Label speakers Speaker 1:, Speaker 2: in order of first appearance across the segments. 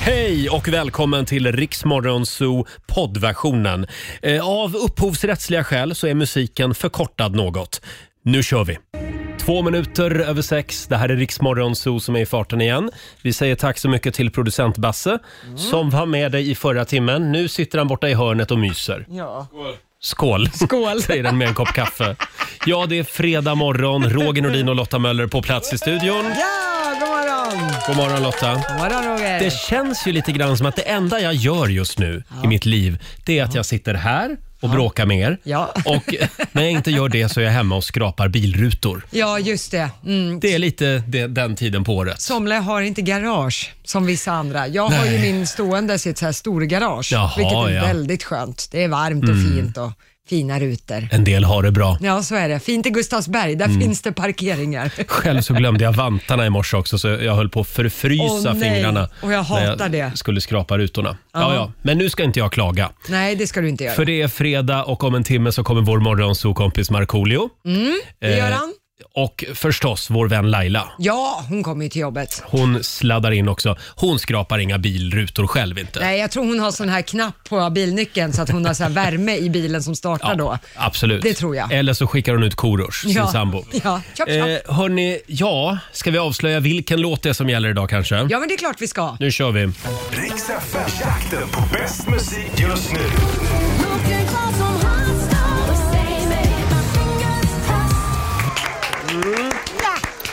Speaker 1: Hej och välkommen till Riksmorgon Zoo poddversionen. Eh, Av upphovsrättsliga skäl så är musiken förkortad något. Nu kör vi! Två minuter över sex. Det här är Riksmorgon Zoo som är i farten igen. Vi säger tack så mycket till producent Basse som var med dig i förra timmen. Nu sitter han borta i hörnet och myser.
Speaker 2: Ja.
Speaker 1: Skål! Skål. Säger den med en kopp kaffe. Ja, det är fredag morgon. Roger Nordin och Lotta Möller på plats i studion.
Speaker 2: Ja, god morgon!
Speaker 1: God morgon Lotta!
Speaker 2: God morgon Roger!
Speaker 1: Det känns ju lite grann som att det enda jag gör just nu i mitt liv, det är att jag sitter här och bråkar med er.
Speaker 2: Ja.
Speaker 1: Och när jag inte gör det så är jag hemma och skrapar bilrutor.
Speaker 2: Ja, just det. Mm.
Speaker 1: Det är lite det, den tiden på året.
Speaker 2: Somliga har inte garage som vissa andra. Jag har ju min stående i ett så här stor garage,
Speaker 1: Jaha,
Speaker 2: vilket är
Speaker 1: ja. Mm.
Speaker 2: väldigt skönt. Det är varmt och fint och fina rutor.
Speaker 1: En del har det bra.
Speaker 2: Ja, så är det. Fint i Gustavsberg, där
Speaker 1: Mm.
Speaker 2: finns det parkeringar.
Speaker 1: Själv så glömde jag vantarna i morse också så jag höll på att förfrysa
Speaker 2: Åh, nej.
Speaker 1: fingrarna
Speaker 2: Och jag hatar
Speaker 1: när jag
Speaker 2: det.
Speaker 1: skulle skrapa rutorna. Ja, ja. Men nu ska inte jag klaga.
Speaker 2: Nej, det ska du inte göra.
Speaker 1: För det är fredag och om en timme så kommer vår morgonsokompis Markoolio.
Speaker 2: Mm. Det gör han?
Speaker 1: Och förstås vår vän Laila.
Speaker 2: Ja, hon kommer ju till jobbet.
Speaker 1: Hon sladdar in också. Hon skrapar inga bilrutor själv inte.
Speaker 2: Nej, jag tror hon har sån här knapp på bilnyckeln så att hon har så här värme i bilen som startar då.
Speaker 1: absolut.
Speaker 2: Det tror jag.
Speaker 1: Eller så skickar hon ut Korosh, sin sambo.
Speaker 2: Ja, tjopp, tjopp.
Speaker 1: Eh, hörni, ja, ska vi avslöja vilken låt det är som gäller idag kanske?
Speaker 2: ja, men det är klart vi ska.
Speaker 1: Nu kör vi.
Speaker 3: Riks FM, jakten på bäst musik just nu.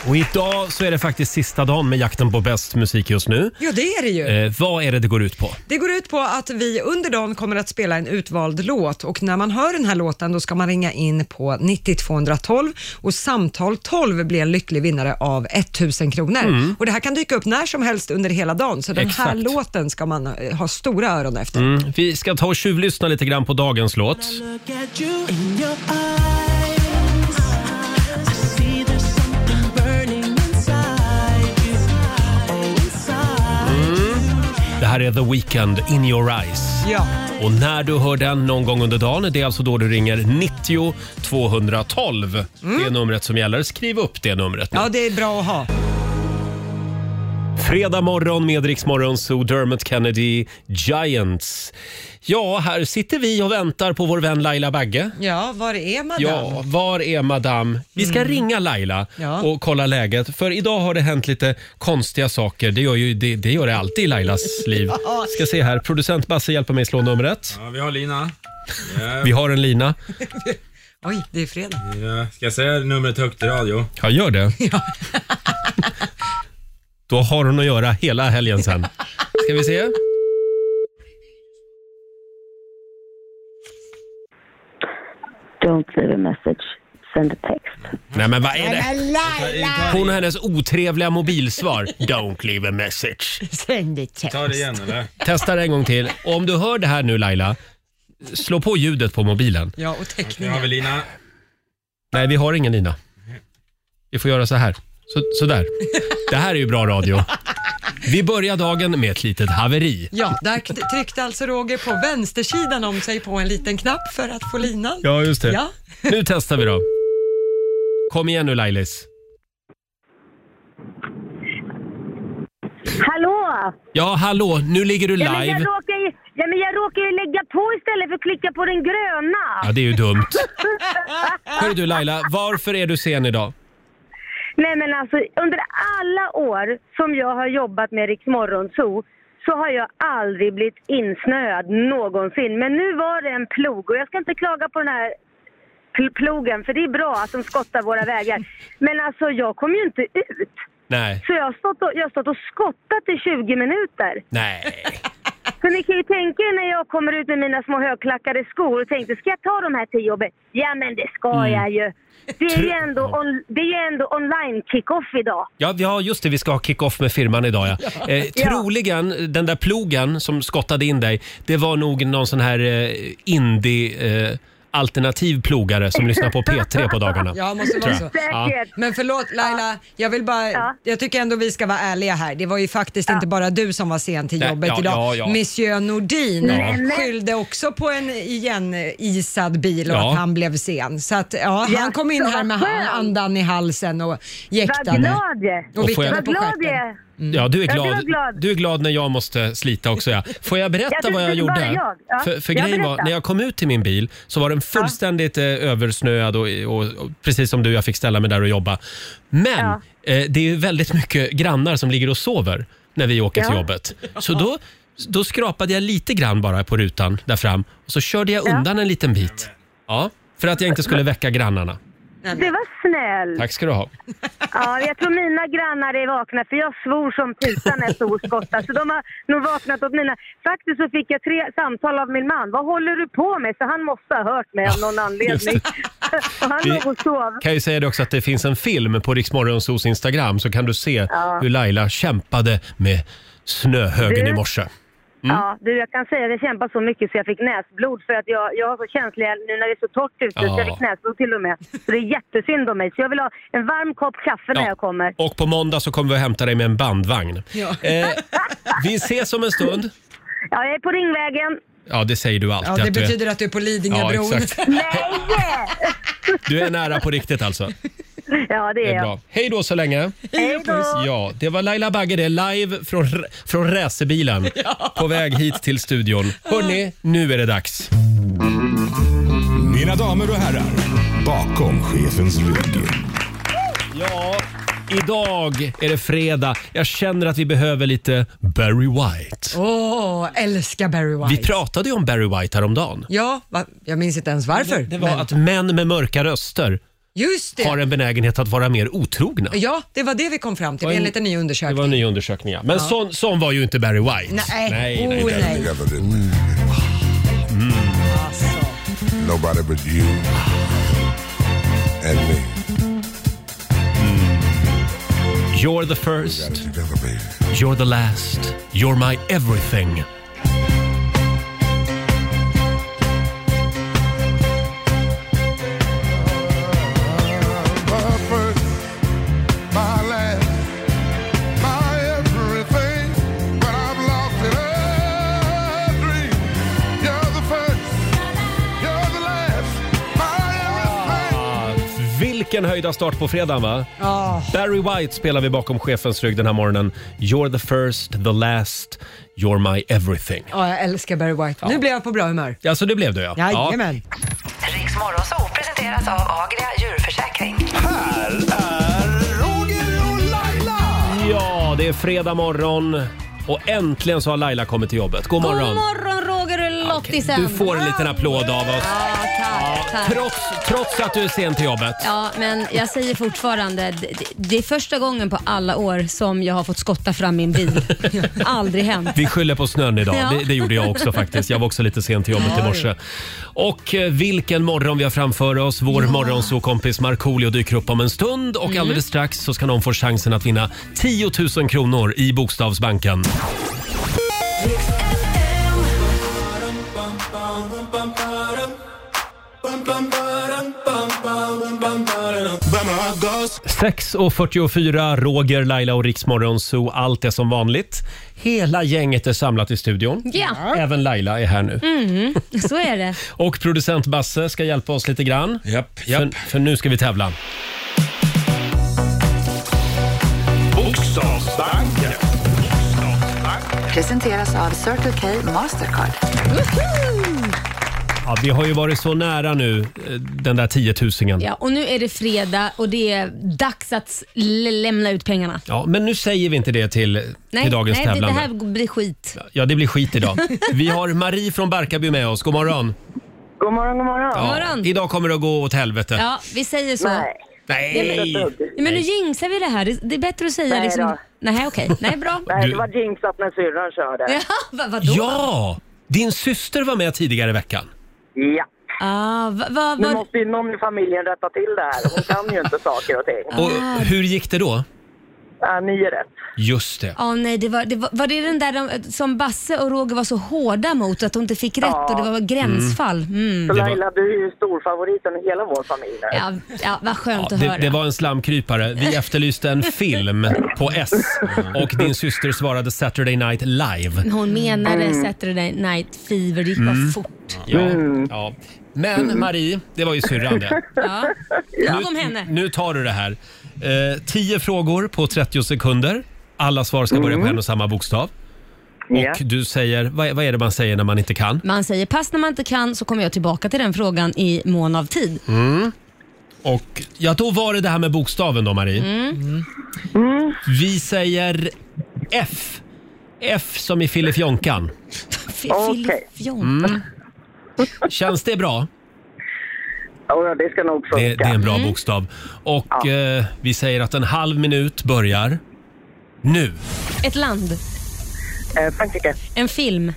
Speaker 1: Och idag så är det faktiskt sista dagen med jakten på bäst musik just nu.
Speaker 2: Ja, det är det ju.
Speaker 1: Eh, vad är det det går ut på?
Speaker 2: Det går ut på att vi under dagen kommer att spela en utvald låt och när man hör den här låten då ska man ringa in på 90212 och samtal 12 blir en lycklig vinnare av 1000 kronor. Och det här kan dyka upp när som helst under hela dagen så den här
Speaker 1: Mm. Exakt.
Speaker 2: låten ska man eh, ha stora öron efter.
Speaker 1: Mm, vi ska ta och tjuvlyssna lite grann på dagens låt. Det här är The Weeknd, In Your Eyes.
Speaker 2: Ja,
Speaker 1: Och när du hör den någon gång under dagen, det är alltså då du ringer 90 212. Det är numret som gäller. Skriv upp det numret nu.
Speaker 2: Mm. ja det är bra att ha.
Speaker 1: Fredag morgon med Rix Morgon, så Dermot Kennedy, Giants. Ja, här sitter vi och väntar på vår vän Laila Bagge.
Speaker 2: Ja, var är man
Speaker 1: Ja, var är madame? Vi ska ringa Laila
Speaker 2: Mm. Ja.
Speaker 1: och kolla läget. För idag har det hänt lite konstiga saker. Det gör, ju, det, det, gör det alltid i Lailas liv. Ska se här, producent Basse hjälper mig slå numret.
Speaker 4: Ja, vi har Lina.
Speaker 1: Vi har en lina.
Speaker 2: Oj, det är fredag.
Speaker 4: Ja, Ska jag säga numret högt i radio?
Speaker 1: Ja, gör det. Då har hon att göra hela helgen sen. Ska vi se?
Speaker 5: Don't leave a message. Send a text.
Speaker 1: Nej men vad är det? Hon och hennes otrevliga mobilsvar. Don't leave a message.
Speaker 4: Ta det igen eller?
Speaker 1: Testa det en gång till. Och om du hör det här nu Laila, slå på ljudet på mobilen.
Speaker 2: Ja, och
Speaker 4: Nu har
Speaker 2: teckningen.
Speaker 4: vi Lina.
Speaker 1: Nej, vi har ingen Lina. Vi får göra så här. Så, sådär. Det här är ju bra radio. Vi börjar dagen med ett litet haveri.
Speaker 2: Ja, där k- tryckte alltså Roger på vänstersidan om sig på en liten knapp för att få linan.
Speaker 1: Ja, just det.
Speaker 2: Ja.
Speaker 1: Nu testar vi då. Kom igen nu Lailis.
Speaker 5: Hallå!
Speaker 1: Ja, hallå, nu ligger du
Speaker 5: Ja, men jag
Speaker 1: live.
Speaker 5: råkar ju, ja, men jag råkar ju lägga på istället för att klicka på den gröna.
Speaker 1: Ja, det är ju dumt. Hör du Laila, varför är du sen idag?
Speaker 5: Nej men alltså under alla år som jag har jobbat med Riks Morgonzoo så har jag aldrig blivit insnöad någonsin. Men nu var det en plog och jag ska inte klaga på den här pl- plogen för det är bra att de skottar våra vägar. Men alltså jag kom ju inte ut.
Speaker 1: Nej.
Speaker 5: Så jag har stått och, jag har stått och skottat i 20 minuter.
Speaker 1: Nej.
Speaker 5: Så ni kan ju tänka er när jag kommer ut med mina små högklackade skor och tänkte, ska jag ta de här till jobbet? Ja men det ska jag ju. Det är ju ändå, on, det är ju ändå online kick-off idag.
Speaker 1: Ja, ja, just det. Vi ska ha kick-off med firman idag. Ja. Eh,
Speaker 5: Ja.
Speaker 1: troligen, den där plogen som skottade in dig, det var nog någon sån här eh, indie... Eh, alternativ plogare som lyssnar på P3 på dagarna.
Speaker 2: Ja, måste
Speaker 1: tror
Speaker 2: vara
Speaker 1: jag.
Speaker 2: så.
Speaker 5: Säkert.
Speaker 2: Men förlåt Laila, jag vill bara,
Speaker 5: Ja.
Speaker 2: jag tycker ändå vi ska vara ärliga här. Det var ju faktiskt inte bara du som var sen till
Speaker 1: Nej,
Speaker 2: jobbet
Speaker 1: ja,
Speaker 2: idag.
Speaker 1: ja, ja.
Speaker 2: Monsieur Nordin
Speaker 5: Ja. men-
Speaker 2: skyllde också på en igen isad bil och
Speaker 1: Ja.
Speaker 2: att han blev sen. Så att ja, han
Speaker 5: Jaså,
Speaker 2: kom in här med
Speaker 5: vad skönt.
Speaker 2: andan i halsen och jäktade.
Speaker 5: Vad glad jag är.
Speaker 2: Och
Speaker 1: Och får
Speaker 2: vickade
Speaker 1: jag-
Speaker 5: Vad
Speaker 2: på
Speaker 5: glad jag
Speaker 2: stjärten.
Speaker 5: är.
Speaker 1: Ja, du är
Speaker 6: Ja, du var
Speaker 1: glad.
Speaker 6: glad.
Speaker 1: Du är glad när jag måste slita också. Ja. Får jag berätta
Speaker 6: Ja, det-
Speaker 1: vad jag
Speaker 6: det
Speaker 1: gjorde?
Speaker 6: var jag. Ja.
Speaker 1: För, för
Speaker 6: Ja,
Speaker 1: grejen var,
Speaker 6: berätta.
Speaker 1: när jag kom ut till min bil så var den fullständigt eh, översnöad och, och, och precis som du, jag fick ställa mig där och jobba. Men eh, det är ju väldigt mycket grannar som ligger och sover när vi åker till
Speaker 6: Ja.
Speaker 1: jobbet. Så då, då skrapade jag lite grann bara på rutan där fram och så körde jag undan en liten bit. Ja, för att jag inte skulle väcka grannarna.
Speaker 6: Det var snällt.
Speaker 1: Tack ska du ha.
Speaker 6: Ja, jag tror mina grannar är vakna för jag svor som tusan när jag stod och skottade. Så de har nog vaknat åt mina. Faktiskt så fick jag tre samtal av min man. Vad håller du på med? Så han måste ha hört mig av någon anledning. och han
Speaker 1: Vi-
Speaker 6: låg och sov.
Speaker 1: kan ju säga det också att det finns en film på Riksmorgonsos Instagram så kan du se hur Laila kämpade med snöhögen
Speaker 6: Du-
Speaker 1: i morse. Mm.
Speaker 6: Ja, du jag kan säga att jag kämpade så mycket så jag fick näsblod för att jag, jag har så känsliga nu när det är så torrt ute så jag
Speaker 1: Ja.
Speaker 6: fick näsblod till och med. Så det är jättesynd om mig. Så jag vill ha en varm kopp kaffe när jag kommer.
Speaker 1: Och på måndag så kommer vi att hämta dig med en bandvagn.
Speaker 2: Ja.
Speaker 1: Eh, vi ses om en stund.
Speaker 6: Ja, jag är på Ringvägen.
Speaker 1: Ja, det säger du alltid.
Speaker 2: Ja, det
Speaker 1: att du är-
Speaker 2: betyder att du är på
Speaker 1: Ja,
Speaker 2: Lidingöbron.
Speaker 1: exakt.
Speaker 6: Nej!
Speaker 1: Du är nära på riktigt alltså.
Speaker 6: Ja, det
Speaker 1: Det
Speaker 6: är
Speaker 1: är
Speaker 6: jag.
Speaker 1: bra. Hej då så länge.
Speaker 6: Hej då!
Speaker 1: Ja, det var Laila Bagge det, live från, från racerbilen på väg hit till studion. Hörni, nu är det dags.
Speaker 4: Mina damer och herrar, bakom chefens rygg.
Speaker 1: Ja, idag är det fredag. Jag känner att vi behöver lite Barry White.
Speaker 2: Åh, älskar Barry White.
Speaker 1: Vi pratade ju om Barry White häromdagen.
Speaker 2: ja, va? jag minns inte ens varför.
Speaker 1: Det var
Speaker 2: men-
Speaker 1: att män med mörka röster
Speaker 2: just det.
Speaker 1: har en benägenhet att vara mer otrogna.
Speaker 2: Ja, det var det vi kom fram till
Speaker 1: var en-
Speaker 2: enligt en ny
Speaker 1: Det
Speaker 2: undersökning.
Speaker 1: var en ny undersökning, ja. Men sån, sån var ju inte Barry White. nej,
Speaker 2: Nej.
Speaker 1: nej.
Speaker 2: Oh,
Speaker 1: nej.
Speaker 2: nej. Alltså.
Speaker 7: Nobody but you and me.
Speaker 1: You're the first,
Speaker 7: Together, baby.
Speaker 1: you're the last, you're my everything.
Speaker 7: My first, my last, my everything. But I've lost it all. Dream. You're the first, you're the last, my everything.
Speaker 1: Ah, vilken höjda start på fredagen va?
Speaker 2: Ja.
Speaker 1: Barry White spelar vi bakom chefens rygg den här morgonen. You're the first, the last, you're my everything.
Speaker 2: Ja, jag älskar Barry White. Nu blir jag på bra humör.
Speaker 1: Ja, så det blev du ja.
Speaker 2: Jajamän.
Speaker 8: Riks Morgonzoo presenteras av Agria djurförsäkring.
Speaker 4: Här är Roger och Laila!
Speaker 1: Ja, det är fredag morgon och äntligen så har Laila kommit till jobbet. God morgon!
Speaker 9: God morgon Roger och Lottisen.
Speaker 1: Du får en liten applåd av oss.
Speaker 9: Ja, tack, tack.
Speaker 1: Trots, trots att du är sen till jobbet.
Speaker 9: Ja, men jag säger fortfarande, det, det- det är första gången på alla år som jag har fått skotta fram min bil. Aldrig hänt.
Speaker 1: Vi skyller på snön idag.
Speaker 9: Ja.
Speaker 1: Det, det gjorde jag också faktiskt. Jag var också lite sen till jobbet i morse. Och eh, vilken morgon vi har framför oss. Vår morgonsåkompis Markoolio dyker upp om en stund och
Speaker 9: Mm.
Speaker 1: alldeles strax så ska någon få chansen att vinna 10 000 kronor i Bokstavsbanken.
Speaker 4: Bamados.
Speaker 1: 6.44, Roger, Laila och Riksmorgon Zoo. Allt är som vanligt. Hela gänget är samlat i studion.
Speaker 9: Ja. Mm.
Speaker 1: Även Laila är här nu.
Speaker 9: Så är det.
Speaker 1: Och producent Basse ska hjälpa oss lite grann.
Speaker 10: Japp, japp.
Speaker 1: För, för nu ska vi tävla.
Speaker 4: Bokstavsbanken.
Speaker 8: Presenteras av Circle K Mastercard.
Speaker 1: Ja, vi har ju varit så nära nu, eh, den där tiotusingen. Ja.
Speaker 9: Ja, och nu är det fredag och det är dags att s- l- lämna ut pengarna.
Speaker 1: men nu säger vi inte det till, till dagens
Speaker 9: nej det, det
Speaker 1: tävlande.
Speaker 9: här blir skit.
Speaker 1: Ja, det blir skit idag. Vi har Marie från Barkarby med oss. God morgon.
Speaker 6: God morgon, god morgon.
Speaker 1: Ja,
Speaker 9: morgon.
Speaker 1: Idag kommer det att gå åt helvete.
Speaker 9: Ja, vi säger så.
Speaker 6: Nej.
Speaker 1: Nej!
Speaker 9: Ja, men nu jinxar vi det här. Det, det är bättre att säga
Speaker 6: Nej
Speaker 9: liksom...
Speaker 6: då.
Speaker 9: Nej, okej. Nej, bra.
Speaker 6: Nej,
Speaker 1: Du-
Speaker 6: det var jinxat när syrran körde.
Speaker 9: Ja, vad, vadå?
Speaker 1: Ja! Din syster var med tidigare i veckan.
Speaker 6: Ja.
Speaker 9: Ah, vad, vad,
Speaker 6: Nu
Speaker 9: vad,
Speaker 6: måste ju någon i familjen rätta till det här. Hon kan ju inte saker och ting.
Speaker 1: Och
Speaker 9: Ah.
Speaker 1: hur gick det då?
Speaker 6: Ja, ni är rätt.
Speaker 1: Just det.
Speaker 9: Ja, nej, det var, det var, var det den där de, som Basse och Roger var så hårda mot, att de inte fick rätt och det var gränsfall? Mm.
Speaker 6: Så
Speaker 1: var-
Speaker 6: Laila, du är ju storfavoriten i hela vår familj nu.
Speaker 9: Ja, ja, vad skönt
Speaker 1: Ja,
Speaker 9: att
Speaker 1: det,
Speaker 9: höra.
Speaker 1: det var en slamkrypare. Vi efterlyste en film på S och din syster svarade Saturday Night Live.
Speaker 9: Hon menade Saturday Night Fever, det gick bara fort.
Speaker 1: Ja, ja. Men Marie, det var ju syrran det.
Speaker 9: Ja. Nog om henne.
Speaker 1: Nu tar du det här. Eh, 10 frågor på 30 sekunder. Alla svar ska börja på en och samma bokstav.
Speaker 5: Ja.
Speaker 1: Och du säger, vad, vad är det man säger när man inte kan?
Speaker 6: Man säger pass när man inte kan så kommer jag tillbaka till den frågan i mån av tid.
Speaker 1: Och ja, då var det det här med bokstaven då Marie.
Speaker 2: Mm.
Speaker 1: Mm. Vi säger F. F som i filifjonkan.
Speaker 5: Okej.
Speaker 6: Filifjon.
Speaker 1: Mm. Känns det bra?
Speaker 5: Ja, det ska nog funka.
Speaker 1: Det, det är en bra
Speaker 2: Mm.
Speaker 1: bokstav. Och eh, vi säger att en halv minut börjar nu.
Speaker 6: Ett land.
Speaker 5: Eh, Frankrike.
Speaker 6: En film.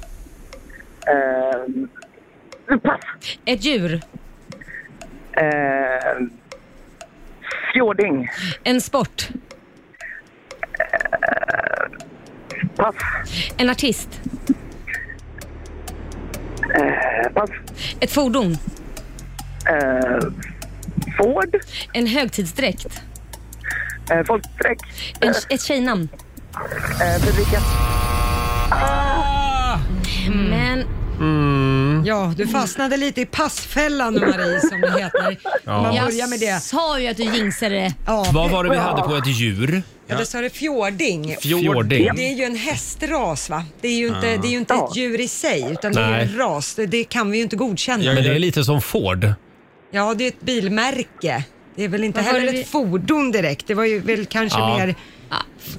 Speaker 5: Eh, pass.
Speaker 6: Ett djur.
Speaker 5: Eh, fjording.
Speaker 6: En sport.
Speaker 5: Pass.
Speaker 6: En artist.
Speaker 5: Eh, pass.
Speaker 6: Ett fordon.
Speaker 5: Eh, Ford.
Speaker 6: En högtidsdräkt.
Speaker 5: Eh, folkstreck.
Speaker 6: En, ett tjejnamn.
Speaker 5: Eh, Fredrika.
Speaker 4: Ah! Mm.
Speaker 6: Men
Speaker 2: Ja, du fastnade lite i passfällan Marie som det heter. Man börjar med
Speaker 6: jag
Speaker 2: det.
Speaker 6: sa ju att du jinxade det.
Speaker 2: Ja,
Speaker 1: Vad var det vi hade på ett djur?
Speaker 2: ja. då sa det fjording.
Speaker 1: Fjording.
Speaker 2: Det är ju en hästras va? Det är ju inte, det är ju inte ett djur i sig utan det är
Speaker 1: Ah. Nej.
Speaker 2: ju en ras. Det, det kan vi ju inte godkänna.
Speaker 1: Men det är lite som Ford.
Speaker 2: Ja, det är ett bilmärke. Det är väl inte
Speaker 6: Vad var
Speaker 2: heller
Speaker 6: det
Speaker 2: ett
Speaker 6: vi-
Speaker 2: fordon direkt. Det var ju väl kanske
Speaker 1: Ja. Ah.
Speaker 2: mer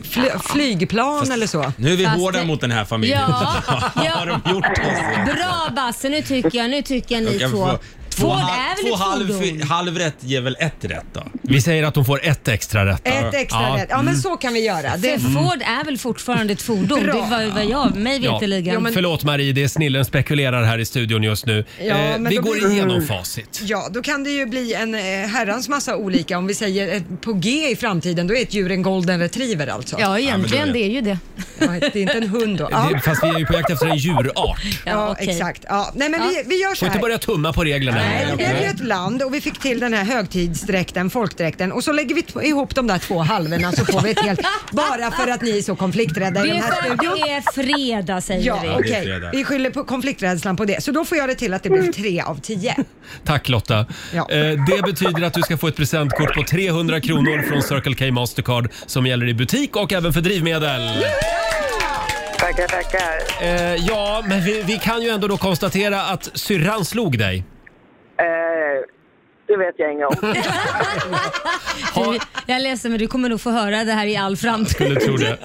Speaker 2: fly, flygplan eller så.
Speaker 4: Nu är vi
Speaker 6: Fast
Speaker 4: hårda
Speaker 6: det-
Speaker 4: mot den här familjen.
Speaker 6: Ja,
Speaker 4: Vad har
Speaker 6: ja.
Speaker 4: de gjort oss?
Speaker 6: Bra Basse, nu tycker jag, nu tycker jag ni
Speaker 4: De kan
Speaker 6: två.
Speaker 4: få-
Speaker 6: Två
Speaker 4: halv-
Speaker 6: är väl
Speaker 4: två
Speaker 6: ett fordon?
Speaker 4: halv, halv rätt ger väl ett rätt då?
Speaker 1: Vi säger att de får ett extra rätt.
Speaker 2: Ett extra
Speaker 1: Ja.
Speaker 2: ja. ja, men så kan vi göra.
Speaker 6: För
Speaker 2: Det,
Speaker 6: Ford är väl fortfarande ett fordon? Det
Speaker 2: Bra.
Speaker 6: var ju vad jag, mig
Speaker 1: Mm. Ja.
Speaker 6: veterligen.
Speaker 1: Jo, men- Förlåt Marie, det är snillen spekulerar här i studion just nu.
Speaker 2: Ja,
Speaker 1: eh,
Speaker 2: men
Speaker 1: vi
Speaker 2: då
Speaker 1: går
Speaker 2: blir-
Speaker 1: igenom facit.
Speaker 2: ja, då kan det ju bli en eh, herrans massa olika. Om vi säger ett, på G i framtiden, då är ett djur en golden retriever alltså.
Speaker 6: Ja,
Speaker 4: Ja,
Speaker 6: egentligen,
Speaker 4: men
Speaker 6: det
Speaker 4: det
Speaker 6: är ju det.
Speaker 2: Ja, Det är inte en hund då. Ja,
Speaker 1: Det, fast vi är ju på jakt efter en djurart.
Speaker 6: Ja,
Speaker 2: ja
Speaker 6: okej.
Speaker 2: exakt. Ja. Nej, men vi, vi gör så
Speaker 1: Får inte
Speaker 2: här.
Speaker 1: börja tumma på reglerna.
Speaker 2: Nej, det blev ju ett land och vi fick till den här högtidsdräkten, folkdräkten och så lägger vi t- ihop de där två halvorna så får vi ett helt, bara för att ni är så konflikträdda i
Speaker 6: Det
Speaker 2: den
Speaker 6: är
Speaker 2: här
Speaker 6: för att
Speaker 2: studion.
Speaker 6: det är fredag säger
Speaker 2: Ja,
Speaker 6: vi.
Speaker 2: okej.
Speaker 4: fredag.
Speaker 2: Vi skyller på konflikträdslan på det. Så då får jag det till att det blir tre av tio.
Speaker 1: Tack Lotta.
Speaker 2: Ja.
Speaker 1: Eh, Det betyder att du ska få ett presentkort på 300 kronor från Circle K Mastercard som gäller i butik och även för drivmedel.
Speaker 5: Tackar, tackar.
Speaker 1: Eh, Ja, men vi, vi kan ju ändå då konstatera att syrran slog dig.
Speaker 5: Eh, det vet jag inget om.
Speaker 1: Ha,
Speaker 6: Jag är ledsen men du kommer nog få höra det här i all framtid.
Speaker 1: skulle tro det.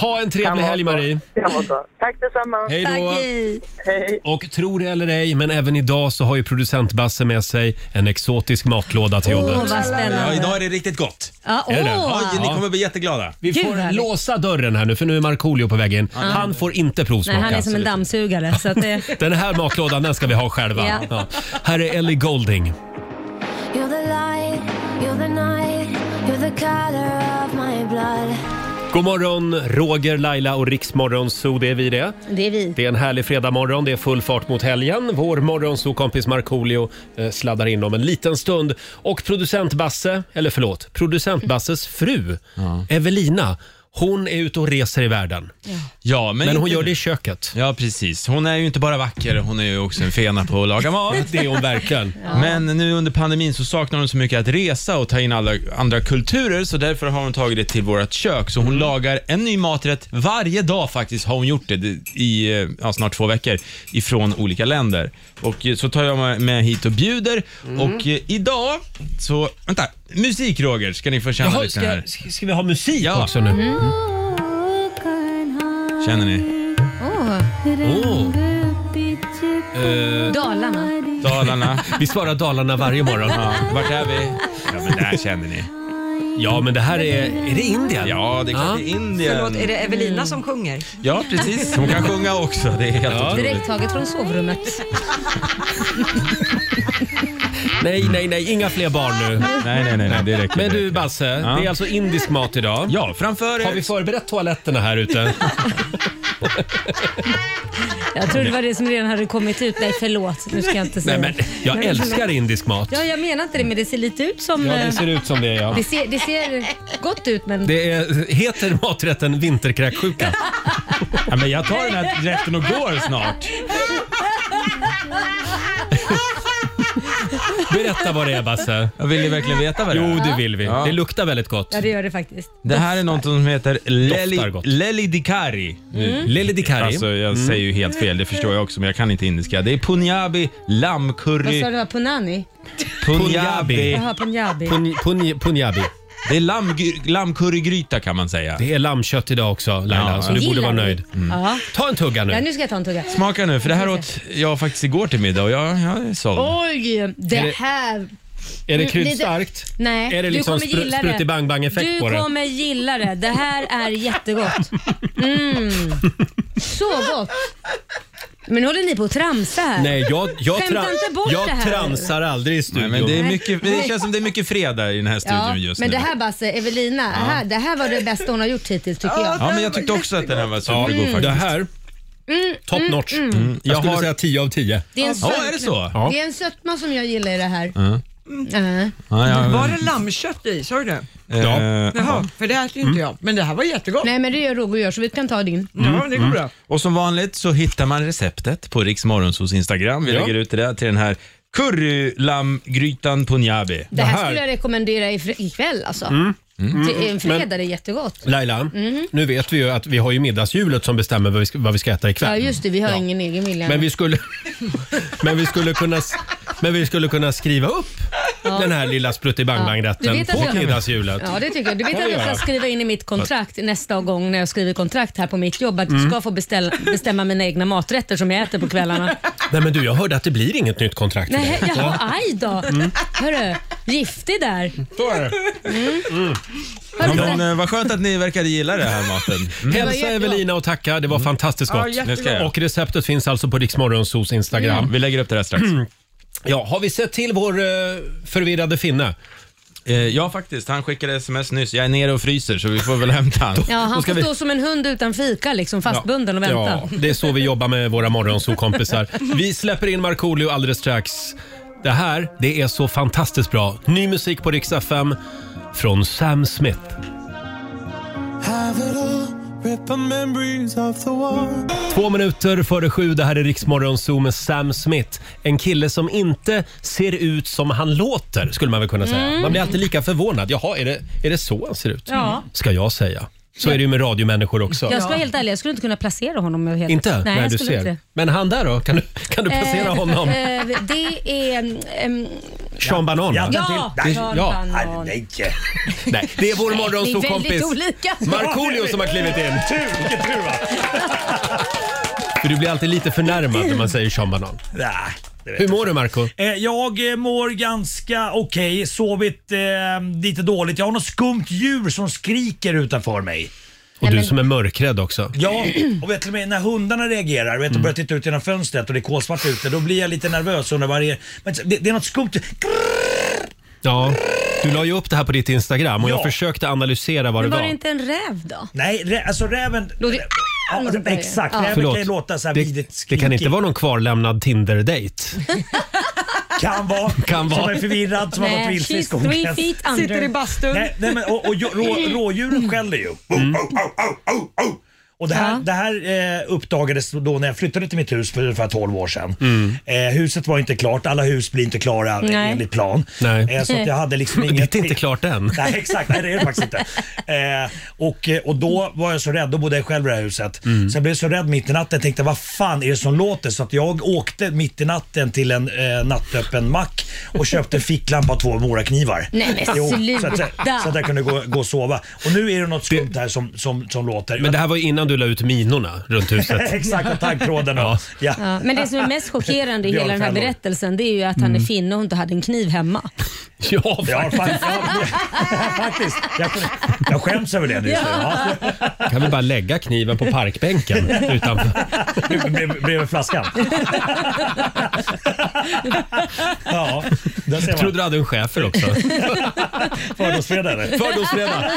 Speaker 1: ha en trevlig helg Marie.
Speaker 5: Det var så. Tack detsamma.
Speaker 1: Hej
Speaker 6: Tack,
Speaker 1: då.
Speaker 6: hej.
Speaker 5: Hej.
Speaker 1: Och tro det eller ej, men även idag så har ju producent Basse med sig en exotisk matlåda till
Speaker 6: Åh,
Speaker 1: jobbet.
Speaker 6: vad
Speaker 4: Ja,
Speaker 6: spännande.
Speaker 4: idag är det riktigt gott.
Speaker 6: Ja,
Speaker 1: Är det?
Speaker 6: åh.
Speaker 4: Ja, Ni kommer bli jätteglada.
Speaker 1: Vi
Speaker 6: Gud,
Speaker 1: får
Speaker 6: härligt.
Speaker 1: låsa dörren här nu för nu är Markoolio på väg in. Han får inte provsmaka.
Speaker 6: Nej, han är som en dammsugare. Så att det...
Speaker 1: Den här matlådan den ska vi ha själva.
Speaker 6: Ja.
Speaker 1: Ja. Här är Ellie Golding.
Speaker 11: You're the light, you're the night, you're the color of my blood.
Speaker 1: God morgon, Roger, Laila och Riksmorgon Zoo, det är vi det.
Speaker 6: det är vi.
Speaker 1: Det är en härlig fredagmorgon, det är full fart mot helgen. Vår morgonsokompis Markoolio eh, sladdar in om en liten stund. Och producent Basse, eller förlåt, producent Basses fru Evelina, hon är ute och reser i världen.
Speaker 4: Ja, men,
Speaker 1: Men hon
Speaker 4: inte-
Speaker 1: gör det i köket.
Speaker 4: Ja, precis. Hon är ju inte bara vacker, hon är ju också en fena på att laga mat.
Speaker 1: Det är hon verkligen.
Speaker 4: Men nu under pandemin så saknar hon så mycket att resa och ta in alla andra kulturer så därför har hon tagit det till vårt kök. Så hon
Speaker 1: Mm.
Speaker 4: lagar en ny maträtt varje dag faktiskt har hon gjort det i eh, ja, snart två veckor ifrån olika länder. Och eh, så tar jag med- med hit och bjuder
Speaker 1: Mm.
Speaker 4: och eh, idag så, vänta, musik Roger ska ni få känna
Speaker 1: Jaha,
Speaker 4: lite
Speaker 1: ska,
Speaker 4: här.
Speaker 1: ska ska vi ha musik
Speaker 4: Ja. Mm.
Speaker 1: också nu?
Speaker 4: Känner ni?
Speaker 6: Åh,
Speaker 1: Åh.
Speaker 6: Dalarna.
Speaker 4: Dalarna.
Speaker 1: Vi svarar Dalarna varje morgon.
Speaker 4: Ja, vart är vi? Ja men där känner ni.
Speaker 1: Ja, men det här är... Är det Indien?
Speaker 4: Ja, det är klart
Speaker 1: Ja.
Speaker 4: det är Indien.
Speaker 2: Förlåt, är det Evelina som sjunger?
Speaker 4: Ja, precis. Hon kan sjunga också. Det är helt
Speaker 1: Ja.
Speaker 4: otroligt.
Speaker 6: Direkt taget från sovrummet.
Speaker 1: Nej, nej, nej, inga fler barn nu.
Speaker 4: Nej, nej, nej, nej det räcker.
Speaker 1: Men
Speaker 4: det
Speaker 1: du
Speaker 4: räcker.
Speaker 1: Basse, det är alltså indisk mat idag.
Speaker 4: Ja, framför
Speaker 1: Har vi förberett toaletterna här ute?
Speaker 6: Jag tror det var det som redan hade kommit ut. Nej, förlåt. Nu ska jag inte
Speaker 1: Nej
Speaker 6: säga.
Speaker 1: men jag
Speaker 6: Nej,
Speaker 1: älskar
Speaker 6: förlåt.
Speaker 1: indisk mat.
Speaker 6: Ja, jag menar inte det, men det ser lite ut som...
Speaker 1: Ja,
Speaker 6: eh,
Speaker 1: det ser ut som det ja.
Speaker 6: det, ser, det ser gott ut, men...
Speaker 1: Det är, heter maträtten vinterkräksjuka?
Speaker 4: Ja, men jag tar den här rätten och går snart.
Speaker 1: Berätta vad det är Basse.
Speaker 4: Jag vill ju verkligen veta vad det
Speaker 1: Jo,
Speaker 4: är.
Speaker 1: det vill vi.
Speaker 4: Ja.
Speaker 1: Det luktar väldigt gott.
Speaker 6: Ja, det gör det faktiskt.
Speaker 4: Det här är något som heter
Speaker 1: Doftar
Speaker 4: Leli,
Speaker 1: gott. Mm.
Speaker 4: Leli Dikari.
Speaker 6: Mm.
Speaker 1: Leli Dikari. Mm.
Speaker 4: Alltså, jag säger ju helt fel, det förstår jag också, men jag kan inte indiska. Det är punjabi,
Speaker 6: Vad
Speaker 4: lammkurry,
Speaker 6: sa du? det var? Punani?
Speaker 4: punjabi.
Speaker 6: Jaha, punjabi.
Speaker 1: Pun- pun- punjabi.
Speaker 4: Det är lammgy- lammkurrygryta kan man säga.
Speaker 1: Det är lammkött idag också Laila,
Speaker 4: Ja,
Speaker 1: så du borde
Speaker 6: Gillar
Speaker 1: vara
Speaker 6: du?
Speaker 1: nöjd. Mm.
Speaker 6: Ja.
Speaker 1: Ta en tugga
Speaker 6: ja,
Speaker 1: nu.
Speaker 6: nu ska jag ta en tugga.
Speaker 4: Smaka nu, för det här åt jag faktiskt igår till middag och jag, jag är såld.
Speaker 6: Oj,
Speaker 1: Är det-
Speaker 6: det här...
Speaker 1: Är det
Speaker 6: Mm, lite-
Speaker 1: kryddstarkt?
Speaker 6: Nej,
Speaker 1: Är det liksom
Speaker 6: du kommer
Speaker 1: spr-
Speaker 6: gilla
Speaker 1: sprutt i
Speaker 6: det.
Speaker 1: bang bang effekt
Speaker 6: Du
Speaker 1: på det?
Speaker 6: kommer gilla det. Det här är jättegott. Mm. Så gott. Men nu håller ni på att tramsa här.
Speaker 1: Nej, jag, jag,
Speaker 6: Skämta
Speaker 1: tra-
Speaker 6: inte bort det
Speaker 1: jag
Speaker 6: här.
Speaker 1: transar aldrig i
Speaker 4: Nej,
Speaker 1: studion.
Speaker 4: men det, är
Speaker 6: Nej.
Speaker 4: mycket, det känns som det är mycket fredag i den här studion
Speaker 6: Ja,
Speaker 4: just
Speaker 6: men
Speaker 4: nu.
Speaker 6: det här Basse, Evelina, det här, det här var det bästa hon har gjort hittills tycker jag. Mm.
Speaker 4: ja, men jag tyckte också att den här var
Speaker 1: ja,
Speaker 4: supergod faktiskt.
Speaker 1: Mm. Det här, top notch. Mm. Jag, skulle
Speaker 4: har-
Speaker 1: säga 10 av 10.
Speaker 6: Det är en,
Speaker 4: Ja,
Speaker 6: sött,
Speaker 4: är det så?
Speaker 1: Ja.
Speaker 6: det är en sötma som jag gillar i det här. Äh.
Speaker 4: Ja, ja,
Speaker 2: Var det lammkött i? Sa du det?
Speaker 4: eh,
Speaker 2: Jaha, för det äter ju
Speaker 1: Mm.
Speaker 2: inte jag. Men det här var jättegott.
Speaker 6: Nej men det gör Roger och jag så vi kan ta din.
Speaker 2: Ja,
Speaker 1: Mm.
Speaker 2: det går bra.
Speaker 4: Och som vanligt så hittar man receptet på Riksmorgonsos Instagram. Vi
Speaker 1: Ja.
Speaker 4: lägger ut det där till den här currylammgrytan punjabi.
Speaker 6: Det här
Speaker 1: här- Mm.
Speaker 6: skulle jag rekommendera i fre- ikväll alltså. Till en fredag, det är jättegott.
Speaker 1: Laila,
Speaker 6: Mm.
Speaker 1: nu vet vi ju att vi har ju middagshjulet som bestämmer vad vi ska, vad vi ska äta
Speaker 6: Ja
Speaker 1: ikväll.
Speaker 6: just det, vi har ingen egen vilja.
Speaker 1: Men vi skulle, men vi skulle, kunna, s- men vi skulle kunna skriva upp den här lilla
Speaker 6: Ja. Du
Speaker 1: spruttibang-bang-rätten
Speaker 6: vet att
Speaker 1: på
Speaker 6: jag-
Speaker 1: middagshjulet.
Speaker 6: Ja det tycker jag. Du vet
Speaker 1: Kan
Speaker 6: att
Speaker 1: vi
Speaker 6: jag
Speaker 1: göra.
Speaker 6: ska skriva in i mitt kontrakt nästa gång när jag skriver kontrakt här på mitt jobb att
Speaker 1: Mm.
Speaker 6: jag ska få beställa, bestämma mina egna maträtter som jag äter på kvällarna.
Speaker 1: Nej men du, jag hörde att det blir inget nytt kontrakt för
Speaker 6: Nej,
Speaker 1: dig.
Speaker 6: jaha, aj då.
Speaker 1: Mm.
Speaker 6: Hörru, giftig där.
Speaker 1: Så är det.
Speaker 6: Hörru,
Speaker 4: Men, eh, vad skönt att ni verkade gilla det här maten. Mm.
Speaker 6: var
Speaker 1: Hälsa
Speaker 6: jättegott.
Speaker 1: Evelina och tacka, det var fantastiskt
Speaker 2: Ja,
Speaker 1: gott.
Speaker 4: Det ska
Speaker 2: jättegott.
Speaker 4: jag.
Speaker 1: Och receptet finns alltså på Riksmorgonsos Instagram.
Speaker 6: Mm.
Speaker 4: Vi lägger upp det där strax.
Speaker 1: Ja, har vi sett till vår eh, förvirrade finne?
Speaker 4: Eh, ja, faktiskt. Han skickade sms nyss. Jag är nere och fryser så vi får väl hämta han.
Speaker 6: Ja,
Speaker 1: Då
Speaker 6: han
Speaker 1: ska
Speaker 6: får
Speaker 1: vi-
Speaker 6: stå som en hund utan fika liksom fastbunden och vänta.
Speaker 1: Ja, det är så vi jobbar med våra morgonsokompisar. Vi släpper in Markoolio alldeles strax. Det här, det är så fantastiskt bra. Ny musik på Rix FM från Sam Smith. Två minuter före sju, det här är Riksmorgonzoo med Sam Smith. En kille som inte ser ut som han låter, skulle man väl kunna säga.
Speaker 6: Mm.
Speaker 1: Man blir alltid lika förvånad. Jaha, är det, är det så han ser ut?
Speaker 6: Ja.
Speaker 1: Ska jag säga. Så är det ju med radiomänniskor också.
Speaker 6: Jag ska vara helt ärlig, jag skulle inte kunna placera honom. överhuvudtaget.
Speaker 1: Inte?
Speaker 6: Nej, jag
Speaker 1: du
Speaker 6: skulle
Speaker 1: ser.
Speaker 6: inte det.
Speaker 1: Men han där då? Kan du, kan du placera
Speaker 6: Eh,
Speaker 1: honom?
Speaker 6: eh, det är... ehm,
Speaker 1: Sean Banan?
Speaker 3: Ja.
Speaker 6: ja,
Speaker 1: Det-
Speaker 6: Sean
Speaker 1: ja.
Speaker 6: Banan.
Speaker 3: Nej,
Speaker 1: Nej, det är vår
Speaker 6: Ni är
Speaker 1: morgonsåkompis
Speaker 6: väldigt olika.
Speaker 1: Markoolio som har klivit in.
Speaker 3: tur! Vilken tur va?
Speaker 1: För du blir alltid lite förnärmad när man säger Sean Banan.
Speaker 3: Nej, det vet
Speaker 1: Hur mår du Marco?
Speaker 3: Eh, Jag eh, mår ganska okej, sovit eh, lite dåligt. Jag har något skumt djur som skriker utanför mig.
Speaker 1: Och du som är mörkrädd också.
Speaker 3: Ja, och vet du, med, när hundarna reagerar vet, du, och börjar titta ut genom fönstret och det är kolsvart ute, då blir jag lite nervös. Och när varje, men det, det är något skumt.
Speaker 1: Ja, du la ju upp det här på ditt Instagram och jag
Speaker 3: Ja.
Speaker 1: försökte analysera vad det
Speaker 6: Men var
Speaker 1: var.
Speaker 6: det inte en räv då?
Speaker 3: Nej, rä, alltså räven...
Speaker 6: Låter-
Speaker 3: Ja, det- exakt,
Speaker 6: Ja.
Speaker 3: räven
Speaker 1: Förlåt.
Speaker 3: kan ju låta så här vidrigt
Speaker 1: det, det kan inte
Speaker 3: skrikig.
Speaker 1: vara någon kvarlämnad Tinder-dejt.
Speaker 3: Kan vara.
Speaker 1: Kan
Speaker 3: Som
Speaker 1: vara.
Speaker 3: är förvirrad, som har varit
Speaker 6: Nej,
Speaker 3: vilse i
Speaker 6: she's three
Speaker 3: skogen.
Speaker 6: feet under.
Speaker 2: Sitter i bastun. Mm.
Speaker 3: Nej, nej, men, och, och rå, rådjuren skäller ju. Oh,
Speaker 1: Mm.
Speaker 3: oh, oh, oh, oh, oh. Och det här,
Speaker 6: Ja.
Speaker 3: det här eh, uppdagades då när jag flyttade till mitt hus för ungefär 12 år sedan.
Speaker 1: Mm.
Speaker 3: Eh, huset var inte klart, alla hus blir inte klara
Speaker 6: Nej.
Speaker 3: enligt plan.
Speaker 1: Nej.
Speaker 3: Eh, så att jag hade liksom
Speaker 1: Det
Speaker 3: inget...
Speaker 1: är inte klart än.
Speaker 3: Nej exakt, nej, det är det faktiskt inte. Eh, och, eh, och då var jag så rädd, då bodde jag själv i det här huset.
Speaker 1: Mm.
Speaker 3: Sen blev jag så rädd mitt i natten tänkte vad fan är det som låter? Så att jag åkte mitt i natten till en eh, nattöppen mack och köpte en ficklampa och två moraknivar.
Speaker 6: Nej, men
Speaker 3: så, att,
Speaker 6: sluta.
Speaker 3: så att jag kunde gå, gå och sova. Och nu är det något skumt här som, som, som låter.
Speaker 1: Men det här var ju innan du la ut minorna runt huset.
Speaker 3: Exakt, och taggtråden och...
Speaker 1: Ja.
Speaker 3: Ja.
Speaker 6: Ja, men det som är mest chockerande i hela den här
Speaker 3: Björnfällor.
Speaker 6: berättelsen det är ju att han är
Speaker 1: Mm.
Speaker 6: finne och inte hade en kniv hemma.
Speaker 1: Ja,
Speaker 3: Ja, faktiskt. Ja, faktiskt. Jag, jag skäms över det nu. Ja.
Speaker 1: kan vi bara lägga kniven på parkbänken utanför.
Speaker 3: Bre- bre- Bredvid flaskan. ja, där
Speaker 1: Jag
Speaker 3: ser
Speaker 1: trodde
Speaker 3: man.
Speaker 1: du hade en schäfer också.
Speaker 3: Fördomsfredag.
Speaker 1: Fördomsfredag.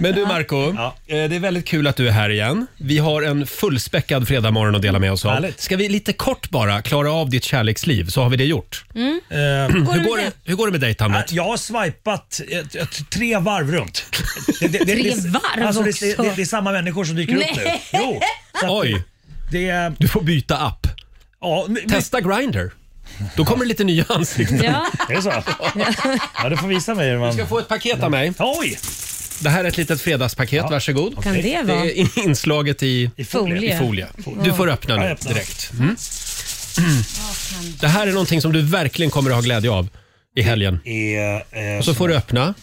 Speaker 1: Men du Marco,
Speaker 3: Ja.
Speaker 1: eh, det är väldigt kul att du är här igen. Vi har en fullspäckad fredagmorgon att dela med oss av.
Speaker 3: Härligt.
Speaker 1: Ska vi lite kort bara klara av ditt kärleksliv så har vi det gjort.
Speaker 6: Mm.
Speaker 3: Eh,
Speaker 1: Hur går det, hur går det med dejtandet?
Speaker 3: Jag har swipat ett, ett, tre varv runt. Det, det, det,
Speaker 6: Tre
Speaker 3: det-
Speaker 6: varv
Speaker 3: alltså, det,
Speaker 6: också?
Speaker 3: det, det är samma människor som dyker upp nu.
Speaker 6: Nej.
Speaker 3: Jo, så att
Speaker 1: Oj,
Speaker 3: det,
Speaker 1: du får byta app.
Speaker 3: ja, men-
Speaker 1: Testa Grindr. Då kommer det lite nya ansikten.
Speaker 6: Ja.
Speaker 3: Är det så? Ja, du får visa mig hur man...
Speaker 1: Du ska få ett paket av mig.
Speaker 3: Oj!
Speaker 1: Det här är ett litet fredagspaket, varsågod.
Speaker 6: Kan det
Speaker 1: Det
Speaker 6: vara?
Speaker 1: är in- inslaget i,
Speaker 3: I folie.
Speaker 1: i folie. Du får öppna
Speaker 3: Ja,
Speaker 1: nu
Speaker 3: jag öppnar.
Speaker 1: direkt. Mm. Det här är någonting som du verkligen kommer att ha glädje av i helgen.
Speaker 3: Är, eh,
Speaker 1: Så får du öppna.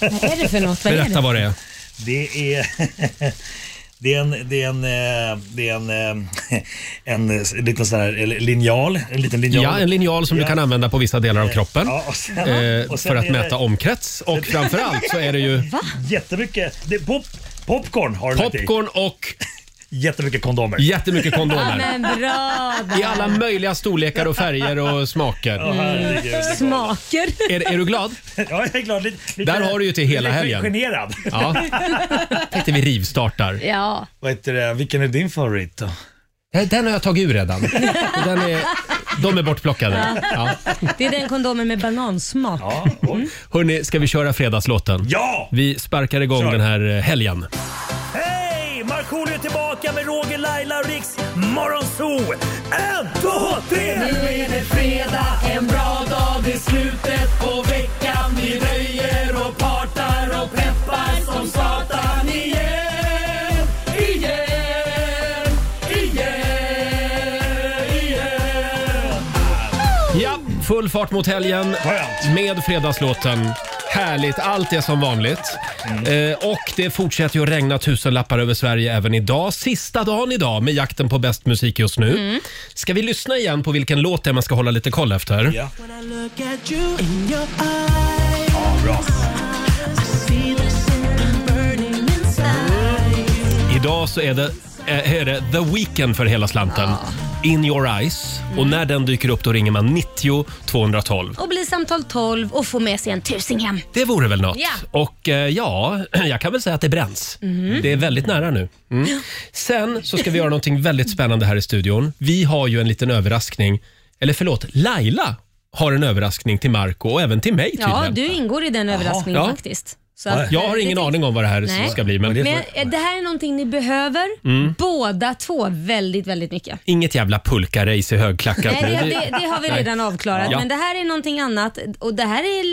Speaker 6: Vad är det för något? Vad är
Speaker 1: Berätta
Speaker 6: det?
Speaker 1: vad det är.
Speaker 3: Det är... Det är en, det är en, eh, det är en, eh, en, eh, liten sån här eller linjal. En liten linjal.
Speaker 1: Ja, en linjal som du
Speaker 3: Ja.
Speaker 1: kan använda på vissa delar av kroppen.
Speaker 3: Ja, och sen,
Speaker 1: Eh,
Speaker 3: och sen
Speaker 1: för att
Speaker 3: är det
Speaker 1: mäta omkrets och framförallt så är det ju
Speaker 3: Jättemycket. Det är pop, popcorn har du lagt i.
Speaker 1: popcorn och
Speaker 3: Jättemycket kondomer.
Speaker 1: jättemycket
Speaker 6: Ja,
Speaker 1: kondomer.
Speaker 6: men bra
Speaker 1: I
Speaker 6: där.
Speaker 1: alla möjliga storlekar och färger och
Speaker 3: Ja,
Speaker 1: smaker.
Speaker 3: herregud.
Speaker 6: Smaker.
Speaker 1: Är, är du glad?
Speaker 3: Ja, jag är glad. Lite, lite,
Speaker 1: Där har du ju till hela
Speaker 3: lite
Speaker 1: helgen.
Speaker 3: generad.
Speaker 1: Ja. tänkte vi rivstartar.
Speaker 6: Ja,
Speaker 3: Vad heter det? Vilken är din favorit då?
Speaker 1: Nej, Eh, den har jag tagit ur redan. Den är, de är bortplockade. Ja.
Speaker 6: det är den kondomen med banansmak.
Speaker 3: Ja, oj.
Speaker 1: Hörni, ska vi köra fredagslåten?
Speaker 3: ja!
Speaker 1: Vi sparkar igång
Speaker 3: Kör.
Speaker 1: den här eh, helgen.
Speaker 3: Hej! Markoolio är tillbaka med Roger, Laila och Riks Morgonzoo! En, två, tre! Nu är det fredag, en bra dag, det är slutet på veckan. Vi röjer och partar och peppar som satan igen, igen, igen, igen.
Speaker 1: Ja, full fart mot helgen
Speaker 3: Skönt.
Speaker 1: med fredagslåten. Härligt, allt är som vanligt. Eh, och det fortsätter ju att regna tusenlappar över Sverige även idag. Sista dagen idag med jakten på bäst musik just nu. Ska vi lyssna igen på vilken låt det är man ska hålla lite koll efter?
Speaker 3: Ja.
Speaker 1: Idag så är det, eh, är det The Weeknd för hela slanten. In your eyes. Och när den dyker upp då ringer man 90 212.
Speaker 6: Och bli samtal 12 och få med sig en tusing hem.
Speaker 1: Det vore väl något.
Speaker 6: Ja.
Speaker 1: Och eh, ja, jag kan väl säga att det bränns.
Speaker 6: Mhm.
Speaker 1: Det är väldigt nära nu. Mm. Sen så ska vi göra någonting väldigt spännande här i studion. Vi har ju en liten överraskning. Eller förlåt, Laila har en överraskning till Marco och även till mig tydligen.
Speaker 6: Ja, du ingår i den överraskningen
Speaker 1: Ja.
Speaker 6: faktiskt. Så att,
Speaker 1: Jag har
Speaker 6: eh,
Speaker 1: ingen
Speaker 6: det-
Speaker 1: aning om vad det Mm. här
Speaker 6: Nej.
Speaker 1: ska bli, men,
Speaker 6: Men eh, det här är någonting ni behöver, båda två, väldigt, väldigt mycket.
Speaker 1: inget jävla pulka-race i högklackat
Speaker 6: Nej,
Speaker 1: nu.
Speaker 6: det, det, det har vi
Speaker 1: Nej.
Speaker 6: redan avklarat,
Speaker 1: Ja.
Speaker 6: men det här är någonting annat och det här är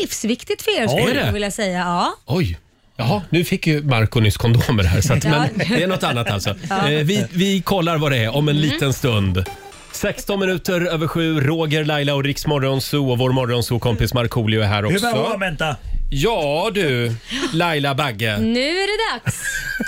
Speaker 6: livsviktigt för er
Speaker 1: Är
Speaker 6: skulle
Speaker 1: det?
Speaker 6: jag vilja säga. Ja.
Speaker 1: Oj. Jaha, nu fick ju Marco nyss kondomer här, så att, men det är något annat alltså. Eh, vi, vi kollar vad det är om en
Speaker 6: Mm.
Speaker 1: liten stund. 16 minuter över sju, Roger, Laila och Riks Morgonzoo och vår Morgonzoo-kompis Markoolio är här
Speaker 3: Hur var
Speaker 1: också.
Speaker 3: Vänta.
Speaker 1: Ja du, Laila Bagge.
Speaker 6: Nu är det dags.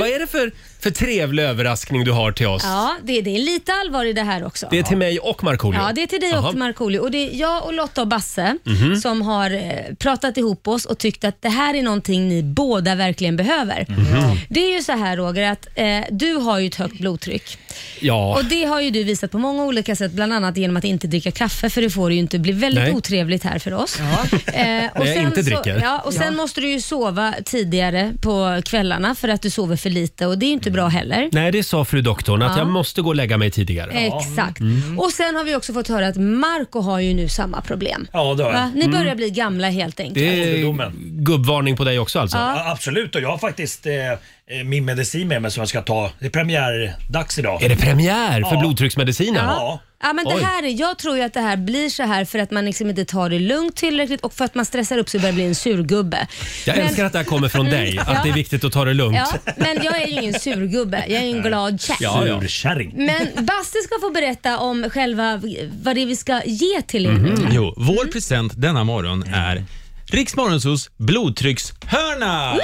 Speaker 1: Vad är det för, för trevlig överraskning du har till oss?
Speaker 6: Ja, det, det är lite allvar i det här också.
Speaker 1: Det är till mig och Markoolio.
Speaker 6: Ja, det är till dig
Speaker 1: Jaha. Mhm.
Speaker 6: och till Markoolio. Och det är jag och Lotta och Basse som har eh, pratat ihop oss och tyckt att det här är någonting ni båda verkligen behöver.
Speaker 1: Mhm.
Speaker 6: Det är ju så här Roger, att eh, du har ju ett högt blodtryck.
Speaker 1: Ja,
Speaker 6: Och det har ju du visat på många olika sätt, bland annat genom att inte dricka kaffe för det får det ju inte bli väldigt
Speaker 1: Nej.
Speaker 6: otrevligt här för oss. Eh, och
Speaker 1: När jag inte dricker.
Speaker 6: Så, ja, och sen måste du ju sova tidigare på kvällarna för att du sover för lite och det är ju inte bra heller.
Speaker 1: nej det sa fru doktorn att
Speaker 6: Ja. Eh.
Speaker 1: jag måste gå och lägga mig tidigare.
Speaker 6: Exakt.
Speaker 1: Mm.
Speaker 6: Och sen har vi också fått höra att Marco har ju nu samma problem.
Speaker 3: Ja, det har jag.
Speaker 6: Va? Ni börjar bli gamla helt enkelt.
Speaker 1: Mm. Det är
Speaker 3: Ålderdomen.
Speaker 1: gubbvarning på dig också alltså?
Speaker 3: Ja, absolut, och jag har faktiskt eh, eh, min medicin med mig som jag ska ta. Det är premiärdags idag.
Speaker 1: Är det premiär för
Speaker 3: Ja.
Speaker 1: blodtrycksmedicinen?
Speaker 3: Ja.
Speaker 6: Ja, men
Speaker 1: Oj.
Speaker 6: det här, är- jag tror ju att det här blir så här för att man liksom inte tar det lugnt tillräckligt och för att man stressar upp sig och börjar bli en surgubbe.
Speaker 1: Jag
Speaker 6: Men-
Speaker 1: älskar att det här kommer från dig, att det är viktigt att ta det lugnt.
Speaker 6: Ja, men jag är ju ingen surgubbe, jag är ju en glad tjej.
Speaker 1: Ja, Mm. ja.
Speaker 3: Surkärring.
Speaker 6: Men Basse ska få berätta om själva vad det är vi ska ge till er.
Speaker 1: Mm-hmm.
Speaker 4: Jo, vår present denna morgon är Riks Morgonzoos blodtryckshörna!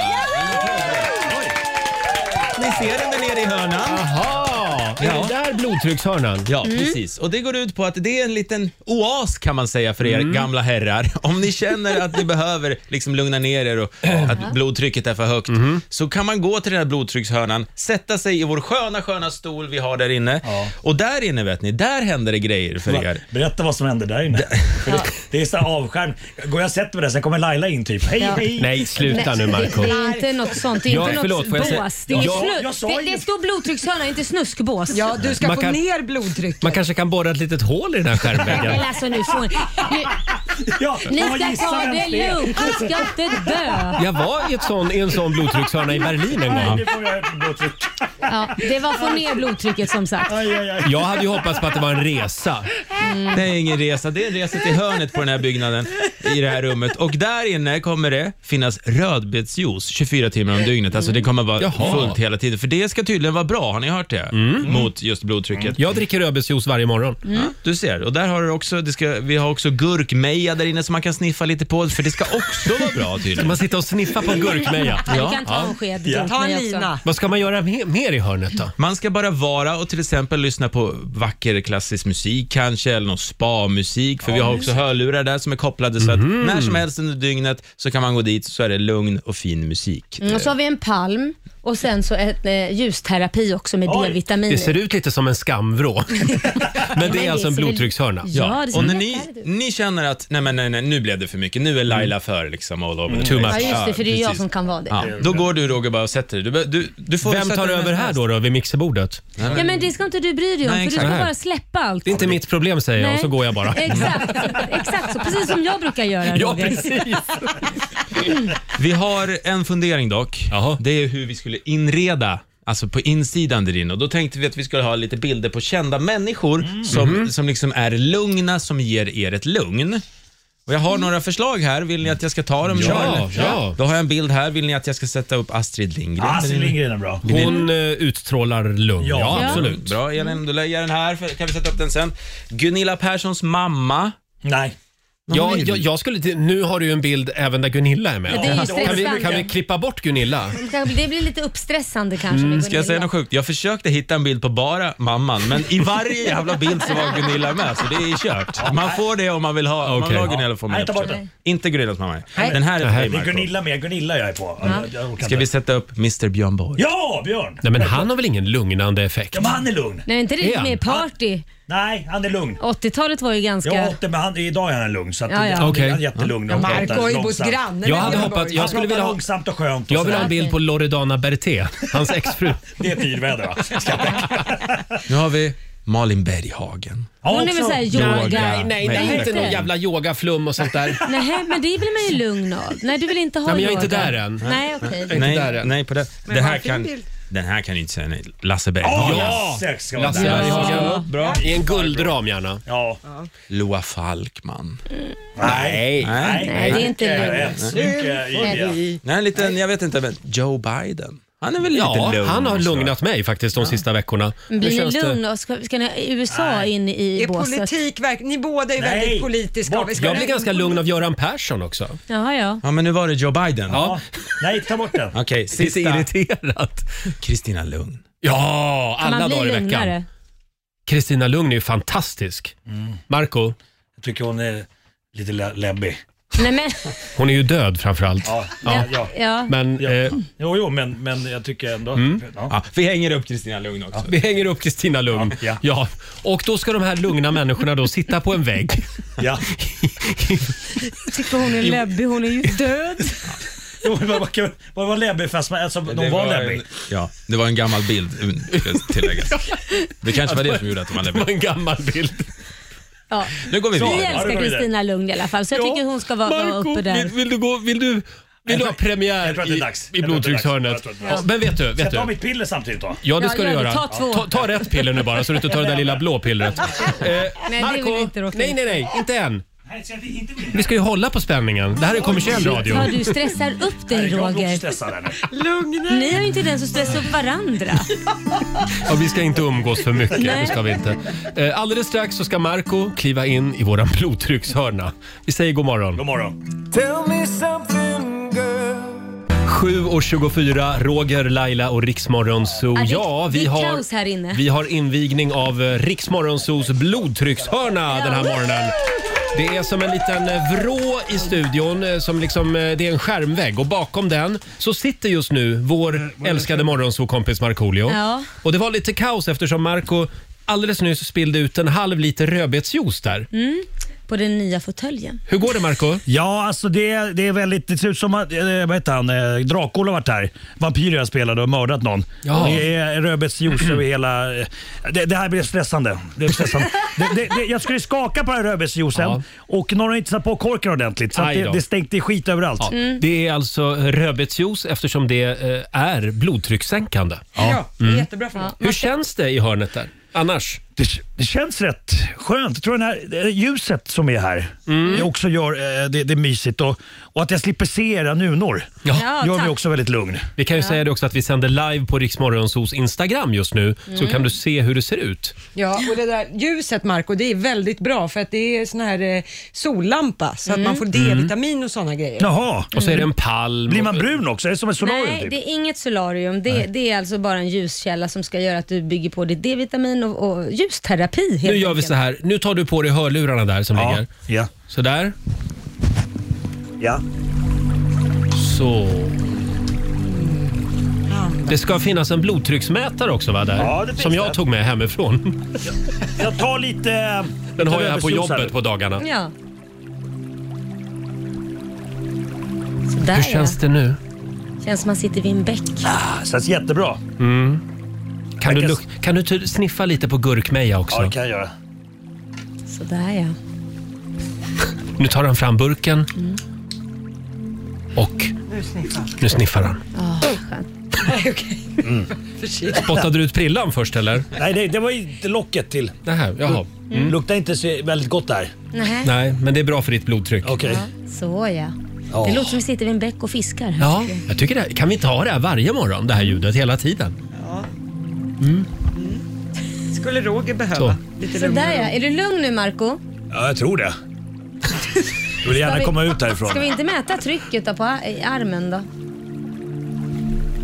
Speaker 4: Ni ser den där nere i hörnan.
Speaker 1: Jaha, är det där blodtryckshörnan?
Speaker 4: Ja, precis. Och det går ut på att det är en liten oas kan man säga för er gamla herrar. Om ni känner att ni behöver liksom lugna ner er och att blodtrycket är för högt, så kan man gå till den här blodtryckshörnan, sätta sig i vår sköna, sköna stol vi har där inne. Och där inne vet ni, där händer det grejer för er.
Speaker 3: Berätta vad som hände där inne. För det, det är så här avskärm. Går jag och sätter mig där, sen kommer Laila in typ. Hej,
Speaker 6: Ja.
Speaker 3: hej.
Speaker 1: Nej, sluta nu Marco
Speaker 6: Det är inte något sånt, det är
Speaker 1: Ja,
Speaker 6: inte
Speaker 1: förlåt, får jag
Speaker 6: något
Speaker 1: säga-
Speaker 6: bås. Det, är
Speaker 3: Ja,
Speaker 6: snu-
Speaker 3: jag sa
Speaker 6: det, det
Speaker 3: inget.
Speaker 6: står blodtryckshörna, inte snuskbås.
Speaker 2: Ja, du ska
Speaker 1: Man
Speaker 2: få
Speaker 1: kan-
Speaker 2: ner blodtrycket.
Speaker 1: Man kanske kan borra ett litet hål i den här
Speaker 6: Men
Speaker 1: skärmväggen.
Speaker 6: alltså nu får ni... nu-
Speaker 3: Ja,
Speaker 6: Ni
Speaker 3: får man
Speaker 6: ska
Speaker 3: gissa
Speaker 6: ta
Speaker 3: vem
Speaker 6: det
Speaker 3: är?
Speaker 6: lugnt, ni ska inte dö.
Speaker 1: Jag var i, ett sån, i en sån blodtryckshörna i Berlin en gång.
Speaker 3: Nu får jag högt blodtryck.
Speaker 6: Ja, det var få ner blodtrycket som sagt.
Speaker 3: Aj, aj, aj.
Speaker 1: Jag hade ju hoppats på att det var en resa.
Speaker 4: Nej, ingen resa. Det är en resa till hörnet på den här byggnaden i det här rummet. Och där inne kommer det finnas rödbetsjuice 24 timmar om dygnet. Alltså det kommer vara
Speaker 1: Jaha.
Speaker 4: fullt hela tiden. För det ska tydligen vara bra, har ni hört det? Mm. Mot just blodtrycket.
Speaker 1: Jag dricker rödbetsjuice varje morgon.
Speaker 6: Mm.
Speaker 4: Ja, Du ser, och där har du också, det ska, vi har också gurkmeja där inne som man kan sniffa lite på, för det ska också vara bra
Speaker 1: Ska
Speaker 4: tydligen.
Speaker 1: man sitta och sniffa på en gurkmeja?
Speaker 6: Ja, du kan ta en sked.
Speaker 3: Ja.
Speaker 6: åt
Speaker 2: Ta
Speaker 6: mig
Speaker 2: en
Speaker 6: också.
Speaker 2: lina.
Speaker 1: Vad ska man göra me- mer i hörnet då?
Speaker 4: Man ska bara vara och till exempel lyssna på vacker klassisk musik kanske, eller någon spa-musik, för vi har också hörlurar där som är kopplade så att
Speaker 6: Mhm.
Speaker 4: när som helst under dygnet så kan man gå dit så är det lugn och fin musik.
Speaker 6: Mm, och så har vi en palm och sen så ett, eh, ljusterapi också med
Speaker 3: Oj,
Speaker 6: D-vitamin.
Speaker 1: Det
Speaker 6: i.
Speaker 1: ser ut lite som en skamvrå. Men det är alltså en
Speaker 6: ser väl-
Speaker 1: blodtryckshörna.
Speaker 6: Ja, det ser
Speaker 4: och när
Speaker 6: helt
Speaker 4: ni,
Speaker 6: härligt ut.
Speaker 4: ni känner att nej, men, nej, nej, nu blev det för mycket, nu är Laila för liksom all over the
Speaker 1: Too
Speaker 4: place.
Speaker 1: much.
Speaker 6: Mm. Ja, just det, för det är jag
Speaker 4: precis.
Speaker 6: som kan vara det.
Speaker 4: Ja, då går du Roger bara och sätter dig. Du, be- du, du får
Speaker 1: Vem
Speaker 4: sätta
Speaker 1: tar
Speaker 4: dig
Speaker 1: över
Speaker 4: när
Speaker 1: här
Speaker 4: som
Speaker 1: då, då vid mixerbordet?
Speaker 6: Ja, men det ska inte du bry dig om,
Speaker 4: Nej,
Speaker 6: för du
Speaker 4: exakt.
Speaker 6: ska
Speaker 1: Nej.
Speaker 6: bara släppa allt.
Speaker 1: Det är inte mitt problem säger jag och
Speaker 6: Nej.
Speaker 1: så går jag bara.
Speaker 6: Exakt, exakt så. Precis som jag brukar göra
Speaker 1: Ja,
Speaker 6: Roger.
Speaker 1: precis.
Speaker 4: Vi har en fundering dock.
Speaker 1: Jaha.
Speaker 4: Det är hur vi skulle inreda Alltså på insidan där inne. Och då tänkte vi att vi skulle ha lite bilder på kända människor
Speaker 1: Mm.
Speaker 4: som,
Speaker 1: Mm-hmm.
Speaker 4: som liksom är lugna, som ger er ett lugn. Och jag har några förslag här. Vill ni att jag ska ta dem?
Speaker 1: Mm. Ja,
Speaker 4: Kör.
Speaker 1: ja.
Speaker 4: Då har jag en bild här. Vill ni att jag ska sätta upp Astrid Lindgren?
Speaker 3: Astrid Lindgren är bra.
Speaker 1: Hon eh, utstrålar lugn. Ja,
Speaker 3: Ja. Ja.
Speaker 1: absolut.
Speaker 4: Bra Elin, då lägger jag den här. För, kan vi sätta upp den sen? Gunilla Perssons mamma.
Speaker 3: Nej.
Speaker 1: Ja, jag, jag skulle, nu har du ju en bild även där Gunilla är med.
Speaker 6: Ja, det är ju
Speaker 1: kan, vi,
Speaker 6: stressande.
Speaker 1: kan vi klippa bort Gunilla?
Speaker 6: Det blir lite uppstressande kanske. med
Speaker 4: Ska jag säga
Speaker 6: Gunilla.
Speaker 4: något sjukt? Jag försökte hitta en bild på bara mamman, men i varje jävla bild så var Gunilla med, så det är kört. Man får det om man vill ha, om man vill ha
Speaker 1: Okej.
Speaker 4: Gunilla får man
Speaker 3: Nej,
Speaker 4: det.
Speaker 3: ta bort den.
Speaker 4: Inte Gunillas mamma. Den här är
Speaker 3: Det är
Speaker 4: till dig Marco.
Speaker 3: Gunilla med. Gunilla jag är på. Jag, jag orkar
Speaker 4: Ska vi
Speaker 3: inte.
Speaker 4: sätta upp Mr Björn Borg?
Speaker 3: Ja, Björn!
Speaker 1: Nej, men han har väl ingen lugnande effekt?
Speaker 3: Ja, men han är lugn.
Speaker 6: Nej, inte
Speaker 1: Är
Speaker 6: riktigt
Speaker 1: han?
Speaker 6: mer party.
Speaker 3: Nej, han är lugn.
Speaker 6: 80-talet var ju ganska...
Speaker 3: Jag åt det, men han, idag är han lugn. Så att
Speaker 6: Ja, ja.
Speaker 3: Han,
Speaker 1: Okej.
Speaker 3: han är jättelugn.
Speaker 2: Ja,
Speaker 3: och
Speaker 2: Marco
Speaker 3: pratar
Speaker 2: har ju bott
Speaker 3: långsamt.
Speaker 2: granne
Speaker 1: Jag
Speaker 2: med Alltså,
Speaker 1: hade
Speaker 2: Björn
Speaker 1: hoppat-
Speaker 2: Borg.
Speaker 1: jag
Speaker 3: Han
Speaker 1: skulle
Speaker 3: pratar
Speaker 1: vilja ha-
Speaker 3: långsamt och skönt. Och
Speaker 1: Jag vill ha
Speaker 3: sådär.
Speaker 1: en bild på Loredana Berté, hans exfru.
Speaker 3: Det är ett yrväder va? Ska jag-
Speaker 4: Nu har vi Malin Berghagen.
Speaker 3: Ja,
Speaker 6: Hon är väl
Speaker 3: också.
Speaker 6: såhär yoga.
Speaker 4: Yoga.
Speaker 1: Nej,
Speaker 4: Nej,
Speaker 1: nej, inte
Speaker 4: inte.
Speaker 1: någon jävla yogaflum och sånt där.
Speaker 6: Nej, men det blir man ju lugn av. Nej, du vill inte ha
Speaker 1: Nej, men jag är
Speaker 6: yoga.
Speaker 1: inte där än.
Speaker 6: Nej, okej.
Speaker 1: Inte där
Speaker 4: Nej,
Speaker 1: än.
Speaker 4: nej på det. Det här
Speaker 2: varför
Speaker 4: kan,
Speaker 2: vill-
Speaker 4: den här kan du inte säga nej Lasse
Speaker 3: Ja,
Speaker 4: Berghagen.
Speaker 3: Lasse ska vara
Speaker 1: Lasse
Speaker 3: där.
Speaker 1: Berghagen.
Speaker 4: Bra.
Speaker 1: I en guldram gärna.
Speaker 3: Ja.
Speaker 4: Loa Falkman.
Speaker 3: Nej.
Speaker 4: Nej.
Speaker 6: Nej, det är inte lugnt.
Speaker 3: Ett snygg, eh, idé.
Speaker 4: Nej, en liten, jag vet inte, men Joe Biden. Han är väl
Speaker 1: Ja,
Speaker 4: lite lugn?
Speaker 1: han har
Speaker 4: så.
Speaker 1: lugnat mig faktiskt de sista veckorna. Nu
Speaker 6: Blir
Speaker 1: känns
Speaker 6: ni
Speaker 1: det-
Speaker 6: lugna? Ska, ska ni ha USA in i
Speaker 2: Är
Speaker 6: båset?
Speaker 2: politik verkligen... Ni båda är
Speaker 3: Nej.
Speaker 2: väldigt politiska.
Speaker 3: Bort.
Speaker 2: Vi ska-
Speaker 1: Jag blir ganska lugn av Göran Persson också.
Speaker 6: Ja, ja.
Speaker 4: Ja, men nu var det Joe Biden.
Speaker 1: Ja,
Speaker 3: Nej, ta bort den.
Speaker 4: Okej,
Speaker 1: lite
Speaker 4: sista.
Speaker 1: irriterat.
Speaker 4: Kristina Lugn.
Speaker 1: Ja, alla
Speaker 6: man blir
Speaker 1: dagar i veckan.
Speaker 6: lugnare.
Speaker 1: Kristina Lugn är ju fantastisk. Marco,
Speaker 3: Jag tycker hon är lite le- läbbig.
Speaker 6: Nej, men...
Speaker 1: hon är ju död framförallt.
Speaker 3: Ja, ja, ja.
Speaker 6: Ja.
Speaker 1: Men eh,
Speaker 3: Jo, jo, men, men jag tycker ändå... Ja.
Speaker 4: Ja, vi hänger upp Kristina Lugn också.
Speaker 1: vi hänger upp Kristina Lugn.
Speaker 3: Ja.
Speaker 1: Ja. Och då ska de här lugna människorna då sitta på en vägg.
Speaker 3: ja.
Speaker 6: Jag tycker hon är läbbig, hon är ju död.
Speaker 3: Jo, men vad kul. Vad var läbbig fast man, alltså, de var läbbig.
Speaker 4: en, ja, det var en gammal bild, mm, ska tilläggas. Det kanske var det som gjorde att de var
Speaker 1: Det var
Speaker 4: läbbig.
Speaker 1: en gammal bild.
Speaker 6: Ja.
Speaker 4: Nu går vi
Speaker 3: Så.
Speaker 6: Vi
Speaker 4: vidare.
Speaker 3: Ja, det
Speaker 6: älskar
Speaker 3: var det.
Speaker 6: Kristina Lugn i alla fall, så jag tycker hon ska vara, vara
Speaker 1: Marco,
Speaker 6: uppe där.
Speaker 1: Vill, vill du gå, vill du, vill du
Speaker 3: tror-
Speaker 1: ha premiär
Speaker 3: jag tror att det är
Speaker 1: i-
Speaker 3: dags.
Speaker 1: i
Speaker 3: Jag tror att det är dags.
Speaker 1: blodtryckshörnet?
Speaker 3: Jag tror att det är
Speaker 1: Ja,
Speaker 3: dags.
Speaker 1: men vet du,
Speaker 3: Ska
Speaker 1: vet
Speaker 3: jag
Speaker 1: du.
Speaker 3: ta mitt piller samtidigt då?
Speaker 1: Ja, det
Speaker 6: Ja,
Speaker 1: ska du
Speaker 6: gör det.
Speaker 1: göra.
Speaker 6: Ta två.
Speaker 1: Ta, ta rätt piller nu bara så du inte tar det där lilla blå pillret. Eh,
Speaker 6: vill
Speaker 1: Marco,
Speaker 6: vi inte, Roger.
Speaker 1: nej, nej, nej, inte än.
Speaker 3: Nej, ska jag inte bli
Speaker 1: Vi ska ju hålla på spänningen. Det här är kommersiell radio.
Speaker 6: Ja, du stressar upp dig
Speaker 3: Jag blir också
Speaker 6: Roger.
Speaker 3: stressad här nu.
Speaker 6: Ni har ju inte den som stressar upp varandra.
Speaker 1: Ja, vi ska inte umgås för mycket.
Speaker 6: Nej.
Speaker 1: Det ska vi inte. Eh, Alldeles strax så ska Marco kliva in i våran blodtryckshörna. Vi säger god morgon.
Speaker 3: God morgon.
Speaker 1: 7.24, Roger, Laila och Riksmorgonzoo.
Speaker 6: Ja, det-
Speaker 1: Ja, vi
Speaker 6: det är
Speaker 1: har,
Speaker 6: kaos här inne.
Speaker 1: vi har invigning av eh, Riksmorgonzoos blodtryckshörna den här morgonen. Det är som en liten eh, vrå i studion, eh, som liksom, eh, det är en skärmvägg och bakom den så sitter just nu Eh, vår älskade morgonzoo-kompis Markoolio.
Speaker 6: Ja.
Speaker 1: Och det var lite
Speaker 6: Mm.
Speaker 1: kaos eftersom Marco alldeles nyss spillde ut en halv liter rödbetsjuice där.
Speaker 6: på den nya fåtöljen.
Speaker 1: Hur går det Marco?
Speaker 3: Ja, alltså det, det är väldigt... Det ser ut som att, eh, vad heter han, eh, Dracula har varit här. Vampyrer jag spelade och mördat någon.
Speaker 1: Ja.
Speaker 3: Det är rödbetsjuice över hela... eh, Det, det här blir stressande. Det blir stressande. det, det, det, jag skulle skaka på den här rödbetsjuicen
Speaker 1: Ja.
Speaker 3: och någon har inte satt på korken ordentligt. Så att
Speaker 1: Aj
Speaker 3: det,
Speaker 1: då.
Speaker 3: det stänkte i skit överallt.
Speaker 1: Ja, Det är alltså rödbetsjuice eftersom det eh, är blodtryckssänkande.
Speaker 2: Ja, det är
Speaker 1: Mm.
Speaker 2: jättebra för mig.
Speaker 1: Hur känns det i hörnet där? Annars?
Speaker 3: Det, det känns rätt skönt. Jag tror den här, eh, ljuset som är här
Speaker 1: Mm.
Speaker 3: det också gör eh, det, det mysigt. Och, och att jag slipper se era nunor
Speaker 1: Ja.
Speaker 6: Ja,
Speaker 3: gör mig
Speaker 6: tack.
Speaker 3: också väldigt lugn.
Speaker 1: Vi kan ju säga det också att vi sänder live på Riksmorgonsos Instagram just nu. Så kan du se hur det ser ut.
Speaker 2: Ja, och det där ljuset Marco, det är väldigt bra för att det är sån här eh, sollampa så att man får
Speaker 1: Mm.
Speaker 2: D-vitamin och såna grejer.
Speaker 3: Jaha,
Speaker 1: Och så är det en palm.
Speaker 3: blir man
Speaker 1: och-
Speaker 3: brun också? Är det som ett solarium?
Speaker 6: Nej,
Speaker 3: typ?
Speaker 6: det är inget solarium. Det, det är alltså bara en ljuskälla som ska göra att du bygger på ditt D-vitamin och, och ljusterapi helt
Speaker 1: Nu gör vi
Speaker 6: enkelt.
Speaker 1: så här. Nu tar du på dig hörlurarna där som
Speaker 3: Ja,
Speaker 1: ligger.
Speaker 3: ja,
Speaker 1: Så där.
Speaker 3: ja.
Speaker 1: Så. Det ska finnas en blodtrycksmätare också va? Där,
Speaker 3: Ja, det finns
Speaker 1: som jag
Speaker 3: det.
Speaker 1: tog med hemifrån.
Speaker 3: Jag tar lite... eh,
Speaker 1: Den
Speaker 3: lite
Speaker 1: har jag här på
Speaker 3: rödbetsjuice här.
Speaker 1: jobbet på dagarna.
Speaker 6: Ja. Så där
Speaker 1: Hur känns det nu?
Speaker 6: ja. Känns som man sitter vid en bäck.
Speaker 3: Ah, Känns jättebra.
Speaker 1: Kan du,
Speaker 3: Jag kan-
Speaker 1: luk- kan du ty- sniffa lite på gurkmeja
Speaker 3: Ja,
Speaker 1: också?
Speaker 3: det kan jag göra.
Speaker 6: Sådär ja.
Speaker 1: Nu tar han fram burken. Och nu sniffar han.
Speaker 6: Ah,
Speaker 1: Spottade du ut prillan först eller?
Speaker 3: Nej, det, det var ju locket till.
Speaker 1: Nähä, jaha.
Speaker 6: Mm.
Speaker 3: Luktar inte så väldigt gott där.
Speaker 6: Nej.
Speaker 1: Nej, men det är bra för ditt blodtryck.
Speaker 3: Okej.
Speaker 6: Så ja. Det
Speaker 3: Ja.
Speaker 6: låter som vi sitter vid en bäck och fiskar.
Speaker 1: Ja, jag tycker det. Kan vi inte ha det här varje morgon, det här ljudet hela tiden?
Speaker 2: Skulle Roger behöva
Speaker 1: Så.
Speaker 2: lite
Speaker 6: Sådär
Speaker 2: lugnare.
Speaker 6: ja. Är du lugn nu Marco?
Speaker 3: Ja, jag tror det. Jag vill gärna
Speaker 6: vi-
Speaker 3: komma ut därifrån.
Speaker 6: Ska vi inte mäta trycket då på ar- i armen då?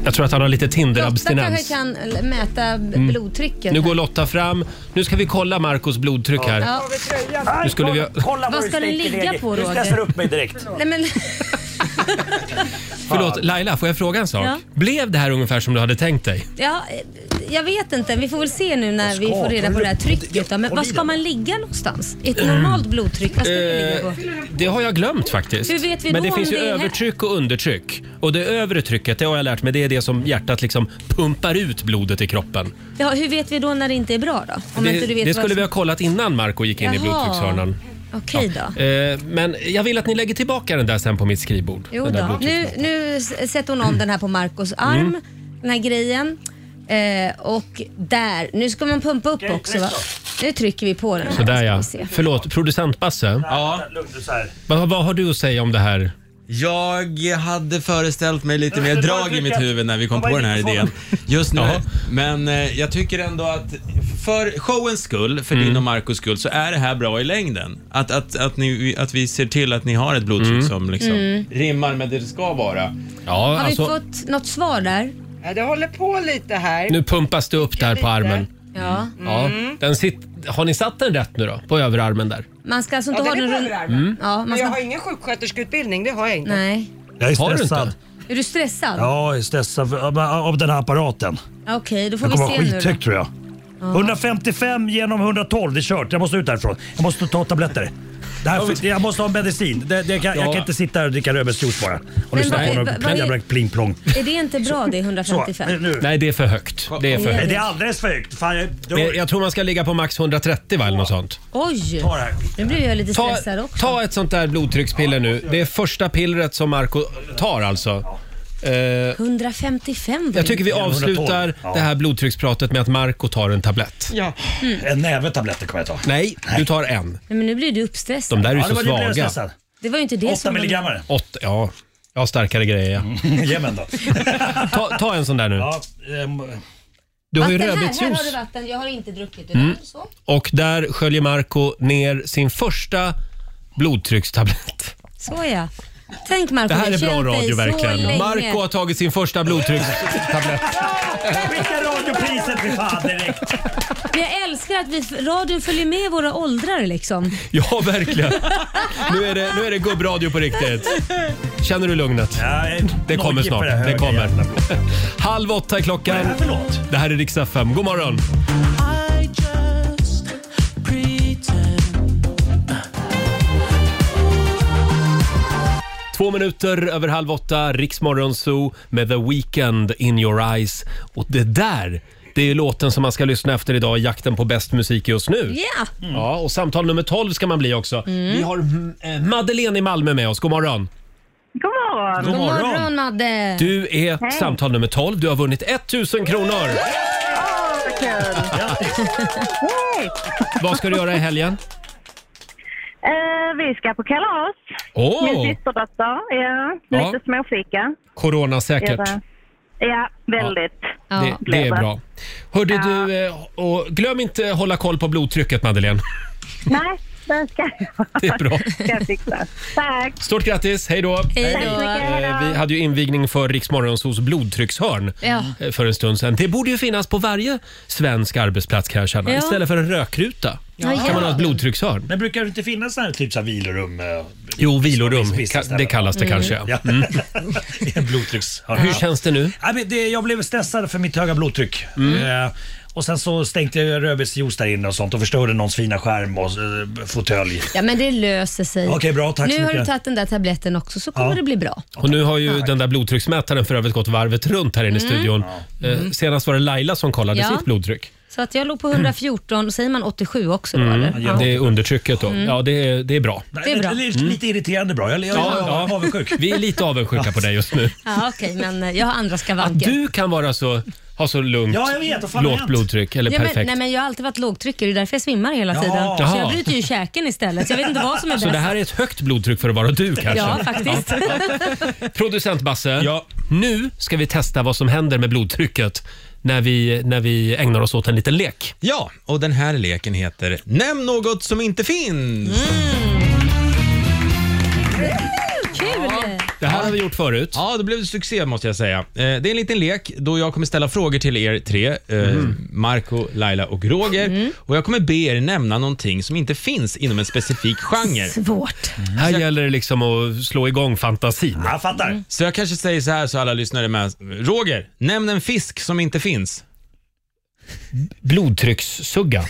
Speaker 1: Jag tror att han har lite
Speaker 6: Lotta kanske
Speaker 1: Tinder-abstinens.
Speaker 6: kan l- mäta b- blodtrycket.
Speaker 1: Mm. Nu
Speaker 6: här.
Speaker 1: går Lotta fram. Nu ska vi kolla Marcos blodtryck här.
Speaker 6: Ja.
Speaker 1: Nu skulle vi-
Speaker 3: Kolla
Speaker 6: Vad
Speaker 3: du
Speaker 6: ska den
Speaker 3: sticker
Speaker 6: ligga
Speaker 3: iväg.
Speaker 6: på,
Speaker 3: Du
Speaker 6: Roger?
Speaker 3: stressar upp mig direkt.
Speaker 6: Nej, men,
Speaker 1: Förlåt, Laila, får jag fråga en sak?
Speaker 6: Ja.
Speaker 1: Blev det här ungefär som du hade tänkt dig?
Speaker 6: ja, eh, jag vet inte. Vi får väl se nu när vi får reda på det här trycket. Då. Men vad ska man ligga någonstans? Ett normalt blodtryck, vad ska det ligga
Speaker 1: Eh,
Speaker 6: på?
Speaker 1: det har jag glömt faktiskt.
Speaker 6: Hur vet vi
Speaker 1: Men
Speaker 6: då
Speaker 1: det
Speaker 6: om
Speaker 1: finns ju
Speaker 6: det är här?
Speaker 1: övertryck och undertryck. Och det övre trycket, det har jag lärt mig, det är det som hjärtat liksom pumpar ut blodet i kroppen.
Speaker 6: Ja, hur vet vi då när det inte är bra då? Om
Speaker 1: det
Speaker 6: inte du vet
Speaker 1: det
Speaker 6: vad
Speaker 1: skulle
Speaker 6: som-
Speaker 1: vi ha kollat innan Marco gick in i
Speaker 6: Jaha.
Speaker 1: blodtryckshörnan.
Speaker 6: Okej då.
Speaker 1: Eh, men jag vill att ni lägger tillbaka den där sen på mitt skrivbord.
Speaker 6: Jo
Speaker 1: den där Mm.
Speaker 6: då. Nu,
Speaker 1: blodtrycksmätaren.
Speaker 6: nu s- sätter hon om den här på Marcos arm, den här grejen. Eh, och där, nu ska man pumpa upp också va? Nu trycker vi på den. här,
Speaker 1: Sådär ja.
Speaker 6: ska vi se.
Speaker 1: Förlåt, producent Basse.
Speaker 4: Ja.
Speaker 3: Lugnt så här.
Speaker 1: Vad, vad har du att säga om det här?
Speaker 4: Jag hade föreställt mig lite mer drag i mitt huvud när vi kom på den här idén just nu.
Speaker 1: Jaha.
Speaker 4: Men eh, jag tycker ändå att för showens skull, för din och Marcos skull, så är det här bra i längden. Att, att, att, ni, att vi ser till att ni har ett blodtryck som liksom rimmar med det det ska vara.
Speaker 1: Ja,
Speaker 6: Har
Speaker 1: alltså,
Speaker 6: vi fått något svar där?
Speaker 2: Ja, det håller på lite här.
Speaker 1: nu pumpas det upp där på armen.
Speaker 6: Ja.
Speaker 1: Ja,
Speaker 6: Mm.
Speaker 1: den sit, har ni satt den rätt nu då? På överarmen där?
Speaker 6: Man ska alltså
Speaker 2: Ja,
Speaker 6: inte ha
Speaker 2: den är
Speaker 6: den
Speaker 2: på
Speaker 6: runt...
Speaker 2: överarmen.
Speaker 1: Mm.
Speaker 6: Ja, man
Speaker 2: Men jag har
Speaker 6: ska...
Speaker 2: ingen sjuksköterskeutbildning, det har jag inte.
Speaker 6: Nej.
Speaker 3: Jag är
Speaker 1: Har du
Speaker 3: stressad.
Speaker 1: inte?
Speaker 6: Är du stressad?
Speaker 3: Ja, jag är stressad för, av, av den här apparaten.
Speaker 6: Okej, då får
Speaker 3: Jag
Speaker 6: vi
Speaker 3: kommer vara
Speaker 6: se nu då.
Speaker 3: skithög tror jag. 155 genom 112, det är kört. Jag måste ut därifrån. Jag måste ta tabletter. Det här, för- jag måste ha medicin. Det, det kan, Jag
Speaker 1: Ja.
Speaker 3: kan inte sitta här och dricka rödbetsjuice bara. Och lyssna
Speaker 6: vad-
Speaker 3: på
Speaker 6: vad-
Speaker 3: någon
Speaker 6: vad är-
Speaker 3: jävla pling-plong.
Speaker 6: Är det inte bra det
Speaker 3: Så,
Speaker 6: 155?
Speaker 3: nu. nu.
Speaker 1: Nej, det är för högt. Det är för
Speaker 3: Nej,
Speaker 1: högt.
Speaker 3: Det är alldeles för högt. Fan, jag,
Speaker 1: Jag,
Speaker 3: jag
Speaker 1: jag tror man ska ligga på max 130 va, eller något sånt.
Speaker 6: Oj!
Speaker 3: tar det här.
Speaker 6: Nu blir jag lite
Speaker 1: Ta,
Speaker 6: stressad också.
Speaker 1: ta ett sånt där blodtryckspiller nu. Det är första pillret som Marco tar alltså. Eh,
Speaker 6: 155 var
Speaker 1: jag
Speaker 6: det.
Speaker 1: tycker vi
Speaker 3: 112.
Speaker 1: avslutar
Speaker 3: Ja.
Speaker 1: det här blodtryckspratet med att Marco tar en tablett.
Speaker 2: Ja.
Speaker 3: En näve tabletter kommer jag ta.
Speaker 1: Nej, du tar en.
Speaker 6: Nej, men nu blir du
Speaker 1: De
Speaker 6: uppstressad.
Speaker 1: där är ju
Speaker 3: Ja, det
Speaker 1: så
Speaker 3: var det jag blev
Speaker 1: svaga.
Speaker 3: stressad.
Speaker 6: Det var ju inte det
Speaker 3: 8
Speaker 6: som... var-
Speaker 3: milligrammare.
Speaker 1: Åtta, ja. Jag har starkare grejer ja.
Speaker 3: Mm. Jajamän då.
Speaker 1: Ta, ta en sån där nu.
Speaker 3: Ja, ehm,
Speaker 1: Du har ju
Speaker 6: Vatten här, här har
Speaker 1: rödbetsjuice.
Speaker 6: du vatten. Jag har inte druckit. Mm. Så.
Speaker 1: Och där sköljer Marco ner sin första blodtryckstablett.
Speaker 6: så ja. Tänk Marco,
Speaker 1: Det här
Speaker 6: jag
Speaker 1: är bra
Speaker 6: har känt dig
Speaker 1: radio
Speaker 6: så
Speaker 1: verkligen.
Speaker 6: länge.
Speaker 1: Marco har tagit sin första blodtryckstablett.
Speaker 3: skicka radiopriset för fan direkt.
Speaker 6: Men jag älskar att vi, radion följer med våra åldrar liksom.
Speaker 1: Ja, verkligen. Nu är det, nu är det gubbradio på riktigt. Känner du lugnet?
Speaker 3: Ja, eh,
Speaker 1: Det kommer
Speaker 3: nojig på
Speaker 1: snart.
Speaker 3: här
Speaker 1: Det
Speaker 3: höga
Speaker 1: kommer.
Speaker 3: jävla Äh, blodet.
Speaker 1: Halv åtta är
Speaker 3: Vad är det
Speaker 1: klockan.
Speaker 3: här för låt?
Speaker 1: Det här är Rix FM. God morgon! Två minuter över halv åtta, Riksmorgon Zoo med The Weeknd in your eyes. Och det där, det är låten som man ska lyssna efter idag i jakten på bäst musik just nu.
Speaker 6: Ja,
Speaker 1: Mm. Ja, och samtal nummer 12 ska man bli också. Vi har mm, eh, Madeleine i Malmö med oss. God morgon.
Speaker 5: God morgon!
Speaker 6: god morgon Madde.
Speaker 1: Du är samtal nummer 12. Du har vunnit 1000 kronor.
Speaker 5: Åh, vad kul! Yay.
Speaker 1: Vad ska du göra i helgen?
Speaker 5: Eh, vi ska på kalas. Min
Speaker 1: Åh,
Speaker 5: systerdotter. Ja,
Speaker 1: Ja.
Speaker 5: lite småfika.
Speaker 1: coronasäkert.
Speaker 5: Göra- Ja, väldigt.
Speaker 6: Ja.
Speaker 1: Det, det är bra. Hörde du, eh, och glöm inte hålla koll på blodtrycket Madeleine.
Speaker 5: Nej, det ska jag.
Speaker 1: Det är bra.
Speaker 5: ska jag fixa. Tack!
Speaker 1: Stort grattis, hej då!
Speaker 6: Hej
Speaker 5: Tack så
Speaker 6: då.
Speaker 5: mycket.
Speaker 1: Eh, Vi hade ju invigning för Riksmorgons hos blodtryckshörn
Speaker 6: Ja.
Speaker 1: eh, för en stund sedan. Det borde ju finnas på varje svensk arbetsplats kan jag känna.
Speaker 6: Ja.
Speaker 1: Istället för en rökruta
Speaker 6: Ja,
Speaker 1: kan man ha ett
Speaker 6: ja.
Speaker 1: blodtryckshörn.
Speaker 3: Men brukar det inte finnas sådana här typ så här vilorum? eh,
Speaker 1: Jo, vilorum,
Speaker 3: Viss- vissa
Speaker 1: ka- det
Speaker 3: ställen?
Speaker 1: kallas det
Speaker 6: Mm.
Speaker 1: kanske.
Speaker 3: Ja. I en blodtryckshörna.
Speaker 1: Hur känns det nu?
Speaker 3: Ja, men det, jag blev stressad för mitt höga blodtryck.
Speaker 1: Mm.
Speaker 3: Eh, och sen så stänkte jag rödbetsjuice där inne och sånt och förstörde någons fina skärm och eh, fåtölj.
Speaker 6: Ja men det löser sig.
Speaker 3: Okej, bra. Tack
Speaker 6: nu
Speaker 3: så
Speaker 6: har du
Speaker 3: mycket.
Speaker 6: tagit den där tabletten också så kommer
Speaker 3: Ja.
Speaker 6: det bli bra.
Speaker 1: Och nu har ju den där blodtrycksmätaren för övrigt gått varvet runt här inne i studion. Eh, Senast var det Laila som kollade
Speaker 6: Mm. Ja.
Speaker 1: sitt blodtryck.
Speaker 6: Så att jag låg på 114, säger man 87 också då eller? Ja.
Speaker 1: Mm.
Speaker 6: Mm.
Speaker 1: Det är undertrycket då. Ja, det är, det är bra.
Speaker 6: Det är bra.
Speaker 3: Lite, lite irriterande bra. Jag, jag,
Speaker 1: Mm. Ja,
Speaker 3: jag,
Speaker 1: ja.
Speaker 3: är avundsjuk.
Speaker 1: Vi är lite avundsjuka på dig just nu.
Speaker 6: Ja, Okej, men eh, jag har andra
Speaker 1: Att
Speaker 6: skavanker.
Speaker 1: du kan vara så, ha så lugnt,
Speaker 3: Ja, jag vet. Vad fan har
Speaker 1: lågt
Speaker 3: hänt?
Speaker 1: blodtryck eller
Speaker 6: Ja, men,
Speaker 1: perfekt.
Speaker 6: nej, men jag har alltid varit lågtryckare, det är därför jag svimmar hela
Speaker 3: Ja.
Speaker 6: tiden. Så
Speaker 1: Jaha.
Speaker 6: jag bryter ju käken istället, så jag vet inte vad som är bäst.
Speaker 1: Så det här är ett högt blodtryck för att vara du kanske?
Speaker 6: Ja, faktiskt.
Speaker 1: Producent Basse,
Speaker 4: Ja.
Speaker 1: nu ska vi testa vad som händer med blodtrycket när vi, när vi ägnar oss åt en liten lek.
Speaker 4: Ja, och den här leken heter Nämn något som inte finns.
Speaker 6: Kul!
Speaker 1: Det här har vi gjort förut.
Speaker 4: Ja, det blev succé måste jag säga. Eh, Det är en liten lek då jag kommer ställa frågor till er tre, eh, Marco, Laila och Roger. Och jag kommer be er nämna någonting som inte finns inom en specifik genre.
Speaker 6: Svårt.
Speaker 1: Här gäller det liksom att slå igång fantasin.
Speaker 3: Ja, jag fattar.
Speaker 1: Mm.
Speaker 4: Så jag kanske säger så här så alla lyssnare är med. Roger, nämn en fisk som inte finns.
Speaker 1: Blodtryckssugga.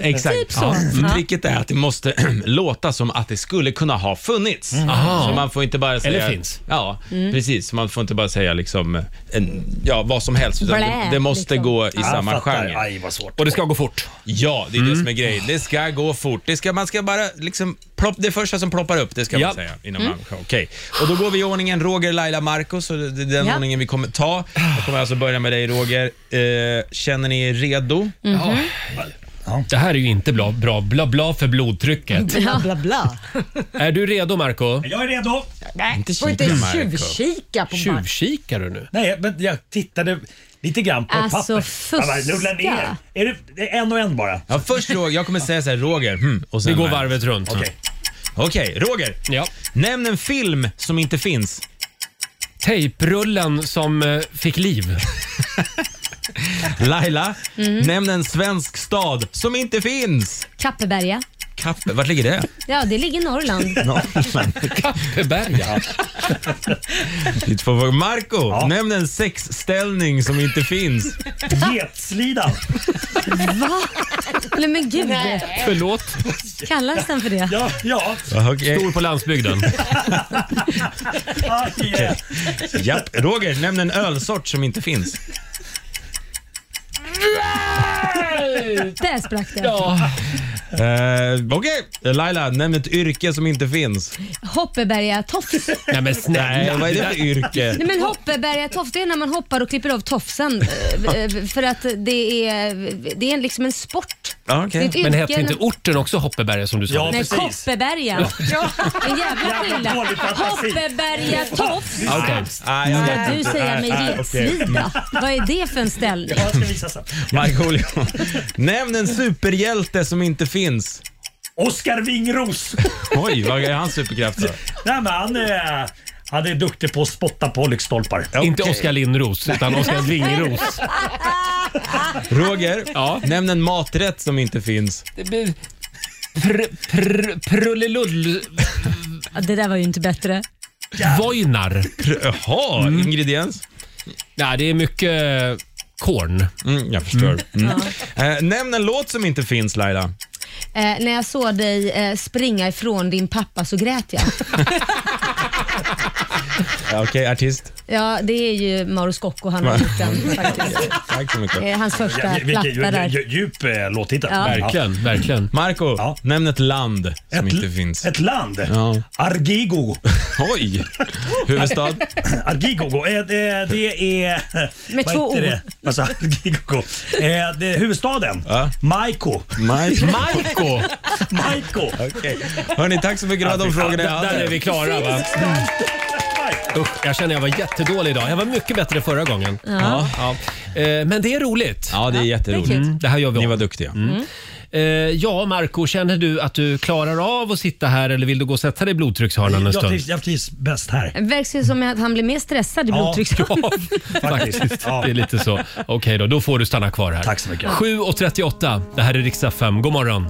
Speaker 4: Exakt.
Speaker 6: Typ så.
Speaker 4: Ja.
Speaker 6: Ja.
Speaker 4: Tricket är att det måste låta som att det skulle kunna ha funnits.
Speaker 1: Aha.
Speaker 4: Så man får inte bara säga...
Speaker 1: Eller finns.
Speaker 4: Ja, precis. Så man får inte bara säga liksom, eh, en, ja, vad som helst. Utan
Speaker 6: Blä,
Speaker 4: det, det måste
Speaker 6: liksom.
Speaker 4: gå i
Speaker 3: Ja, jag
Speaker 4: samma
Speaker 3: fattar.
Speaker 4: genre.
Speaker 3: Aj, vad svårt.
Speaker 1: Och det ska gå fort.
Speaker 4: Ja, det är
Speaker 1: Mm.
Speaker 4: det som är grejen. Det ska gå fort. Det ska, man ska bara liksom, plopp, det första som ploppar upp, det ska
Speaker 1: Ja. Mm.
Speaker 4: man säga. Innan man, okej. Och då går vi i ordningen Roger, Laila, Marcus. Och det är den
Speaker 6: Ja.
Speaker 4: ordningen vi kommer ta. Jag kommer alltså börja med dig Roger. Eh, känner ni er redo?
Speaker 1: Det här är ju inte bra, bra, bla, bla för blodtrycket.
Speaker 2: Bla, bla, bla.
Speaker 1: Är du redo Marco?
Speaker 3: Jag är redo.
Speaker 2: Nej,
Speaker 4: Inte
Speaker 2: får inte
Speaker 4: kika, Marco.
Speaker 2: tjuvkika på Marco.
Speaker 1: Tjuvkikar du nu?
Speaker 3: Nej, men jag tittade lite grann på
Speaker 6: Alltså,
Speaker 3: papper. Jag bara,
Speaker 6: fuska.
Speaker 3: lugna ner. Är det, det är en och en
Speaker 1: Mm.
Speaker 3: bara?
Speaker 4: Ja, först Roger. Jag kommer säga så här, Roger. Hmm, och sen
Speaker 1: Vi går
Speaker 4: Marcus.
Speaker 1: varvet runt.
Speaker 3: Okej.
Speaker 4: Okej, Roger.
Speaker 1: Ja.
Speaker 4: Nämn en film som inte finns.
Speaker 1: Tejprullen som eh, fick liv.
Speaker 4: Laila, nämn en svensk stad som inte finns.
Speaker 6: Kappeberga.
Speaker 4: Kaffe, vart ligger det?
Speaker 6: Ja, det ligger i Norrland.
Speaker 1: Kappeberga.
Speaker 4: Ni två frågor. Marco,
Speaker 3: Ja.
Speaker 4: nämn en sexställning som inte finns.
Speaker 3: Getslidan.
Speaker 6: Nej men gud,
Speaker 1: Förlåt.
Speaker 6: kallas den för det?
Speaker 3: Ja, ja.
Speaker 4: Okej.
Speaker 1: Stor på landsbygden.
Speaker 3: Aj, eh.
Speaker 4: Japp. Roger, nämn en ölsort som inte finns.
Speaker 6: Där sprack det.
Speaker 1: Ja.
Speaker 4: Eh, Okej. Laila, nämn ett yrke som inte finns.
Speaker 6: Hoppeberga tofs.
Speaker 1: Nej men
Speaker 4: Nej,
Speaker 1: snälla.
Speaker 4: vad är det för yrke?
Speaker 6: Nej men hoppeberga tofs, det är när man hoppar och klipper av tofsen. eh, eh, För att det är, det är liksom en sport.
Speaker 4: Ja,
Speaker 6: Det är
Speaker 4: okej.
Speaker 6: ett yrke.
Speaker 1: Men hette inte orten också Hoppeberga som du sa?
Speaker 3: Ja.
Speaker 6: Nej,
Speaker 3: Precis.
Speaker 6: Koppeberga. En jävla
Speaker 3: Jävla
Speaker 6: skillnad.
Speaker 3: dålig fantasi.
Speaker 6: Hoppeberga tofs.
Speaker 4: Okej. Nej, jag vet
Speaker 6: Ska du
Speaker 4: inte.
Speaker 6: säga
Speaker 4: Nej,
Speaker 6: mig
Speaker 4: nej, okej.
Speaker 6: getslida? Vad är det för en ställning?
Speaker 3: Ja, jag ska visa sen.
Speaker 4: Markoolio, nämn en superhjälte som inte finns.
Speaker 3: Oskar Wingros.
Speaker 4: Oj, vad är hans superkraft då?
Speaker 3: Nej, men han, är, han är duktig på att spotta på lyktstolpar.
Speaker 1: Inte
Speaker 4: Okej.
Speaker 1: Oskar Lindros utan Oskar Vingros.
Speaker 4: Roger, nämn en maträtt som inte finns.
Speaker 1: Pr- pr- Prullelull...
Speaker 6: Ja, Det där var ju inte bättre.
Speaker 1: Vojnar.
Speaker 4: Pr- Jaha, ingrediens?
Speaker 1: Nej, det är mycket korn.
Speaker 4: Mm, jag förstår. Mm. Eh, nämn en låt som inte finns Laila.
Speaker 6: Eh, när jag såg dig eh, springa ifrån din pappa så grät jag.
Speaker 4: Ja, Okej, artist.
Speaker 6: ja, det är ju Mauro Scocco han har gjort den faktiskt.
Speaker 4: Tack så mycket.
Speaker 6: Eh, hans första
Speaker 3: Ja,
Speaker 6: platta
Speaker 3: vilken
Speaker 6: där.
Speaker 3: dju- dju- djup eh, låttitel.
Speaker 6: Ja.
Speaker 1: Verkligen, verkligen.
Speaker 4: Marco,
Speaker 3: Ja.
Speaker 4: nämn ett land som
Speaker 3: Ett,
Speaker 4: inte finns.
Speaker 3: ett land.
Speaker 4: Ja.
Speaker 3: Argigo.
Speaker 4: Oj! Huvudstad?
Speaker 3: Argigogo. Eh, det, det är...
Speaker 6: Med
Speaker 3: vad
Speaker 6: två
Speaker 3: heter
Speaker 6: O.
Speaker 3: det? Alltså, Argigogo. Eh, det är huvudstaden.
Speaker 4: Ja.
Speaker 3: Maiko.
Speaker 4: Marco!
Speaker 3: Maiko.
Speaker 4: Okej. Hörni, tack så mycket. Det var de frågorna jag
Speaker 1: Ja, där
Speaker 4: hade.
Speaker 1: är vi klara va? Usch, jag känner jag var jättedålig idag. Jag var mycket bättre förra gången.
Speaker 4: Ja.
Speaker 1: Ja. Eh, Men det är roligt.
Speaker 4: ja, det är jätteroligt.
Speaker 1: Mm, Det här gör vi
Speaker 4: Ni var
Speaker 1: om.
Speaker 4: duktiga.
Speaker 1: Eh, Ja, Marco, känner du att du klarar av att sitta här eller vill du gå och sätta dig i blodtryckshörnan en
Speaker 3: Mm. Jag
Speaker 1: stund?
Speaker 3: trivs, jag trivs bäst här.
Speaker 6: Det verkar ju som att han blir mer stressad i blodtryck.
Speaker 1: Ja,
Speaker 3: Faktiskt. Ja.
Speaker 1: det är lite så. Okej då, då får du stanna kvar här.
Speaker 3: Tack så mycket.
Speaker 1: 7.38, det här är riksdag 5. God morgon.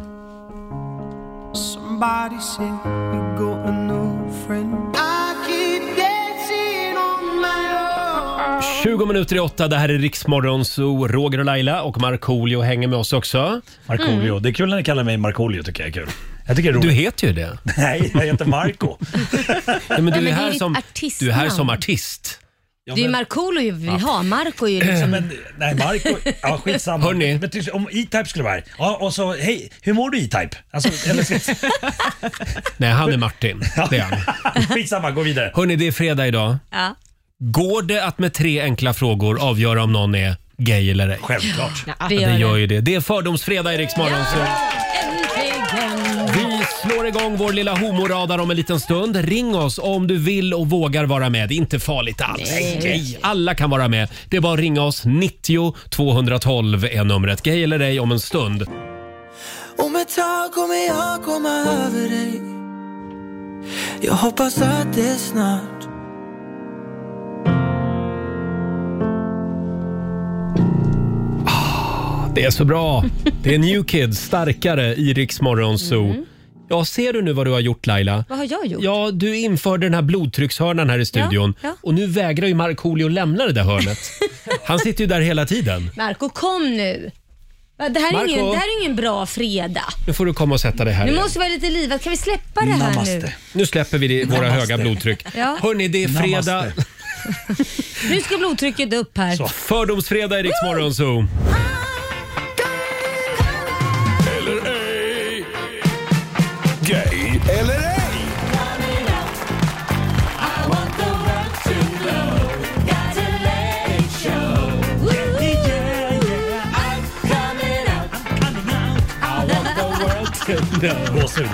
Speaker 1: Tjugo minuter i åtta, det här är Riksmorgon, så Roger och Laila och Markoolio hänger med oss också.
Speaker 3: Markoolio. Det är kul när ni kallar mig Markoolio tycker jag är kul. Jag tycker det
Speaker 1: Mm.
Speaker 3: är
Speaker 1: Du
Speaker 3: roligt.
Speaker 1: heter ju det.
Speaker 3: Nej, jag heter Marco.
Speaker 1: Nej, men du,
Speaker 6: men
Speaker 1: är
Speaker 6: det är
Speaker 1: här
Speaker 6: ditt
Speaker 1: som, du är här
Speaker 6: artistnamn.
Speaker 1: som artist.
Speaker 6: Det är ju Markoolio vi har. Marco är ju liksom...
Speaker 3: Men, nej, Marco. Ja, skitsamma.
Speaker 1: Hörni.
Speaker 3: Men tyst, om E-Type skulle vara här. Ja, och så, hej, hur mår du E-Type? Alltså, eller,
Speaker 1: Nej, han är Martin. Det är han.
Speaker 3: skitsamma, gå vidare.
Speaker 1: Hörni, det är fredag idag.
Speaker 6: Ja.
Speaker 1: Går det att med tre enkla frågor avgöra om någon är gay eller ej?
Speaker 3: Självklart.
Speaker 6: Det
Speaker 1: Det
Speaker 6: gör
Speaker 1: gör
Speaker 6: det.
Speaker 1: ju det. Det är fördomsfredag i Riksmorgon, så
Speaker 6: Äntligen!
Speaker 1: Vi slår igång vår lilla homoradar om en liten stund. Ring oss om du vill och vågar vara med. Det är inte farligt alls. Nej. Alla kan vara med. Det är bara att ringa oss. 90 212 är numret. Gay eller ej om en stund.
Speaker 12: Om ett tag kommer jag komma över dig Jag hoppas att det är snart
Speaker 1: Det är så bra. Det är New Kids, starkare i Rix Morgon Zoo. Ja, ser du nu vad du har gjort Laila?
Speaker 6: Vad har jag gjort?
Speaker 1: Ja, du införde den här blodtryckshörnan här i studion.
Speaker 6: ja.
Speaker 1: Och nu vägrar ju Markoolio lämna det där hörnet. Han sitter ju där hela tiden.
Speaker 6: Marco kom nu. Va, Det här, är
Speaker 1: Marco?
Speaker 6: ingen, det här är ingen bra fredag.
Speaker 1: Nu får du komma och sätta dig här
Speaker 6: Nu
Speaker 1: igen.
Speaker 6: måste vi vara lite livat. Kan vi släppa det här nu?
Speaker 3: Namaste.
Speaker 1: Nu släpper vi det, våra
Speaker 3: Namaste.
Speaker 1: höga blodtryck.
Speaker 6: Ja.
Speaker 1: Hörni, det är fredag.
Speaker 3: Namaste.
Speaker 6: Nu ska blodtrycket upp här.
Speaker 1: Fördomsfredag i Rix Morgon Zoo.
Speaker 7: Gay eller ej?
Speaker 3: Gåshud.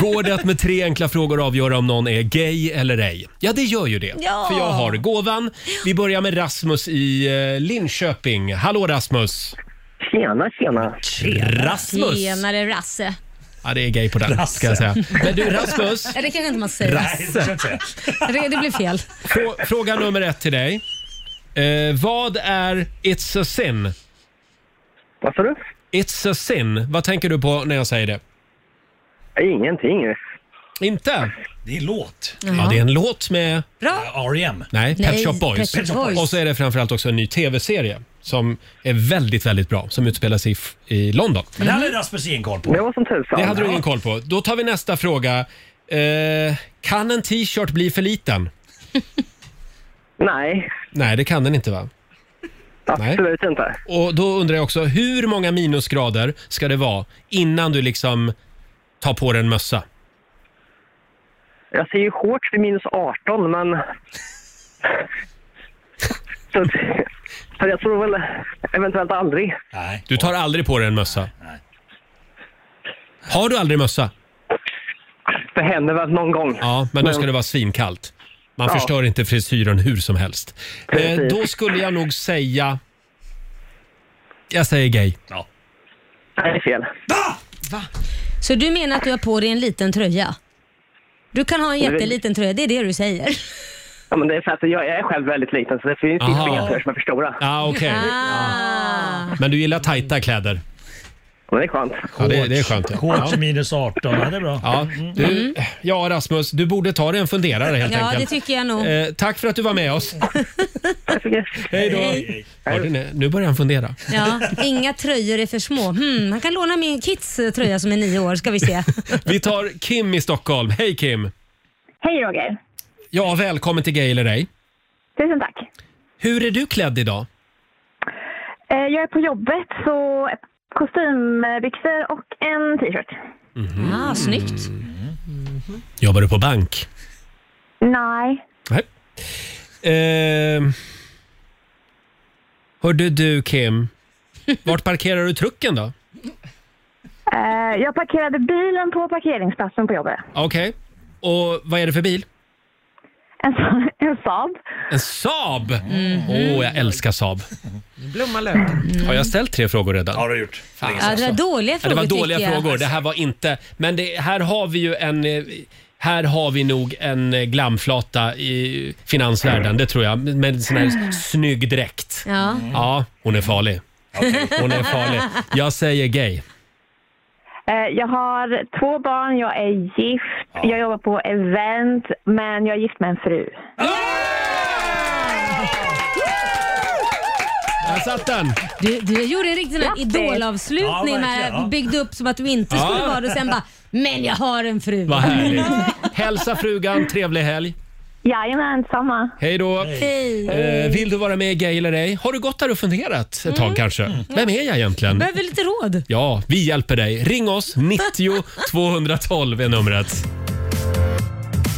Speaker 1: Går det att med tre enkla frågor avgöra om någon är gay eller ej? Ja, det gör ju det.
Speaker 6: Ja.
Speaker 1: För jag har gåvan. Vi börjar med Rasmus i eh, Linköping. Hallå Rasmus!
Speaker 5: Tjena, tjena.
Speaker 1: Rasmus!
Speaker 6: Tjenare Rasse.
Speaker 1: Ja, det är gay på den ska jag säga. Men du Rasmus,
Speaker 6: Ja, det kanske inte man säger.
Speaker 3: Nej, det ska jag inte säga.
Speaker 6: Det det blev fel.
Speaker 1: frå- fråga nummer ett till dig. Eh, vad är It's a sin?
Speaker 5: Vad sa du?
Speaker 1: It's a sin. Vad tänker du på när jag säger det?
Speaker 5: Ingenting.
Speaker 1: Inte?
Speaker 3: Det är låt. E
Speaker 1: Ja, det är en låt med...
Speaker 6: Bra.
Speaker 3: R.E.M.
Speaker 1: Nej, Pet
Speaker 6: Nej,
Speaker 1: Shop Boys.
Speaker 6: Pet Shop Boys.
Speaker 1: Och så är det framförallt också en ny tv-serie som är väldigt, väldigt bra som utspelar sig i, f- i London.
Speaker 3: Men det hade Rasmus ingen koll på.
Speaker 5: Det var som tusan.
Speaker 1: Det hade du ingen koll på. Då tar vi nästa fråga. Eh, kan en t-shirt bli för liten?
Speaker 5: Nej,
Speaker 1: Nej, det kan den inte va? Nej.
Speaker 5: absolut inte.
Speaker 1: Och då undrar jag också, hur många minusgrader ska det vara innan du liksom tar på dig en mössa?
Speaker 5: Jag ser ju shorts vid minus 18, men... så, så jag tror väl eventuellt aldrig.
Speaker 3: Nej.
Speaker 1: Du tar aldrig på dig en mössa. Har du aldrig mössa?
Speaker 5: Det händer väl någon gång.
Speaker 1: Ja, men då ska det vara svinkallt. Man
Speaker 5: Ja.
Speaker 1: förstör inte frisyren hur som helst. Eh,
Speaker 5: Precis.
Speaker 1: då skulle jag nog säga... Jag säger gay.
Speaker 3: Ja.
Speaker 5: Nej, det är fel.
Speaker 6: Så du menar att du har på dig en liten tröja? Du kan ha en
Speaker 5: det-
Speaker 6: jätteliten tröja, det är det du säger.
Speaker 5: Ja, men det är för att jag är själv väldigt liten, så det finns
Speaker 1: Aha.
Speaker 5: ju inga som är för stora.
Speaker 1: Ja, ah, okej.
Speaker 6: Ah.
Speaker 1: Men du gillar tajta kläder.
Speaker 9: Men det är skönt.
Speaker 1: Ja, det, det är skönt. Ja.
Speaker 3: Shorts
Speaker 1: Ja.
Speaker 3: minus 18, ja, det är bra.
Speaker 1: Ja, du, ja, Rasmus, du borde ta dig en funderare helt
Speaker 6: Mm. Ja, det
Speaker 1: enkelt.
Speaker 6: tycker jag nog.
Speaker 1: Eh, tack för att du var med oss. Hej
Speaker 3: Hej.
Speaker 1: då. Hörde ni? Nu börjar han fundera.
Speaker 6: Ja, inga tröjor är för små. Hmm, han kan låna min kids tröja som är nio år, ska vi se.
Speaker 1: Vi tar Kim i Stockholm. Hej Kim!
Speaker 9: Hej Roger.
Speaker 1: Ja, välkommen till Gay eller ej.
Speaker 9: Tusen tack.
Speaker 1: Hur är du klädd idag?
Speaker 9: Eh, Jag är på jobbet så kostymbyxor och en t-shirt.
Speaker 1: Mm.
Speaker 6: Ah, snyggt.
Speaker 1: Jobbar du på bank?
Speaker 9: Nej.
Speaker 1: Nej. Eh, hörde du Kim, vart parkerar du trucken då?
Speaker 9: Eh, Jag parkerade bilen på parkeringsplatsen på jobbet.
Speaker 1: Okej. Och vad är det för bil?
Speaker 9: En, Sa- en Saab.
Speaker 1: En Saab! Åh, jag älskar Saab.
Speaker 2: Blomma löken.
Speaker 1: Har jag ställt tre frågor redan?
Speaker 3: Ja, det har du gjort.
Speaker 6: Ja, det var dåliga
Speaker 1: Ja,
Speaker 6: frågor
Speaker 1: det var dåliga
Speaker 6: tycker jag.
Speaker 1: frågor. Det här var inte... Men det, här har vi ju en... eh, Här har vi nog en eh, glamflata i finansvärlden, det tror jag. Med sån här snygg dräkt.
Speaker 6: Mm. Ja.
Speaker 1: Ja, hon är farlig. Hon är farlig. Jag säger gay.
Speaker 9: Eh, Jag har två barn, jag är gift, jag jobbar på event, men jag är gift med en fru.
Speaker 1: Där satt den!
Speaker 6: Du, du gjorde en riktig sån här
Speaker 9: Grattis.
Speaker 3: Ja,
Speaker 6: idolavslutning
Speaker 3: verkligen,
Speaker 6: med
Speaker 3: ja.
Speaker 6: att byggde upp som att du inte
Speaker 1: Ja.
Speaker 6: skulle vara det och sen bara “men jag har en fru”.
Speaker 1: Vad härligt. Hälsa frugan, trevlig helg.
Speaker 9: Jajamän, samma.
Speaker 1: Hej då.
Speaker 6: Hej. Mm.
Speaker 1: Eh, vill du vara med i Gay eller ej? Har du gått där och funderat ett tag kanske? Vem är jag egentligen?
Speaker 6: Behöver lite råd.
Speaker 1: Ja, vi hjälper dig. Ring oss, 90 212 är numret.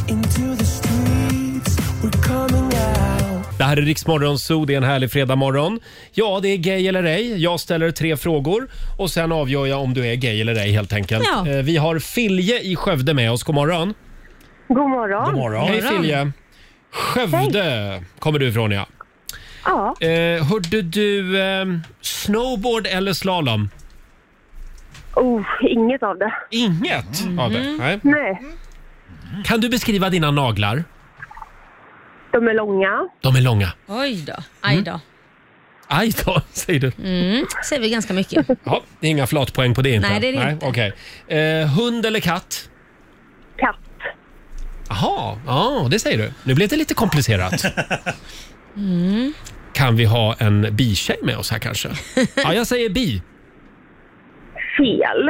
Speaker 12: Into the streets, we're coming out.
Speaker 1: Det här är Riksmorgon Zoo, det är en härlig fredagmorgon. Ja, det är gay eller ej. Jag ställer tre frågor och sen avgör jag om du är gay eller ej helt enkelt.
Speaker 6: Ja.
Speaker 1: Eh, Vi har Filje i Skövde med oss, god morgon.
Speaker 9: God morgon.
Speaker 3: God morgon.
Speaker 1: Hej Filje. Skövde kommer du ifrån ja.
Speaker 9: Ja,
Speaker 1: Eh, hörde du eh, snowboard eller slalom?
Speaker 9: oh, inget av det.
Speaker 1: Inget av det. Nej.
Speaker 9: Nej,
Speaker 1: Kan du beskriva dina naglar?
Speaker 9: de är långa.
Speaker 1: De är långa.
Speaker 6: Oj då. Aj
Speaker 1: Mm.
Speaker 6: då.
Speaker 1: Aj då, säger du.
Speaker 6: Säger vi ganska mycket.
Speaker 1: Ja, det är inga flatpoäng på det inte.
Speaker 6: Nej, det är det inte.
Speaker 1: okej. Eh, hund eller katt?
Speaker 9: Katt.
Speaker 1: Jaha, ja, det säger du. Nu blev det lite komplicerat.
Speaker 6: Mm.
Speaker 1: Kan vi ha en bitjej med oss här kanske? Ja, jag säger bi.
Speaker 9: Fel.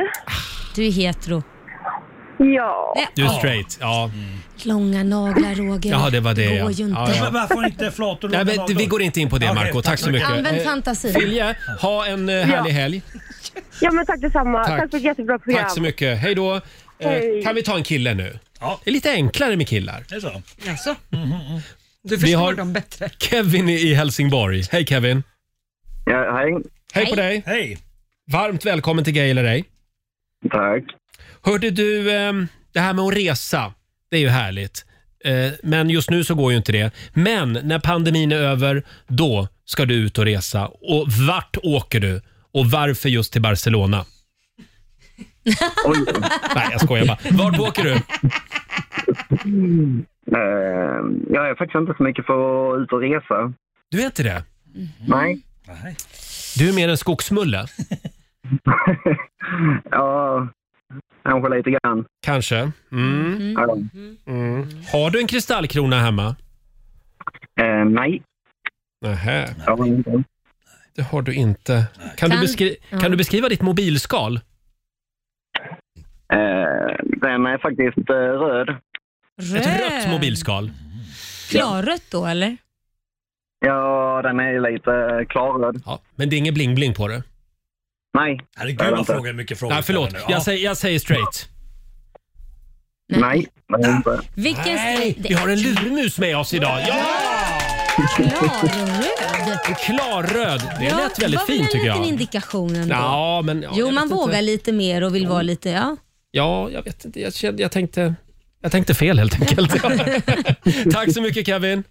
Speaker 6: Du är hetero.
Speaker 9: Ja. Mm.
Speaker 6: Nej,
Speaker 1: Du är straight. Ja,
Speaker 6: Långa naglar Roger.
Speaker 1: ja det var det.
Speaker 6: Det
Speaker 1: Ja.
Speaker 6: går ju inte.
Speaker 1: Ja, ja.
Speaker 3: Men Varför inte flator
Speaker 1: Nej,
Speaker 3: långa
Speaker 1: men,
Speaker 3: naglar?
Speaker 1: vi går inte in på det
Speaker 3: Okej,
Speaker 1: Marco. Tack så mycket.
Speaker 6: Använd
Speaker 1: Eh,
Speaker 6: fantasin.
Speaker 1: Filje, ha en eh, härlig
Speaker 9: Ja.
Speaker 1: helg.
Speaker 9: ja, men tack detsamma.
Speaker 1: Tack.
Speaker 9: Tack, för ett jättebra program.
Speaker 1: Tack så mycket. Hej då. Eh,
Speaker 9: Hej.
Speaker 1: Kan vi ta en kille nu?
Speaker 3: Ja.
Speaker 1: Det är lite enklare med killar.
Speaker 3: Det är så.
Speaker 2: Alltså. Du förstår
Speaker 1: har-
Speaker 2: dem bättre.
Speaker 1: Kevin i Helsingborg. Hej Kevin.
Speaker 9: Ja, hej.
Speaker 1: Hej, på
Speaker 6: Hej.
Speaker 1: dig.
Speaker 3: Hej.
Speaker 1: Varmt välkommen till Gay eller ej.
Speaker 9: Tack.
Speaker 1: Hörde du, ehm, det här med att resa, det är ju härligt. Eh, Men just nu så går ju inte det. Men när pandemin är över, då ska du ut och resa. Och vart åker du? Och varför just till Barcelona?
Speaker 9: Oj.
Speaker 1: Nej, jag skojar bara. Vart åker du?
Speaker 9: Eh, jag är faktiskt inte så mycket för att ut och resa.
Speaker 1: Du är inte det?
Speaker 9: Nej.
Speaker 3: Nej.
Speaker 1: Du är mer en skogsmulle,
Speaker 9: ja, kanske lite grann.
Speaker 1: kanske? Mm.
Speaker 9: Ja.
Speaker 1: Mm. Har du en kristallkrona hemma?
Speaker 9: Eh, nej,
Speaker 1: Nähä,
Speaker 9: jag har inte.
Speaker 1: det har du inte. Kan,
Speaker 6: Kan-
Speaker 1: du, beskri-
Speaker 6: ja.
Speaker 1: kan du beskriva ditt mobilskal?
Speaker 9: Eh, den är faktiskt eh, röd.
Speaker 1: Ett rött mobilskal?
Speaker 6: Klarrött då eller?
Speaker 9: Ja, den är lite klarröd.
Speaker 1: Ja, men det är inget bling-bling på det?
Speaker 9: Nej,
Speaker 3: Herregud vad frågor, mycket frågor.
Speaker 1: Nej, förlåt.
Speaker 3: Nu. Ja.
Speaker 1: Jag säger, jag säger straight.
Speaker 9: nej, det är inte.
Speaker 6: Vilken
Speaker 1: Nej,
Speaker 6: Det
Speaker 1: vi
Speaker 6: är
Speaker 1: har en lurmus med oss idag. Ja!
Speaker 6: klarröd.
Speaker 1: Klarröd. Det
Speaker 6: Ja,
Speaker 1: lät väldigt fint tycker
Speaker 6: Det var väl en liten
Speaker 1: jag.
Speaker 6: indikation ändå.
Speaker 1: Ja, men, ja,
Speaker 6: jo,
Speaker 1: jag
Speaker 6: man
Speaker 1: vet
Speaker 6: vågar
Speaker 1: Inte. Mm.
Speaker 6: lite mer och vill vara lite... Ja.
Speaker 1: Ja, jag vet inte. Jag, kände, jag, tänkte, jag tänkte fel helt enkelt. Tack så mycket Kevin.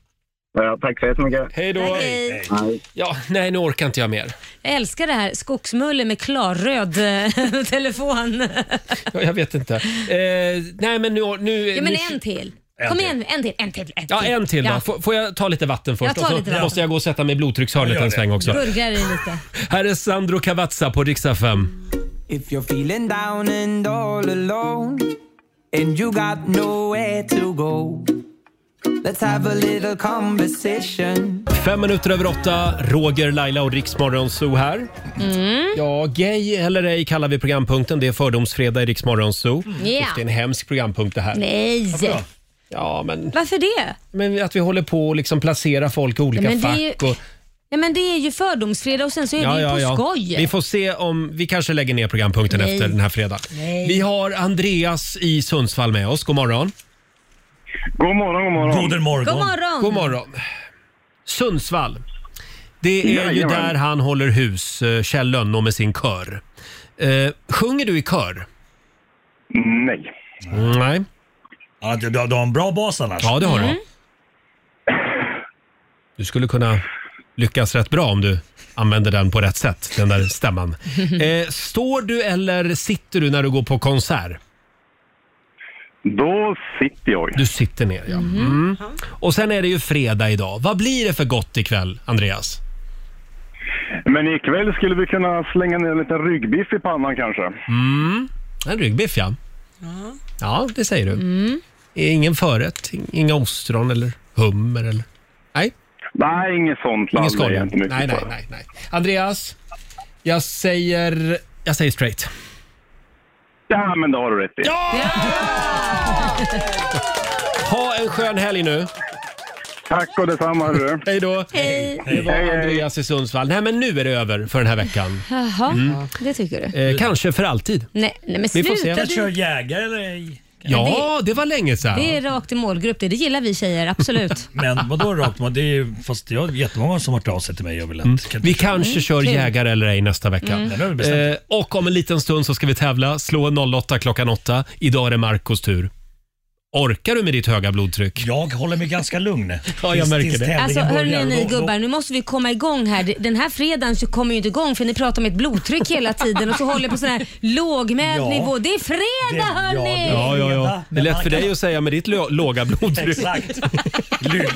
Speaker 9: Ja, tack så jättemycket.
Speaker 1: Hej då.
Speaker 6: Hej.
Speaker 9: Nej.
Speaker 1: Ja, nej, nu orkar inte jag mer.
Speaker 6: Jag älskar det här skogsmulle med klarröd eh, telefon.
Speaker 1: Ja, Jag vet inte. Eh, nej, men nu... nu
Speaker 6: Ja, men
Speaker 1: nu,
Speaker 6: en till.
Speaker 3: En
Speaker 6: Kom
Speaker 3: till.
Speaker 6: igen, en till. En till. En till.
Speaker 1: Ja, en till då.
Speaker 6: Ja.
Speaker 1: Får, får jag ta lite vatten först?
Speaker 6: Jag tar
Speaker 1: Och så
Speaker 6: lite vatten.
Speaker 1: måste jag gå och sätta mig i blodtryckshörnet
Speaker 3: Ja, gör
Speaker 1: en
Speaker 3: det.
Speaker 1: sväng också.
Speaker 6: Burgar i lite.
Speaker 1: Här är Sandro Cavazza på riksdag 5.
Speaker 13: If you're feeling down and all alone, and you got nowhere to go, let's have a little conversation.
Speaker 1: Fem minuter över åtta, Roger, Laila och Riksmorgon Zoo här.
Speaker 6: Mm.
Speaker 1: Ja, gay eller ej kallar vi programpunkten. Det är fördomsfredag i Riksmorgon Zoo.
Speaker 6: Mm.
Speaker 1: Och
Speaker 6: Ja.
Speaker 1: Det är en hemsk programpunkt det här.
Speaker 6: Nej. Varför då?
Speaker 1: Ja, men,
Speaker 6: Varför det?
Speaker 1: men att vi håller på att liksom placera folk i olika
Speaker 6: Ja, men det
Speaker 1: fack.
Speaker 6: är ju-
Speaker 1: Och,
Speaker 6: Ja, men det är ju fördomsfredag och sen så är det ju på skoj.
Speaker 1: Vi får se om vi kanske lägger ner programpunkten
Speaker 6: Nej.
Speaker 1: efter den här fredagen.
Speaker 6: Nej.
Speaker 1: Vi har Andreas i Sundsvall med oss. God morgon.
Speaker 14: God morgon, god morgon. God morgon.
Speaker 1: God morgon. Sundsvall. Det är ju
Speaker 14: Jajamän.
Speaker 1: där han håller hus, eh, Kjell Lönnå med sin kör. Eh, sjunger du i kör? Mm,
Speaker 14: Nej.
Speaker 1: Nej.
Speaker 3: Ja, du, du har en bra bas annars.
Speaker 1: Ja, det har
Speaker 3: Mm.
Speaker 1: du. Du skulle kunna lyckas rätt bra om du använder den på rätt sätt, den där stämman. Eh, står du eller sitter du när du går på konsert?
Speaker 14: Då sitter jag.
Speaker 1: Du sitter ner, ja. Mm. Och sen är det ju fredag idag. Vad blir det för gott ikväll, Andreas?
Speaker 14: Men ikväll skulle vi kunna slänga ner en liten ryggbiff i pannan kanske.
Speaker 1: Mm. En ryggbiff, ja. Ja, Mm. det säger du. Ingen förrätt, inga ostron eller hummer eller... Nej.
Speaker 14: Nej, inget sånt lallar
Speaker 1: Ingen
Speaker 14: jag
Speaker 1: skaldjur.
Speaker 14: inte mycket
Speaker 1: Nej, nej,
Speaker 14: för.
Speaker 1: nej, nej. Andreas, jag säger... Jag säger straight.
Speaker 14: Ja, men det har du rätt i.
Speaker 1: Ha en skön helg nu.
Speaker 14: Tack och detsamma hörru.
Speaker 1: Hej då.
Speaker 6: Hej.
Speaker 1: Det var Andreas i Sundsvall. Nej, men nu är det över för den här veckan.
Speaker 6: Jaha,
Speaker 1: Mm.
Speaker 6: det tycker du?
Speaker 1: Eh, kanske för alltid.
Speaker 6: Nej, nej men
Speaker 1: Vi
Speaker 6: sluta
Speaker 1: får se.
Speaker 6: du.
Speaker 1: Kör
Speaker 3: Jägare eller ej?
Speaker 1: Ja, det var länge sedan.
Speaker 6: Det är rakt i målgrupp det. Det gillar vi tjejer, absolut.
Speaker 3: Men vadå rakt mot? Det är ju, fast jag har jättemånga som har hört av sig till mig och vill att...
Speaker 1: Vi kanske
Speaker 3: Mm,
Speaker 1: kör
Speaker 3: kul.
Speaker 1: jägare eller ej nästa vecka.
Speaker 3: Mm. Den har vi bestämt.
Speaker 1: Eh, och om en liten stund så ska vi tävla. Slå en 08 klockan 8. Idag är det Marcos tur. Orkar du med ditt höga blodtryck?
Speaker 3: Jag håller mig ganska lugn.
Speaker 1: Ja, jag
Speaker 3: Tills-
Speaker 1: märker
Speaker 3: tills
Speaker 1: det.
Speaker 6: Alltså hörni
Speaker 3: Då-
Speaker 6: ni
Speaker 3: då-
Speaker 6: gubbar, nu måste vi komma igång här. Den här fredagen så kommer ju inte igång för ni pratar om ett blodtryck hela tiden och så håller på sån här lågmäld
Speaker 1: Ja.
Speaker 6: nivå. Det är fredag hörni!
Speaker 1: Ja, ja, ja. Det är lätt för dig att säga med ditt lo- låga blodtryck.
Speaker 3: Exakt.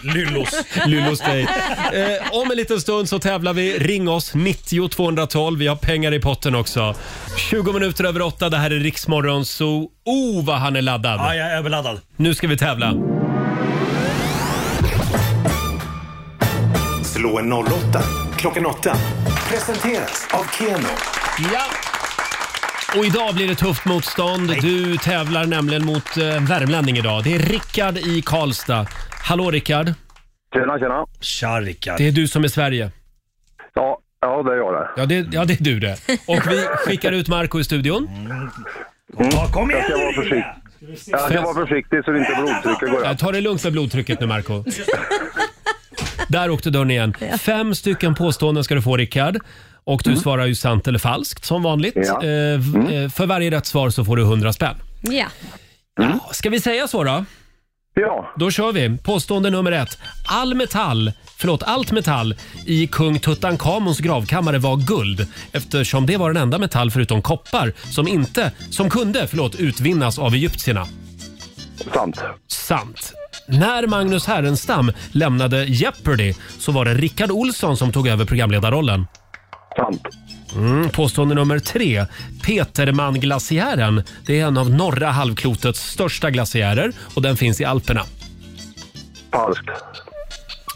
Speaker 3: Lyllos.
Speaker 1: Lyllos dig. Eh, om en liten stund så tävlar vi. Ring oss, 90 212. Vi har pengar i potten också. 20 minuter över åtta. Det här är Riksmorgon Zoo. Oh, vad han är laddad!
Speaker 3: Ja, jag är överladdad.
Speaker 1: Nu ska vi tävla.
Speaker 15: Slå en 08 klockan 8. Presenteras av Keno.
Speaker 1: Ja. Och idag blir det tufft motstånd. Du tävlar nämligen mot eh, en värmlänning idag. Det är Rickard i Karlstad. Hallå Rickard!
Speaker 14: Tjena, tjena.
Speaker 3: Tja Rickard.
Speaker 1: Det är du som är Sverige.
Speaker 14: Ja, ja det är jag det.
Speaker 1: Ja det, ja, det är du det. Och vi skickar ut Marco i studion.
Speaker 3: Ja, kom igen
Speaker 14: Jag ska vara försiktig. Jag ska vara försiktig så det inte blodtrycket går
Speaker 1: Ja,
Speaker 14: upp.
Speaker 1: ta det lugnt med blodtrycket nu Marco Där åkte dörren igen. Fem stycken påståenden ska du få Rickard. Och
Speaker 14: Mm.
Speaker 1: du svarar ju sant eller falskt som vanligt.
Speaker 6: Ja.
Speaker 1: Eh, v- eh, för varje rätt svar så får du 100 spänn.
Speaker 6: Ja.
Speaker 1: Ja, ska vi säga så då?
Speaker 14: Ja.
Speaker 1: Då kör vi. Påstående nummer ett. All metall, förlåt, allt metall i kung Tutankhamons gravkammare var guld eftersom det var den enda metall förutom koppar som inte, som kunde, förlåt, utvinnas av egyptierna.
Speaker 14: Sant.
Speaker 1: Sant. När Magnus Härenstam lämnade Jeopardy så var det Rickard Olsson som tog över programledarrollen.
Speaker 14: Sant.
Speaker 1: Mm, påstående nummer tre. Petermann-glaciären. Det är en av norra halvklotets största glaciärer och den finns i Alperna.
Speaker 14: Falskt.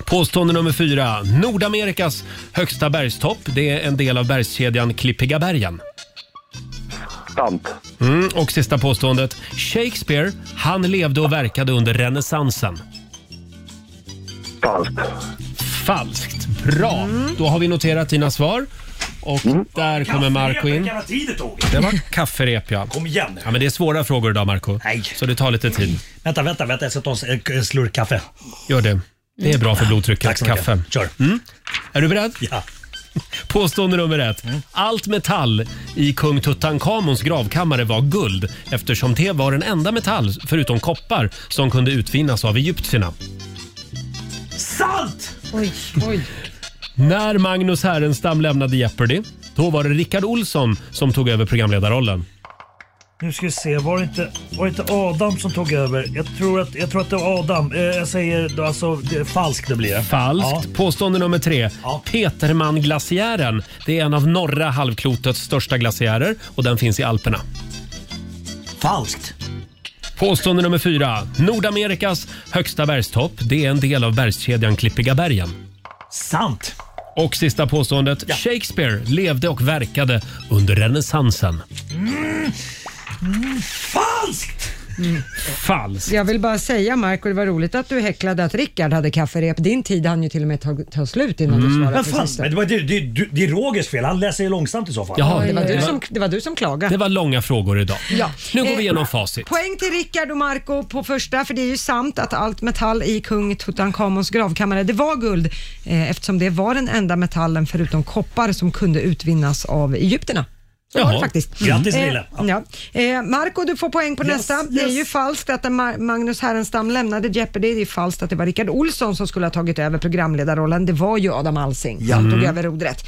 Speaker 1: Påstående nummer fyra. Nordamerikas högsta bergstopp. Det är en del av bergskedjan Klippiga bergen.
Speaker 14: Sant.
Speaker 1: Mm, och sista påståendet. Shakespeare, han levde och verkade under renässansen.
Speaker 14: Falskt.
Speaker 1: Falskt. Bra. Då har vi noterat dina svar. Och
Speaker 14: Mm.
Speaker 1: där kommer Marco in.
Speaker 3: Jävla tid det tog.
Speaker 1: Det var kafferep ja.
Speaker 3: Kom igen nu.
Speaker 1: Ja, men det är svåra frågor idag Marco Så det tar lite tid.
Speaker 3: Vänta, vänta, vänta. Jag ska ta en k- slurk kaffe.
Speaker 1: Gör det. Det är bra för blodtrycket.
Speaker 3: Tack så mycket.
Speaker 1: Kaffe.
Speaker 3: Kör.
Speaker 1: Mm. Är du beredd?
Speaker 3: Ja.
Speaker 1: Påstående nummer ett.
Speaker 3: Mm.
Speaker 1: Allt metall i kung Tutankhamons gravkammare var guld eftersom det var den enda metall, förutom koppar, som kunde utvinnas av egyptierna.
Speaker 3: Sant!
Speaker 2: Oj, oj.
Speaker 1: När Magnus Härenstam lämnade Jeopardy, då var det Rickard Olsson som tog över programledarrollen.
Speaker 3: Nu ska vi se, var det inte, var det inte Adam som tog över? Jag tror att, jag tror att det var Adam. Eh, jag säger då alltså, det är falskt det blir det.
Speaker 1: Falskt. Påstående nummer tre. Petermannglaciären. Det är en av norra halvklotets största glaciärer och den finns i Alperna.
Speaker 3: Falskt.
Speaker 1: Påstående nummer fyra. Nordamerikas högsta bergstopp. Det är en del av bergskedjan Klippiga bergen.
Speaker 3: Sant.
Speaker 1: Och sista påståendet. Shakespeare levde och verkade under renässansen.
Speaker 3: Falskt!
Speaker 1: Falskt.
Speaker 2: Jag vill bara säga Marco, det var roligt att du häcklade att Rickard hade kafferep. Din tid hann ju till och med ta, ta slut innan du svarade
Speaker 3: Men
Speaker 2: på
Speaker 3: fan,
Speaker 2: sista.
Speaker 3: men det, var, det, det, det, det är Rogers fel. Han läser ju långsamt i så fall.
Speaker 1: Jaha.
Speaker 2: det, var
Speaker 1: det
Speaker 2: du
Speaker 1: var-
Speaker 2: som, det var du som klagade.
Speaker 1: Det var långa frågor idag.
Speaker 2: Ja.
Speaker 1: Nu går vi
Speaker 2: Eh,
Speaker 1: igenom facit.
Speaker 2: Poäng till Rickard och Marco på första, för det är ju sant att allt metall i kung Tutankhamons gravkammare, det var guld eh, eftersom det var den enda metallen förutom koppar som kunde utvinnas av egyptierna. Så var det
Speaker 3: Jaha.
Speaker 2: faktiskt.
Speaker 3: Grattis, Lille.
Speaker 2: Eh, ja. eh, Marco, du får poäng på
Speaker 3: Yes,
Speaker 2: nästa. Det är
Speaker 3: yes.
Speaker 2: ju falskt att Ma- Magnus Härenstam lämnade Jeopardy. Det är falskt att det var Rickard Olsson som skulle ha tagit över programledarrollen. Det var ju Adam Alsing
Speaker 16: Ja.
Speaker 2: som tog
Speaker 16: Mm.
Speaker 2: över rodret.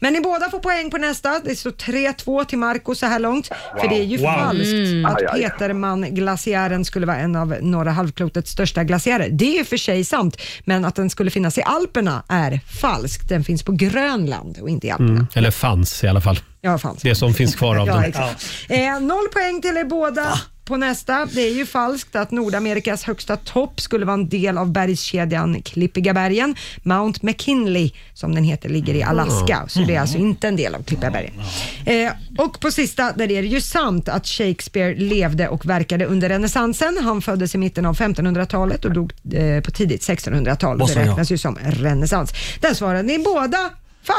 Speaker 2: Men ni båda får poäng på nästa. Det står 3-2 till Marco så här långt. För det är ju
Speaker 16: Wow.
Speaker 2: falskt
Speaker 16: Mm.
Speaker 2: att
Speaker 16: Aj, aj, aj.
Speaker 2: Petermann-glaciären skulle vara en av norra halvklotets största glaciärer. Det är ju för sig sant, men att den skulle finnas i Alperna är falskt. Den finns på Grönland och inte i Alperna.
Speaker 1: Mm. Eller fanns i alla fall.
Speaker 2: Ja, fanns.
Speaker 1: Det som finns kvar av
Speaker 2: Ja,
Speaker 1: den.
Speaker 2: exakt. Eh, noll poäng till er båda. På nästa, det är ju falskt att Nordamerikas högsta topp skulle vara en del av bergskedjan Klippiga bergen. Mount McKinley, som den heter, ligger i Alaska,
Speaker 16: Mm.
Speaker 2: så det är alltså inte en del av Klippiga bergen. Eh, och på sista, där är det ju sant att Shakespeare levde och verkade under renässansen. Han föddes i mitten av 1500-talet och dog eh, på tidigt 1600-tal.
Speaker 16: Vad sa
Speaker 2: Det
Speaker 16: jag?
Speaker 2: räknas ju som renässans. Där svarade ni båda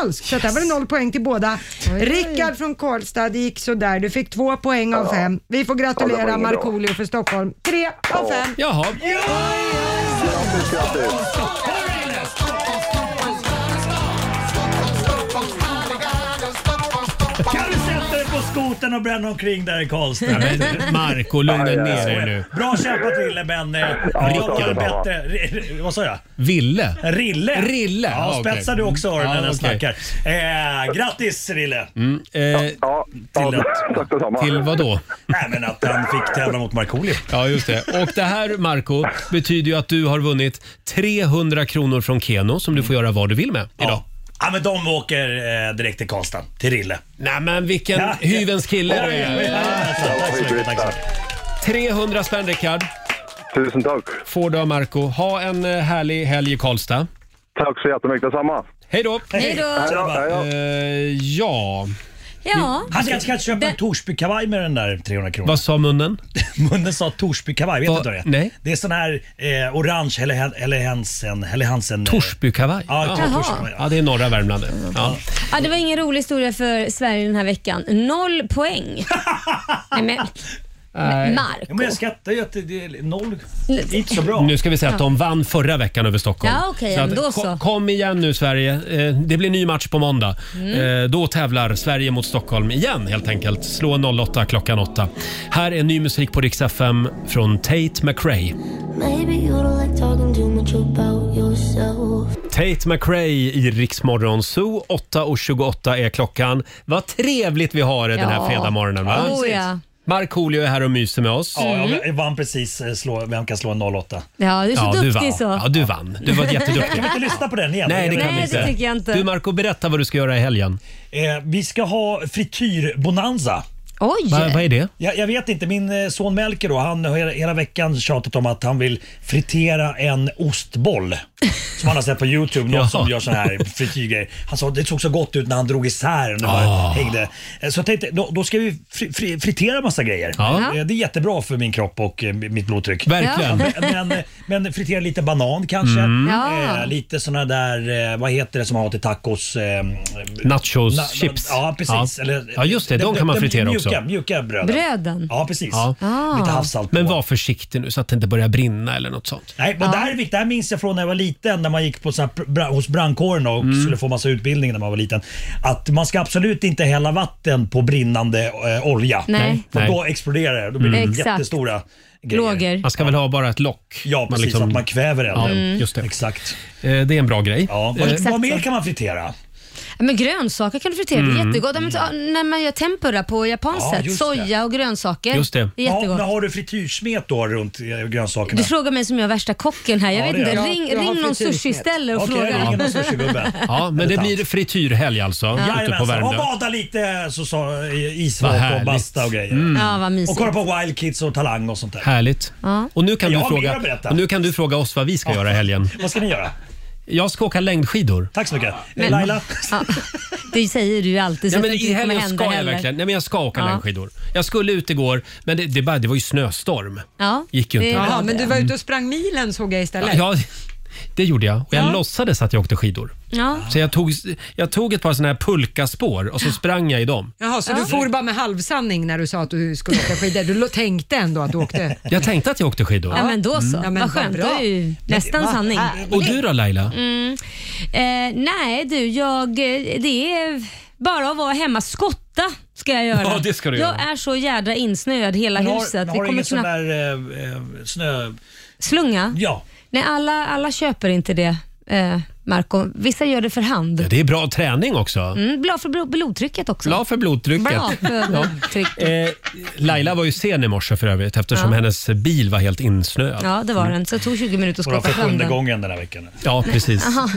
Speaker 2: falskt, så där var det noll poäng till båda. Rickard från Karlstad det gick sådär. Du fick två poäng av fem. Vi får
Speaker 16: Ja, det var
Speaker 2: gratulera
Speaker 16: inget bra.
Speaker 2: Markoolio för Stockholm. Tre av fem.
Speaker 1: Jaha.
Speaker 3: Kan du sätta dig på skoten och bränna omkring där i Karlstad?
Speaker 1: Ja, men Marco, lugna
Speaker 3: Ja, ja,
Speaker 1: ner
Speaker 3: ja.
Speaker 1: dig nu.
Speaker 3: Bra kämpat Rille, men eh,
Speaker 1: Ja,
Speaker 3: jag
Speaker 1: det
Speaker 3: kan
Speaker 1: var bra.
Speaker 3: bättre. R- Vad sa jag?
Speaker 1: Ville.
Speaker 3: Rille.
Speaker 1: Rille.
Speaker 3: Ja,
Speaker 1: ja, okej. Mm.
Speaker 3: spetsar du också öronen när
Speaker 1: Ja,
Speaker 3: jag
Speaker 1: okej.
Speaker 3: snackar. Eh, grattis Rille.
Speaker 1: Mm, eh,
Speaker 3: till,
Speaker 1: att, till vad då?
Speaker 3: Nej, men att han fick tävla mot Markoolio.
Speaker 1: Ja, just det. Och det här, Marco, betyder ju att du har vunnit 300 kronor från Keno som du får göra vad du vill med idag.
Speaker 3: Ja, men de åker eh, direkt till Karlstad, till Rille.
Speaker 1: Nej, men vilken hyvens kille du är.
Speaker 3: Tack så mycket, tack så mycket.
Speaker 1: 300 spänn, Rickard.
Speaker 14: Tusen tack.
Speaker 1: Får du av Marco. Ha en eh, härlig helg i Karlstad.
Speaker 14: Tack så jättemycket, detsamma.
Speaker 1: Hej då!
Speaker 6: Hej då. Hej då, hej då.
Speaker 1: Eh, ja...
Speaker 6: Ja.
Speaker 3: Han kanske kan köpa en Torsby-kavaj med den där 300 kronor.
Speaker 1: Vad sa munnen?
Speaker 3: Eh. munnen sa Torsby-kavaj, vet du
Speaker 1: Va-
Speaker 3: inte vad det är?
Speaker 1: nej.
Speaker 3: Det är sån här eh, orange Helle, Helle Hansen... Helle Hansen eh,
Speaker 1: Torsbykavaj?
Speaker 3: Ja,
Speaker 6: Jaha.
Speaker 3: Torsbykavaj.
Speaker 1: Ja, det är norra Värmland. Ja.
Speaker 6: Ja, det var ingen rolig historia för Sverige den här veckan. Noll poäng. Nej, men,
Speaker 1: Nej.
Speaker 6: Marco.
Speaker 3: Ja, men jag skrattar ju att det det är noll. Det är inte så bra.
Speaker 1: Nu ska vi säga att de vann förra veckan över Stockholm.
Speaker 6: Ja, okej,
Speaker 1: att
Speaker 6: men då
Speaker 1: ko-
Speaker 6: så.
Speaker 1: Kom igen nu Sverige. Eh, Det blir ny match på måndag.
Speaker 6: Mm.
Speaker 1: Eh, Då tävlar Sverige mot Stockholm igen helt enkelt. Slå 08 klockan 8. Här är ny musik på Rix FM från Tate McRae.
Speaker 11: Maybe you don't like talking too much about yourself.
Speaker 1: Tate McRae i Rix Morgon Zoo. 8.28 är klockan. Vad trevligt vi har det den här
Speaker 3: Ja.
Speaker 1: fredagmorgonen va?
Speaker 3: Ja, Oh, ja.
Speaker 1: Markoolio är här och myser med oss.
Speaker 3: Ja,
Speaker 6: Mm.
Speaker 3: jag vann precis. eh, Slå, vem kan slå en 08?
Speaker 6: Ja, du är så
Speaker 1: du
Speaker 6: duktig
Speaker 1: vann.
Speaker 6: så.
Speaker 1: Ja, du vann. Du var jätteduktig.
Speaker 3: Kan vi inte lyssna på den igen?
Speaker 1: Nej, det kan vi
Speaker 6: Nej,
Speaker 1: inte.
Speaker 6: det tycker jag inte.
Speaker 1: Du Marco, berätta vad du ska göra i helgen.
Speaker 3: Eh, vi ska ha frityrbonanza.
Speaker 6: Oj!
Speaker 1: Va- vad är det?
Speaker 3: Jag, jag vet inte. Min eh, son Melker då, han har hela, hela veckan tjatat om att han vill fritera en ostboll. Som han har sett på Youtube, någon som gör sån här frityrgrejer. Han sa det såg så gott ut när han drog isär den och bara
Speaker 1: Ah.
Speaker 3: hängde. Eh, Så jag tänkte, då, då ska vi fri, fri, fritera massa grejer.
Speaker 1: Ja.
Speaker 3: Eh, Det är jättebra för min kropp och eh, mitt blodtryck.
Speaker 1: Verkligen. Ja.
Speaker 3: Men, men, men fritera lite banan kanske.
Speaker 1: Mm. Ja.
Speaker 3: Eh, lite såna där, eh, vad heter det som man har till tacos? Eh,
Speaker 1: Nachos,
Speaker 3: Na- na-
Speaker 1: chips.
Speaker 3: Ja, precis.
Speaker 1: Ja.
Speaker 3: Eller,
Speaker 1: Ja, just det. De kan man fritera
Speaker 3: mjuka,
Speaker 1: också.
Speaker 3: Mjuka bröden.
Speaker 6: Bröden?
Speaker 3: Ja, precis.
Speaker 1: Ja.
Speaker 6: Ah.
Speaker 3: Lite havssalt.
Speaker 1: Men var försiktig nu så att det inte börjar brinna eller något sånt.
Speaker 3: Nej, men det, här är viktigt. det här minns jag från när jag var liten, när man gick på så här, bra- hos brandkåren och
Speaker 1: Mm.
Speaker 3: skulle få massa utbildning när man var liten. Att man ska absolut inte hälla vatten på brinnande eh, olja.
Speaker 6: Nej.
Speaker 3: För
Speaker 1: Nej.
Speaker 3: då exploderar det. Då blir det
Speaker 6: Mm. Exakt.
Speaker 3: jättestora grejer.
Speaker 6: Lågor.
Speaker 1: Man ska väl ha bara ett lock? Ja,
Speaker 3: precis, att man kväver elden.
Speaker 1: liksom- Ja,
Speaker 3: Mm.
Speaker 1: just det.
Speaker 3: Exakt.
Speaker 1: Eh, Det är en bra grej.
Speaker 3: Ja.
Speaker 1: Eh,
Speaker 3: Vad, vad mer kan man fritera?
Speaker 6: Ja, Men grönsaker kan du fritera, det är
Speaker 3: Mm.
Speaker 6: jättegott. Ja, men, ta- När man gör tempura på japanskt
Speaker 3: Ja,
Speaker 6: sätt,
Speaker 3: just det.
Speaker 6: soja och grönsaker. är
Speaker 3: Ja, men
Speaker 6: jättegott.
Speaker 3: har du frityrsmet då runt eh, grönsakerna?
Speaker 6: du frågar mig som jag är värsta kocken här. Jag
Speaker 3: Ja,
Speaker 6: vet
Speaker 3: det är
Speaker 6: inte,
Speaker 3: jag.
Speaker 6: ring,
Speaker 3: Jag har
Speaker 6: ring någon
Speaker 3: frityrsmet.
Speaker 6: sushiställe och
Speaker 3: Okej,
Speaker 6: fråga.
Speaker 3: ring någon sushigubbe.
Speaker 1: Ja, men det blir frityrhelg alltså ute på
Speaker 3: Jajamensan, och
Speaker 1: Värmdö.
Speaker 3: bada lite eh, så, så, i-
Speaker 1: Vad
Speaker 3: isvak
Speaker 1: härligt.
Speaker 3: och basta och grejer.
Speaker 1: Mm. Ja,
Speaker 6: vad mysigt.
Speaker 3: och kolla på Wild Kids och Talang och sånt där.
Speaker 1: Härligt. Och nu kan,
Speaker 3: Jag
Speaker 1: du
Speaker 3: har mer
Speaker 1: fråga,
Speaker 3: att berätta.
Speaker 1: och nu kan du fråga oss vad vi ska göra i helgen.
Speaker 3: Vad ska ni göra?
Speaker 1: Jag ska åka längdskidor.
Speaker 3: Tack så mycket.
Speaker 6: Men- Ja, det säger du ju alltid. så
Speaker 1: Nej, men
Speaker 6: jag tänkte
Speaker 1: I
Speaker 6: det kommer
Speaker 1: helgen
Speaker 6: hända
Speaker 1: ska jag
Speaker 6: heller.
Speaker 1: verkligen. Nej, men jag ska åka
Speaker 6: Ja.
Speaker 1: längdskidor. Jag skulle ut igår, men det, det, bara, det var ju snöstorm.
Speaker 6: Ja,
Speaker 1: Gick ju inte.
Speaker 2: Jaha, men du var
Speaker 1: Mm.
Speaker 2: ute och sprang milen såg jag istället.
Speaker 1: Ja, det gjorde jag. Och jag
Speaker 2: Ja.
Speaker 1: låtsades att jag åkte skidor.
Speaker 6: Ja.
Speaker 1: Så jag tog, jag tog ett par såna här pulkaspår och så sprang jag i dem.
Speaker 2: Jaha, så du for bara med halvsanning när du sa att du skulle åka skidor. Du lo- tänkte ändå att du åkte.
Speaker 1: Jag tänkte att jag åkte skidor.
Speaker 6: Ja, men då så.
Speaker 2: Mm. Ja, men
Speaker 6: vad
Speaker 2: vad
Speaker 6: skönt.
Speaker 2: bra.
Speaker 6: Då är ju nästan
Speaker 2: vad
Speaker 6: sanning.
Speaker 2: härligt.
Speaker 1: Och du då Laila?
Speaker 6: Mm. Eh, nej du, jag, eh, det är bara att vara hemma skotta ska jag göra.
Speaker 3: Ja, det ska du
Speaker 6: jag
Speaker 3: göra.
Speaker 6: är så jädra insnöad hela
Speaker 3: Men har,
Speaker 6: huset.
Speaker 3: men Har
Speaker 6: det
Speaker 3: du ingen
Speaker 6: kommer
Speaker 3: sån
Speaker 6: knappt...
Speaker 3: där eh, eh, snö...
Speaker 6: Slunga?
Speaker 3: Ja.
Speaker 6: Nej, alla, alla köper inte det, eh, Marco. Vissa gör det för hand.
Speaker 1: Det är bra träning också.
Speaker 6: Mm, bra för blo- blodtrycket också.
Speaker 1: Bra för blodtrycket.
Speaker 6: Bra för
Speaker 1: Ja.
Speaker 6: blodtrycket.
Speaker 1: Eh, Laila var ju sen i morse för övrigt eftersom
Speaker 6: Ja.
Speaker 1: hennes bil var helt insnöad.
Speaker 6: Ja, det var den. Så det tog 20 minuter att skotta fram den.
Speaker 3: gången den här veckan.
Speaker 1: Ja, precis.
Speaker 6: Jaha.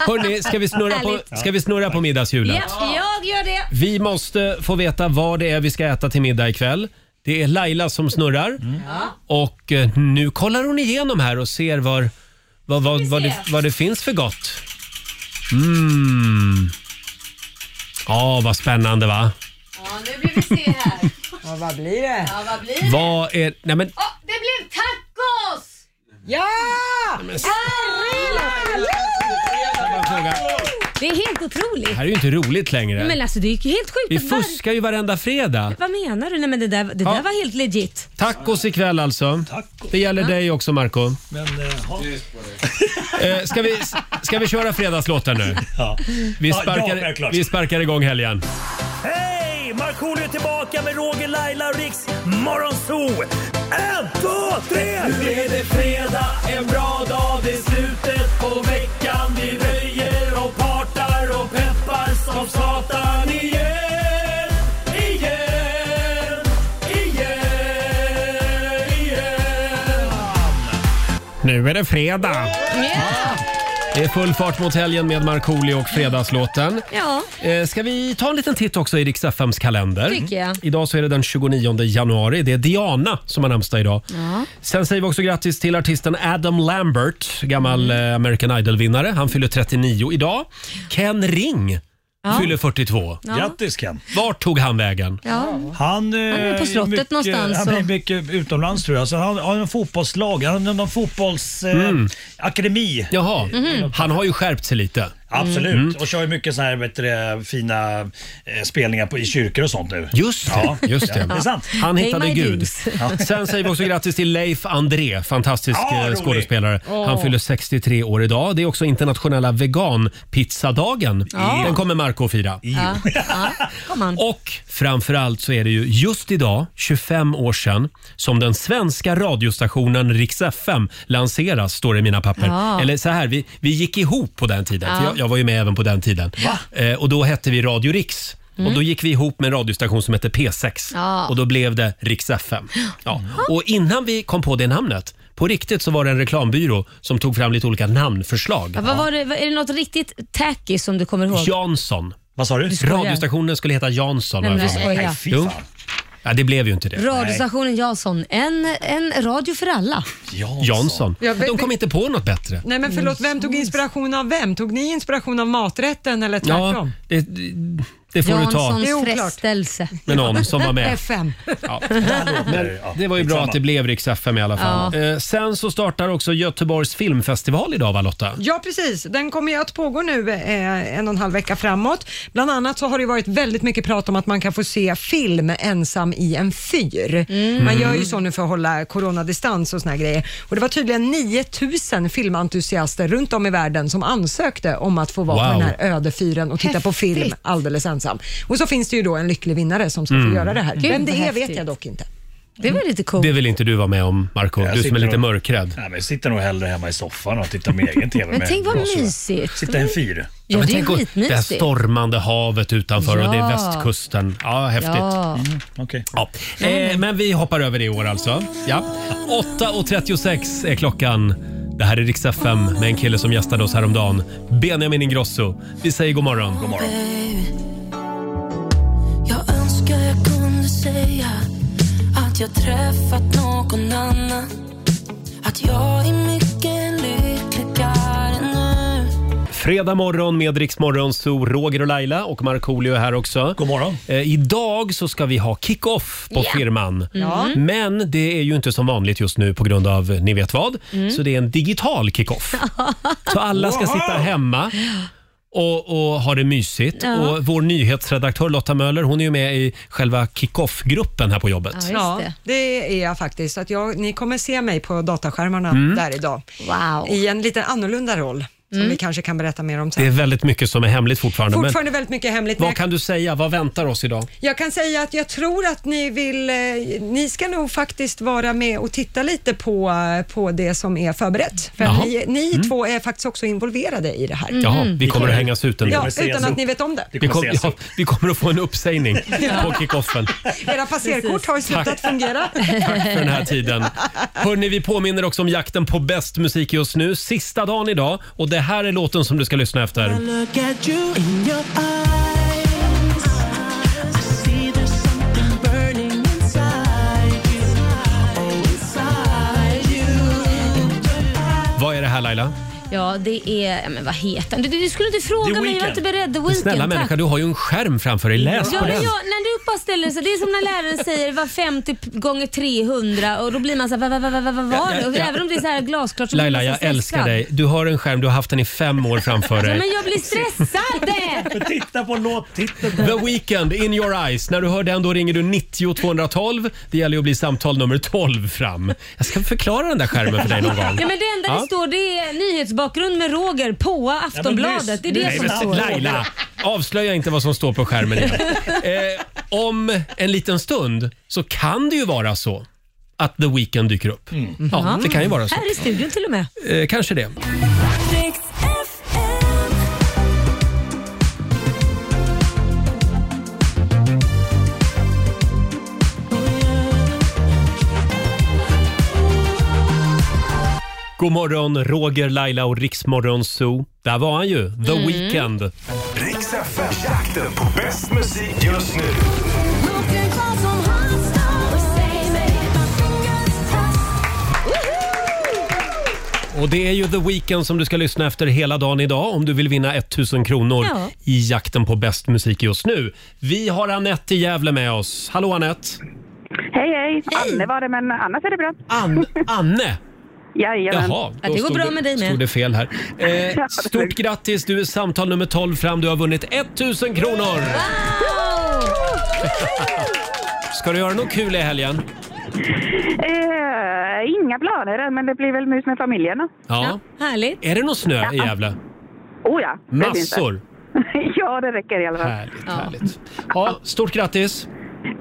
Speaker 1: Hörrni, ska vi snurra på,
Speaker 6: Härligt.
Speaker 1: ska vi snurra på middagshjulet?
Speaker 6: Ja, jag gör det.
Speaker 1: Vi måste få veta vad det är vi ska äta till middag ikväll. Det är Laila som snurrar.
Speaker 6: Mm.
Speaker 1: Och eh, nu kollar hon igenom här och ser var, vad, vad, vad, det, vad det finns för gott. Mm. Ja, vad spännande va?
Speaker 6: Ja, nu vill vi se här.
Speaker 2: ja, vad blir det?
Speaker 6: Ja, vad blir det?
Speaker 1: Vad är... Nej men
Speaker 6: Åh, det blev tacos!
Speaker 2: Ja!
Speaker 6: Det är helt otroligt.
Speaker 1: det här är ju inte roligt längre.
Speaker 6: Nej, men alltså, det gick ju helt sjukt.
Speaker 1: vi
Speaker 6: att var-
Speaker 1: fuskar ju varenda fredag.
Speaker 6: Vad menar du? Nej, men det där, det
Speaker 1: Ja.
Speaker 6: där var helt legit.
Speaker 1: Tacos ikväll alltså. Det gäller
Speaker 6: Ja.
Speaker 1: dig också Marco
Speaker 3: Men, eh, ha.
Speaker 1: Eh, ska, vi, ska vi köra fredagslåten nu?
Speaker 3: Ja.
Speaker 1: Vi
Speaker 3: Ja, ja,
Speaker 1: sparkar,
Speaker 3: självklart.
Speaker 1: vi sparkar igång helgen.
Speaker 3: Hej! Markoolio är tillbaka med Roger, Laila och Riks Morgonzoo! En, två, tre! Nu är det fredag, en bra dag, det är slutet på veckan. Vi röjer och partar och peppar som satan igen, igen, igen, igen.
Speaker 1: Nu är det fredag. Det är full fart mot helgen med Markoolio och Fredagslåten.
Speaker 6: Ja.
Speaker 1: Eh, Ska vi ta en liten titt också i Rix FMs kalender?
Speaker 6: Tycker jag.
Speaker 1: Idag så är det den 29 januari. Det är Diana som har namnsdag idag.
Speaker 6: Ja.
Speaker 1: Sen säger vi också grattis till artisten Adam Lambert, gammal
Speaker 6: Mm.
Speaker 1: eh, American Idol-vinnare. Han fyller 39 idag. Ken Ring
Speaker 6: Ja.
Speaker 1: fyller 42.
Speaker 6: Ja. Grattis,
Speaker 3: Ken.
Speaker 1: Vart tog han vägen?
Speaker 6: Ja.
Speaker 3: Han, han
Speaker 6: är på slottet
Speaker 3: mycket,
Speaker 6: någonstans
Speaker 3: Han är
Speaker 6: och-
Speaker 3: mycket utomlands tror jag. Så han har en fotbollslag, han har eh, en
Speaker 1: Mm.
Speaker 3: fotbollsakademi.
Speaker 1: Jaha,
Speaker 6: Mhm.
Speaker 1: han har ju skärpt sig lite.
Speaker 3: Absolut,
Speaker 1: Mm.
Speaker 3: och kör ju mycket såna här vet du, det, fina eh, spelningar på, i kyrkor och sånt nu.
Speaker 1: Just det.
Speaker 3: Ja,
Speaker 1: Just det.
Speaker 3: det är sant.
Speaker 1: Han hittade Gud. Sen säger vi också grattis till Leif André, fantastisk
Speaker 3: Ja,
Speaker 1: eh,
Speaker 3: rolig.
Speaker 1: skådespelare. Han
Speaker 3: Åh.
Speaker 1: fyller 63 år idag. Det är också internationella veganpizzadagen.
Speaker 6: Ja.
Speaker 1: Den kommer Marco att fira.
Speaker 6: Ja. Ja. Kom an.
Speaker 1: Och framförallt så är det ju just idag, 25 år sedan, som den svenska radiostationen Rix FM lanseras, står det i mina papper.
Speaker 6: Ja.
Speaker 1: Eller så här, vi, vi gick ihop på den tiden, för
Speaker 6: Ja.
Speaker 1: jag, jag var ju med även på den tiden. Eh, och då hette vi Radio Rix. Och
Speaker 6: Mm.
Speaker 1: Då gick vi ihop med en radiostation som hette P6
Speaker 6: Ja.
Speaker 1: och då blev det Rix FM. Ja. Och innan vi kom på det namnet, på riktigt så var det en reklambyrå som tog fram lite olika namnförslag.
Speaker 6: Ja, vad var det, vad- är det något riktigt tacky som du kommer ihåg?
Speaker 1: Jansson.
Speaker 3: Vad sa du?
Speaker 6: skojar.
Speaker 1: Radiostationen skulle heta Jansson.
Speaker 6: Nej,
Speaker 1: har
Speaker 6: men
Speaker 1: jag
Speaker 6: du
Speaker 1: för mig.
Speaker 6: skojar.
Speaker 1: Jo. Ja, det blev ju inte det.
Speaker 6: Radiostationen Jansson. En, en radio för alla.
Speaker 1: Jansson.
Speaker 2: Ja,
Speaker 1: De
Speaker 2: men-
Speaker 1: kom inte på något bättre.
Speaker 2: Nej men förlåt, vem tog inspiration av vem? Tog ni inspiration av maträtten eller
Speaker 1: Ja,
Speaker 2: tvärtom?
Speaker 1: det, det får du ta.
Speaker 6: Janssons
Speaker 2: Det är oklart.
Speaker 6: frestelse.
Speaker 1: Med någon som var med.
Speaker 2: FM.
Speaker 1: Ja.
Speaker 3: Men
Speaker 1: det var ju bra att det blev Rix FM i alla fall.
Speaker 2: Ja.
Speaker 1: Eh, sen så startar också Göteborgs filmfestival idag va Lotta?
Speaker 2: Ja, precis. Den kommer ju att pågå nu eh, en och en halv vecka framåt. Bland annat så har det ju varit väldigt mycket prat om att man kan få se film ensam i en fyr. Man gör ju så nu för att hålla coronadistans och såna här grejer. Och det var tydligen 9000 filmentusiaster runt om i världen som ansökte om att få vara på
Speaker 16: Wow.
Speaker 2: den här öde fyren och titta på film
Speaker 16: Häftigt.
Speaker 2: alldeles ensam. Och så finns det ju då en lycklig vinnare som ska
Speaker 1: Mm.
Speaker 2: få göra det här.
Speaker 1: Gud,
Speaker 2: Vem det
Speaker 1: vad
Speaker 2: är vet
Speaker 1: häftigt. Mm.
Speaker 2: jag dock inte.
Speaker 6: Det var lite coolt.
Speaker 1: Det vill inte du vara med om Marco
Speaker 3: Jag
Speaker 1: du som är
Speaker 3: sitter
Speaker 1: lite
Speaker 3: och-
Speaker 1: mörkrädd.
Speaker 3: Nej, men jag sitter nog hellre hemma i soffan och tittar på min egen TV.
Speaker 6: Men
Speaker 3: med
Speaker 6: tänk vad
Speaker 3: glasögon.
Speaker 6: mysigt.
Speaker 3: Sitta i en fyr.
Speaker 6: Ja,
Speaker 1: men
Speaker 6: det är
Speaker 1: tänk att-
Speaker 6: skitmysigt.
Speaker 1: Det här stormande havet utanför och det är
Speaker 6: Ja.
Speaker 1: västkusten. Ja, häftigt.
Speaker 6: Ja.
Speaker 1: Mm, ja. Eh, men vi hoppar över det i år alltså. Ja. 8.36 är klockan. Det här är riksdag 5 med en kille som gästade oss häromdagen. Benjamin Ingrosso. Vi säger god morgon. God morgon.
Speaker 16: Jag önskar jag kunde säga att jag träffat någon annan. Att jag är mycket lyckligare nu.
Speaker 1: Fredag morgon med Rix Morgon, så Roger och Laila och Markoolio är här också. God
Speaker 3: morgon.
Speaker 1: Eh, idag så ska vi ha kick-off på
Speaker 6: Ja.
Speaker 1: firman.
Speaker 6: Ja.
Speaker 2: Mm.
Speaker 1: Men det är ju inte som vanligt just nu på grund av eh, ni vet vad.
Speaker 6: Mm.
Speaker 1: Så det är en digital kick-off. så alla ska
Speaker 6: Wow.
Speaker 1: sitta hemma. Och, och ha det mysigt.
Speaker 6: Ja.
Speaker 1: Och vår nyhetsredaktör Lotta Möller hon är ju med i själva kick-off-gruppen här på jobbet.
Speaker 2: Ja, det. är jag faktiskt. Så Att jag, ni kommer se mig på dataskärmarna
Speaker 1: Mm.
Speaker 2: där idag.
Speaker 6: Wow.
Speaker 2: I en lite annorlunda roll, som vi kanske kan berätta mer om sen.
Speaker 1: Det är väldigt mycket som är hemligt fortfarande. men
Speaker 2: Fortfarande Mm. väldigt mycket hemligt. men
Speaker 1: vad
Speaker 2: jag-
Speaker 1: kan du säga? Vad väntar oss idag?
Speaker 2: Jag kan säga att jag tror att ni vill, eh, ni ska nog faktiskt vara med och titta lite på, eh, på det som är förberett. För
Speaker 1: Jaha.
Speaker 2: att ni, ni
Speaker 1: Mm.
Speaker 2: två är faktiskt också involverade i det här.
Speaker 1: Jaha, vi kommer att hängas ut en
Speaker 2: Mm. Ja,
Speaker 1: del.
Speaker 2: utan att ni vet om det.
Speaker 1: Vi, kom, ja, vi kommer att få en uppsägning
Speaker 2: Ja.
Speaker 1: på kickoffen
Speaker 2: Era passerkort har ju slutat
Speaker 1: Tack.
Speaker 2: fungera.
Speaker 1: för den här tiden. Hörni, vi påminner också om jakten på bäst musik just nu. Sista dagen idag och det här är låten som du ska lyssna efter.
Speaker 12: Look at you in your eyes. I see there's something burning inside you. Oh, inside you.
Speaker 1: Vad är det här Laila?
Speaker 6: Ja, det är... Ja, men vad heter han? Du, du skulle inte fråga mig, jag var inte beredd. The
Speaker 1: Men
Speaker 6: Weeknd,
Speaker 1: Snälla
Speaker 6: tack.
Speaker 1: människa, du har ju en skärm framför dig. Läs
Speaker 6: ja,
Speaker 1: på
Speaker 6: men
Speaker 1: den.
Speaker 6: jag, när du bara ställer sig, det är som när läraren säger vad 50 p- gånger 300 och då blir man så här, vad, vad, vad, vad, vad var
Speaker 1: Ja,
Speaker 6: det?
Speaker 1: ja,
Speaker 6: Och
Speaker 1: ja.
Speaker 6: Även om det är så här glasklart så
Speaker 1: Laila,
Speaker 6: blir man
Speaker 1: jag
Speaker 6: så
Speaker 1: älskar
Speaker 6: stressad.
Speaker 1: dig. Du har en skärm, du har haft den i fem år framför
Speaker 6: Ja,
Speaker 1: dig.
Speaker 6: men jag blir stressad!
Speaker 3: Titta på låttiteln.
Speaker 1: The Weeknd, In Your Eyes. När du hör den då ringer du 90 212. Det gäller ju att bli samtal nummer 12 fram. Jag ska förklara den där skärmen för dig någon gång.
Speaker 6: Ja, men det enda det står det är nyhetsbakgrund med Roger på Aftonbladet. det är det
Speaker 1: Nej,
Speaker 6: som
Speaker 1: men
Speaker 6: står.
Speaker 1: Laila, avslöja inte vad som står på skärmen igen. eh, om en liten stund så kan det ju vara så att The Weeknd dyker upp. Ja,
Speaker 6: Mm-hmm.
Speaker 1: det kan ju vara så.
Speaker 6: Här i studion till och med.
Speaker 1: Eh, kanske det. God morgon, Roger, Laila och Riksmorgon Zoo. Där var han ju, The
Speaker 15: Mm.
Speaker 1: Weeknd.
Speaker 15: Riks FM, jakten på bäst musik just nu.
Speaker 1: Och det är ju The Weeknd som du ska lyssna efter hela dagen idag om du vill vinna 1000 kronor
Speaker 6: Ja.
Speaker 1: i jakten på bäst musik just nu. Vi har Anette i Gävle med oss. Hallå Anette!
Speaker 17: Hej, hej. Anne var det, men annars är det bra.
Speaker 1: Ann, Anne?
Speaker 17: Jajamän.
Speaker 1: Jaha, då stod Stod det fel här. Eh, stort grattis, du är samtal nummer 12 fram. Du har vunnit 1000 kronor! Ska du göra något kul i helgen?
Speaker 17: Eh, inga planer än, men det blir väl mys med familjen. då.
Speaker 1: Ja.
Speaker 6: Härligt.
Speaker 1: Är det någon snö i Gävle?
Speaker 17: Oh ja, det finns det.
Speaker 1: Massor.
Speaker 17: ja, det räcker i alla fall.
Speaker 1: Härligt, härligt. Ja, stort grattis!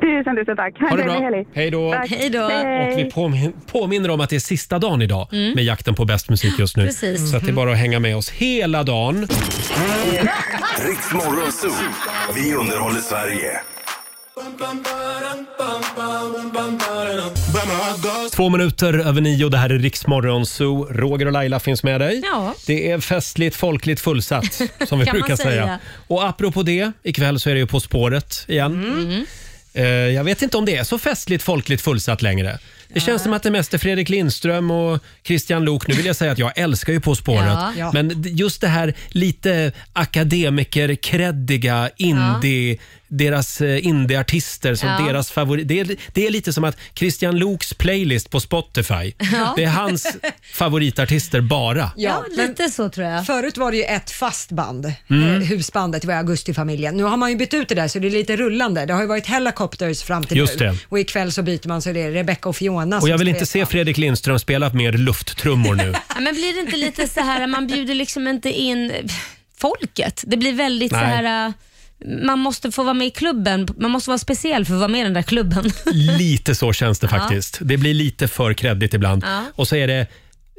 Speaker 17: Tusen, tusen tack. Ha en
Speaker 1: Ha det
Speaker 17: trevlig
Speaker 1: bra.
Speaker 17: helg.
Speaker 1: Hej då.
Speaker 17: Tack. Hej då.
Speaker 1: Och vi påmin- påminner om att det är sista dagen idag
Speaker 6: Mm.
Speaker 1: med jakten på bäst musik just nu.
Speaker 6: Precis. Mm.
Speaker 1: Så att det är bara att hänga med oss hela dagen.
Speaker 15: Riks Morgonzoo. Vi underhåller Sverige.
Speaker 1: Två minuter över nio. Det här är Riksmorgon Zoo. Roger och Laila finns med dig.
Speaker 6: Ja.
Speaker 1: Det är festligt, folkligt fullsatt som vi
Speaker 6: Kan man
Speaker 1: brukar säga.
Speaker 6: säga.
Speaker 1: Och apropå det, ikväll så är det ju På spåret igen.
Speaker 6: Mm.
Speaker 1: Eh, Jag vet inte om det är så festligt, folkligt fullsatt längre. Det känns som att det mest är Fredrik Lindström och Christian Lok. Nu vill jag säga att jag älskar ju På spåret.
Speaker 6: Ja. Ja.
Speaker 1: Men d- just det här lite akademiker, kreddiga, indie, deras eh, indieartister som
Speaker 6: Ja.
Speaker 1: deras favorit. Det är, det är lite som att Christian Loks playlist på Spotify,
Speaker 6: Ja.
Speaker 1: det är hans favoritartister bara.
Speaker 6: Ja, lite så tror jag.
Speaker 2: Förut var det ju ett fast band,
Speaker 1: Mm.
Speaker 2: eh, husbandet var Augustifamiljen. Nu har man ju bytt ut det där så det är lite rullande. Det har ju varit Helicopters fram till
Speaker 1: Just
Speaker 2: nu
Speaker 1: det.
Speaker 2: och ikväll så byter man så det är Rebecca och Fiona
Speaker 1: Och
Speaker 2: som
Speaker 1: jag vill inte
Speaker 2: spelar.
Speaker 1: se Fredrik Lindström spela mer lufttrummor nu.
Speaker 6: Ja, men blir det inte lite så här, man bjuder liksom inte in folket. Det blir väldigt så
Speaker 1: Nej.
Speaker 6: här, äh, man måste få vara med i klubben. Man måste vara speciell för att vara med i den där klubben.
Speaker 1: Lite så känns det
Speaker 6: Ja.
Speaker 1: faktiskt. Det blir lite för kreddigt ibland.
Speaker 6: Ja.
Speaker 1: Och så är det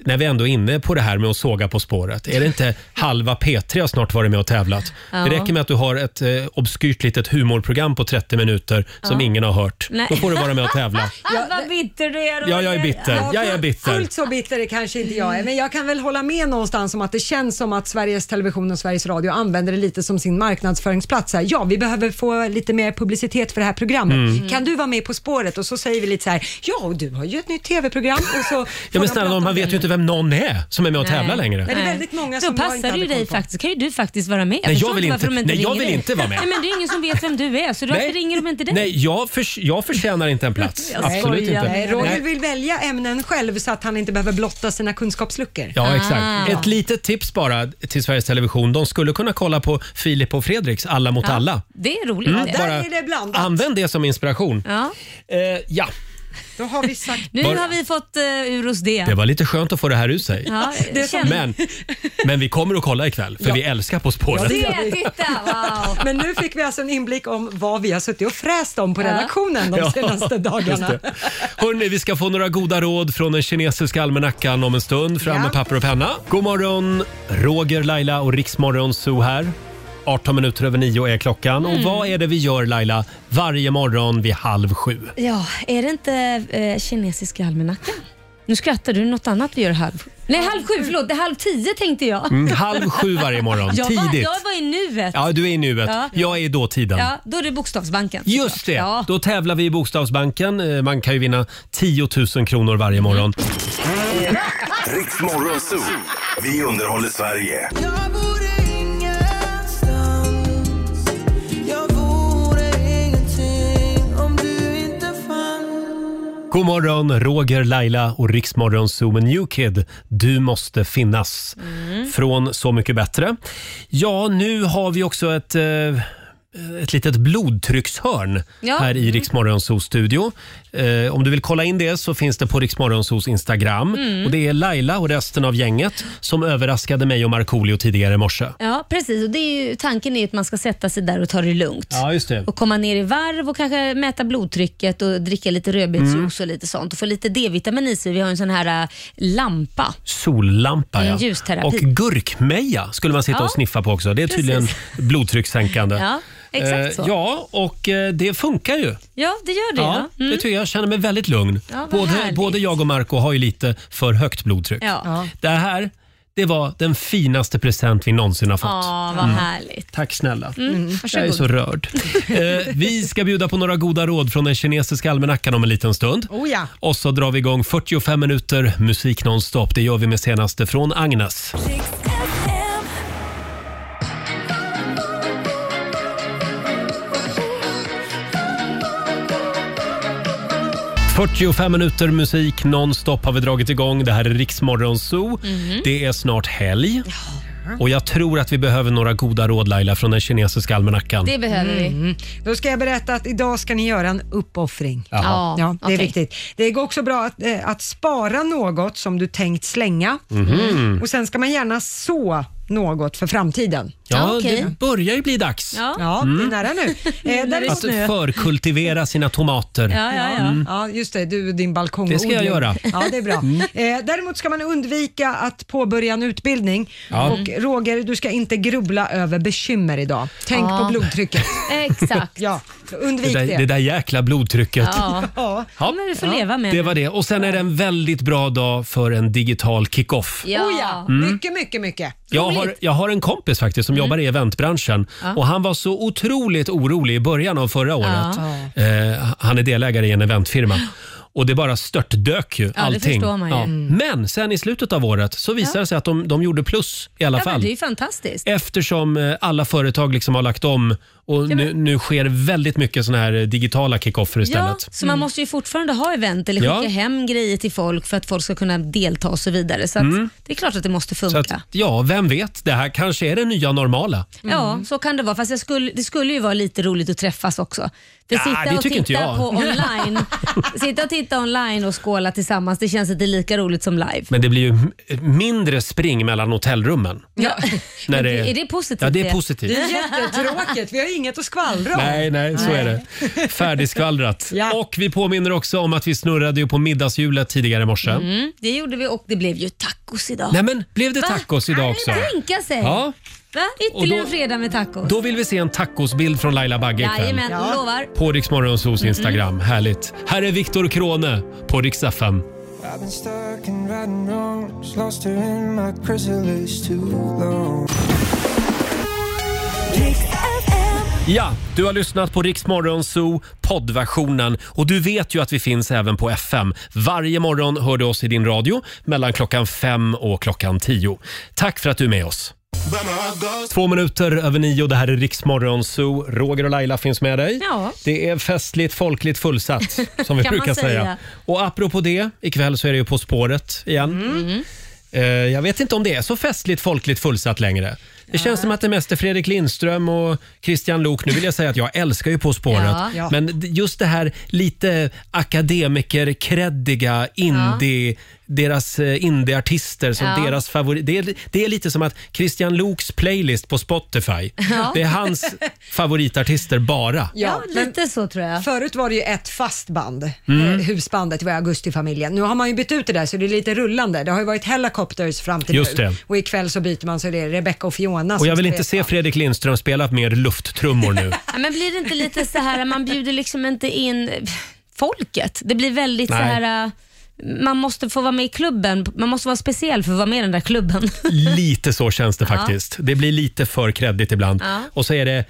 Speaker 1: när vi ändå är inne på det här med att såga På spåret. Är det inte halva P3 har snart varit med och tävlat?
Speaker 6: Ja.
Speaker 1: Det räcker med att du har ett eh, obskyrt litet humorprogram på 30 minuter som
Speaker 6: Ja.
Speaker 1: ingen har hört.
Speaker 6: Nej.
Speaker 1: Då får du vara med och tävla.
Speaker 6: Ja, Ah, vad bitter du är
Speaker 1: Ja, jag är bitter. Jag är bitter.
Speaker 2: Fullt så bitter är kanske inte jag är, men jag kan väl hålla med någonstans om att det känns som att Sveriges Television och Sveriges Radio använder det lite som sin marknadsföringsplats. Här. Ja, vi behöver få lite mer publicitet för det här programmet.
Speaker 1: Mm.
Speaker 2: Kan du vara med På spåret? Och så säger vi lite så här, ja, och du har ju ett nytt TV-program. Och så
Speaker 1: Ja, men snälla nån, man vet ju inte vem någon är som är med och tävlar längre.
Speaker 2: Nej, det är väldigt många
Speaker 6: Då
Speaker 2: som jag inte
Speaker 6: passar det
Speaker 2: hade
Speaker 6: ju dig
Speaker 2: koll på.
Speaker 6: faktiskt. kan ju du faktiskt vara med.
Speaker 1: Nej,
Speaker 6: förstår
Speaker 1: jag vill
Speaker 6: varför
Speaker 1: inte-
Speaker 6: de
Speaker 1: nej, jag
Speaker 6: ringer
Speaker 1: vill
Speaker 6: dig.
Speaker 1: inte vara med.
Speaker 6: Nej, men det är ingen som vet vem du är, så
Speaker 1: Nej.
Speaker 6: varför ringer de inte dig?
Speaker 1: Nej, jag, förs- jag förtjänar inte en plats.
Speaker 6: Jag
Speaker 1: Absolut
Speaker 6: skojar.
Speaker 1: inte.
Speaker 2: Nej, Roger
Speaker 1: Nej.
Speaker 2: vill välja ämnen själv så att han inte behöver blotta sina kunskapsluckor.
Speaker 6: Ah.
Speaker 1: Ja, exakt. Ett litet tips bara till Sveriges Television. De skulle kunna kolla på Filip och Fredriks Alla mot
Speaker 6: Ja,
Speaker 1: alla.
Speaker 6: Det är roligt.
Speaker 1: Mm,
Speaker 6: det.
Speaker 1: bara Använd det som inspiration. Eh,
Speaker 6: Ja.
Speaker 1: ja.
Speaker 2: Då har vi sagt...
Speaker 6: Nu
Speaker 1: Var-
Speaker 6: har vi fått eh, ur oss det.
Speaker 1: Det var lite skönt att få det här ur sig.
Speaker 6: Ja, det känns-
Speaker 1: men, men vi kommer att kolla ikväll, för
Speaker 2: Ja.
Speaker 1: vi älskar På spåret.
Speaker 2: Men nu fick vi alltså en inblick om vad vi har suttit och fräst om på redaktionen de senaste dagarna.
Speaker 1: just det. Hörrni, vi ska få några goda råd från den kinesiska almanackan om en stund. Fram med papper och penna. God morgon, Roger, Laila och Riksmorgon Zoo här. 18 minuter över nio är klockan. Och
Speaker 6: Mm.
Speaker 1: vad är det vi gör Laila varje morgon vid halv sju?
Speaker 6: Ja, är det inte eh, kinesiska almanackan? Nu skrattar du, något annat vi gör halv... Nej, halv sju, förlåt. Det är halv tio tänkte jag.
Speaker 1: Mm, halv sju varje morgon,
Speaker 6: jag Var,
Speaker 1: tidigt.
Speaker 6: jag var i nuet.
Speaker 1: Ja, du är i nuet.
Speaker 6: Ja.
Speaker 1: Jag är i dåtiden.
Speaker 6: Ja, då är det Bokstavsbanken.
Speaker 1: Just det! Då tävlar vi i Bokstavsbanken. Eh, Man kan ju vinna 10 000 kronor varje
Speaker 6: Mm.
Speaker 1: morgon.
Speaker 15: Riksmorgon Zoo. Vi underhåller Sverige.
Speaker 12: Jag vore ingenstans. Jag vore ingenting om du inte fanns.
Speaker 1: God morgon, Roger, Laila och Riksmorgon Zoom New Kid. Du måste finnas. Från Så mycket bättre. Ja, nu har vi också ett, eh, ett litet blodtryckshörn
Speaker 7: Ja.
Speaker 1: här i Riksmorgon Zoos studio. Eh, om du vill kolla in det så finns det på Riksmorgon Zoos Instagram.
Speaker 6: Mm.
Speaker 1: Och det är Laila och resten av gänget som överraskade mig och Markoolio tidigare i morse.
Speaker 6: Ja, precis. Och det är ju, tanken är ju att man ska sätta sig där och ta det lugnt.
Speaker 1: Ja, just det.
Speaker 6: Och komma ner i varv och kanske mäta blodtrycket och dricka lite rödbetsjuice
Speaker 1: Mm.
Speaker 6: och lite sånt. Och få lite D-vitamin i sig. Vi har en sån här äh, lampa.
Speaker 1: Sollampa
Speaker 6: Det är en
Speaker 1: ja.
Speaker 6: ljusterapi.
Speaker 1: Och gurkmeja skulle man sitta
Speaker 6: Ja.
Speaker 1: och sniffa på också. Det är tydligen blodtryckssänkande.
Speaker 6: Ja, exakt
Speaker 1: Eh,
Speaker 6: så.
Speaker 1: Ja, och eh, det funkar ju.
Speaker 6: Ja, det gör det.
Speaker 1: Ja,
Speaker 6: Ja. Mm.
Speaker 1: det tycker jag. jag känner mig väldigt lugn.
Speaker 6: Ja, vad
Speaker 1: både,
Speaker 6: härligt.
Speaker 1: både jag och Marco har ju lite för högt blodtryck.
Speaker 6: Ja. Ja.
Speaker 1: Det här det var den finaste present vi någonsin har fått.
Speaker 6: Ja, vad
Speaker 1: Mm.
Speaker 6: härligt.
Speaker 1: Tack snälla.
Speaker 6: Mm,
Speaker 1: Jag är
Speaker 6: varsågod.
Speaker 1: så rörd. Eh, vi ska bjuda på några goda råd från den kinesiska almanackan om en liten stund.
Speaker 2: Oh ja.
Speaker 1: Och så drar vi igång 45 minuter musik nonstop. Det gör vi med senaste från Agnes. ...45 minuter musik nonstop har vi dragit igång. Det här är Riksmorgon Zoo.
Speaker 7: Mhm.
Speaker 1: Det är snart helg. Och jag tror att vi behöver några goda råd Laila från den kinesiska almanackan.
Speaker 6: Det behöver vi.
Speaker 1: Mm.
Speaker 2: Då ska jag berätta att idag ska ni göra en uppoffring.
Speaker 1: Jaha. Ja,
Speaker 2: Ja, det är
Speaker 1: okej.
Speaker 2: viktigt. Det går också bra att, eh, att spara något som du tänkt slänga.
Speaker 1: Mhm.
Speaker 2: Och sen ska man gärna så något för framtiden.
Speaker 1: Ja, det börjar ju bli dags.
Speaker 2: Ja,
Speaker 1: Mm.
Speaker 2: det är nära nu. Eh,
Speaker 1: Att
Speaker 2: däremot-
Speaker 1: förkultivera sina tomater. Mm.
Speaker 2: ja, just det. Du och din balkong.
Speaker 1: Det ska jag göra.
Speaker 2: Ja, det är bra.
Speaker 1: Mm.
Speaker 2: Eh, däremot ska man undvika att påbörja en utbildning.
Speaker 1: Ja.
Speaker 2: Och Roger, du ska inte grubbla över bekymmer idag. Tänk
Speaker 6: Ja.
Speaker 2: på blodtrycket.
Speaker 6: Exakt.
Speaker 2: ja,
Speaker 1: Det
Speaker 2: undvik
Speaker 1: där,
Speaker 2: det.
Speaker 1: det där jäkla blodtrycket.
Speaker 6: Ja.
Speaker 2: ja.
Speaker 6: men vi får leva med
Speaker 1: Det var det. Och sen är det en väldigt bra dag för en digital kick-off.
Speaker 6: Ja.
Speaker 2: Oh, ja.
Speaker 1: Mm.
Speaker 2: Mycket, mycket, mycket.
Speaker 1: Jag har, jag har en kompis faktiskt
Speaker 6: Mm.
Speaker 1: som jobbar i eventbranschen
Speaker 2: Ja.
Speaker 1: och han var så otroligt orolig i början av förra året. Eh, han är delägare i en eventfirma. Och det bara störtdök ju
Speaker 6: det
Speaker 1: allting.
Speaker 6: förstår man ju. Mm.
Speaker 1: Men sen i slutet av året så visade det sig att de, de gjorde plus i alla
Speaker 6: ja, men
Speaker 1: fall.
Speaker 6: Det är ju fantastiskt.
Speaker 1: Eftersom eh, alla företag liksom har lagt om och nu, nu sker väldigt mycket såna här eh, digitala kickoffer
Speaker 6: Ja,
Speaker 1: istället.
Speaker 6: så man måste ju fortfarande ha event eller
Speaker 1: Mm. Ja.
Speaker 6: skicka hem grejer till folk för att folk ska kunna delta och så vidare. Så att
Speaker 1: Mm.
Speaker 6: det är klart att det måste
Speaker 1: Så
Speaker 6: funka.
Speaker 1: att, ja, vem vet? Det här kanske är det nya normala.
Speaker 6: Ja, så kan det vara. Fast jag skulle, det skulle ju vara lite roligt att träffas också. För
Speaker 1: Ja, det
Speaker 6: sitta och
Speaker 1: tycker inte
Speaker 6: titta
Speaker 1: jag.
Speaker 6: på online Sitta och titta online och skåla tillsammans, det känns inte lika roligt som live.
Speaker 1: Men det blir ju m- mindre spring mellan hotellrummen.
Speaker 6: Ja.
Speaker 1: När
Speaker 6: Är det positivt
Speaker 1: Ja, det
Speaker 6: det?
Speaker 1: är positivt.
Speaker 2: Det är jättetråkigt. Vi har ju inget att skvallra om.
Speaker 1: Nej, nej, så är det. Färdigskvallrat. Och vi påminner också om att vi snurrade ju på middagshjulet tidigare i morse.
Speaker 6: Mm, det gjorde vi och det blev ju tacos idag.
Speaker 1: Nej men, blev det
Speaker 6: Va?
Speaker 1: tacos idag
Speaker 6: Kan
Speaker 1: också?
Speaker 6: ni Tänka sig.
Speaker 1: Ja.
Speaker 6: Va? Ytterligare
Speaker 1: Och
Speaker 6: en
Speaker 1: då-
Speaker 6: fredag med tacos.
Speaker 1: Då vill vi se en tacosbild från Laila Bagge ikväll.
Speaker 6: Jajamän, lovar.
Speaker 1: På Rix Morgonzos Instagram. Härligt. Här är Viktor Krone på Rix FM.
Speaker 12: I've been stuck in right and wrongs, lost her in my chrysalis too long.
Speaker 1: Ja, du har lyssnat på Rix Morgonzoo poddversionen och du vet ju att vi finns även på FM. Varje morgon hör du oss i din radio mellan klockan fem och klockan tio. Tack för att du är med oss. Två minuter över nio, det här är Riksmorgon Zoo. Roger och Laila finns med dig.
Speaker 6: Ja.
Speaker 1: Det är festligt, folkligt fullsatt som vi
Speaker 6: Kan man
Speaker 1: brukar säga.
Speaker 6: säga.
Speaker 1: Och apropå det, ikväll så är det ju På spåret igen.
Speaker 6: Mm.
Speaker 1: Eh, Jag vet inte om det är så festligt, folkligt fullsatt längre. Det känns som att det mest är Fredrik Lindström och Christian Lok. Nu vill jag säga att jag älskar ju På spåret.
Speaker 6: Ja. Ja.
Speaker 1: Men d- just det här lite akademiker, kreddiga, indie, deras eh, indieartister som
Speaker 6: Ja.
Speaker 1: deras favorit. Det är, det är lite som att Christian Loks playlist på Spotify,
Speaker 6: Ja.
Speaker 1: det är hans favoritartister bara.
Speaker 6: Ja, lite så tror jag.
Speaker 2: Förut var det ju ett fast band,
Speaker 1: Mm.
Speaker 2: eh, husbandet, det var Augustifamiljen. Nu har man ju bytt ut det där så det är lite rullande. Det har ju varit Helicopters fram till
Speaker 1: Just
Speaker 2: nu.
Speaker 1: det.
Speaker 2: Och ikväll så byter man så det är Rebecca och Fiona
Speaker 1: Och
Speaker 2: som
Speaker 1: jag vill
Speaker 2: spelar.
Speaker 1: inte se Fredrik Lindström spela mer lufttrummor nu.
Speaker 6: Ja, men blir det inte lite så här, man bjuder liksom inte in folket. Det blir väldigt så
Speaker 1: Nej.
Speaker 6: här, äh, man måste få vara med i klubben. Man måste vara speciell för att vara med i den där klubben.
Speaker 1: Lite så känns det
Speaker 6: Ja.
Speaker 1: faktiskt. Det blir lite för kreddigt ibland.
Speaker 6: Ja.
Speaker 1: Och så är det,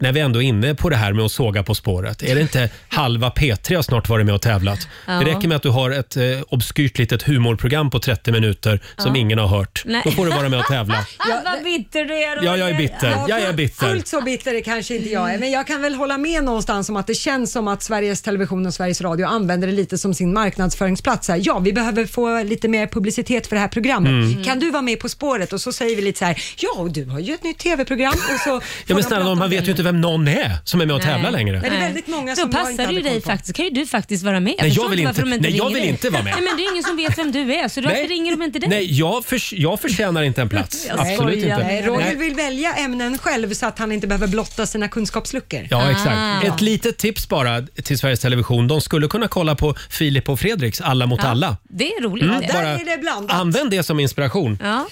Speaker 1: när vi ändå är inne på det här med att såga På spåret. Är det inte halva P3 har snart varit med och tävlat?
Speaker 6: Ja.
Speaker 1: Det räcker med att du har ett eh, obskyrt litet humorprogram på 30 minuter som
Speaker 6: Ja.
Speaker 1: ingen har hört.
Speaker 6: Nej.
Speaker 1: Då får du vara med och tävla.
Speaker 6: Ja, vad bitter du är.
Speaker 1: Ja, jag är bitter. Jag är bitter.
Speaker 2: Fullt så bitter är kanske inte jag är, men jag kan väl hålla med någonstans om att det känns som att Sveriges Television och Sveriges Radio använder det lite som sin marknadsföringsplats. Här. Ja, vi behöver få lite mer publicitet för det här programmet.
Speaker 1: Mm.
Speaker 2: Kan du vara med På spåret? Och så säger vi lite så här, ja, och du har ju ett nytt TV-program. Och så
Speaker 1: Ja, men snälla man vet ju inte vem någon är som är med och tävlar längre.
Speaker 2: Men det är väldigt många
Speaker 6: Då
Speaker 2: som jag inte
Speaker 6: passar det ju
Speaker 2: hade
Speaker 6: dig
Speaker 2: koll på.
Speaker 6: faktiskt. kan ju du faktiskt vara med.
Speaker 1: Nej, jag
Speaker 6: förstår
Speaker 1: vill
Speaker 6: varför
Speaker 1: inte-
Speaker 6: de
Speaker 1: nej, jag
Speaker 6: ringer
Speaker 1: vill
Speaker 6: dig.
Speaker 1: inte vara med.
Speaker 6: Nej, men det är ingen som vet vem du är, så
Speaker 1: Nej.
Speaker 6: därför ringer de inte dig.
Speaker 1: Nej, jag, förs- jag förtjänar inte en plats.
Speaker 6: Jag
Speaker 1: Absolut
Speaker 6: skojar.
Speaker 1: inte.
Speaker 2: Nej, Roger
Speaker 1: Nej.
Speaker 2: vill välja ämnen själv så att han inte behöver blotta sina kunskapsluckor.
Speaker 6: Ah.
Speaker 1: Ja, exakt. Ett litet tips bara till Sveriges Television. De skulle kunna kolla på Filip och Fredriks Alla mot
Speaker 6: Ja,
Speaker 1: alla.
Speaker 6: Det är roligt.
Speaker 1: Mm,
Speaker 6: det.
Speaker 1: bara Använd det som inspiration. Eh,
Speaker 6: Ja.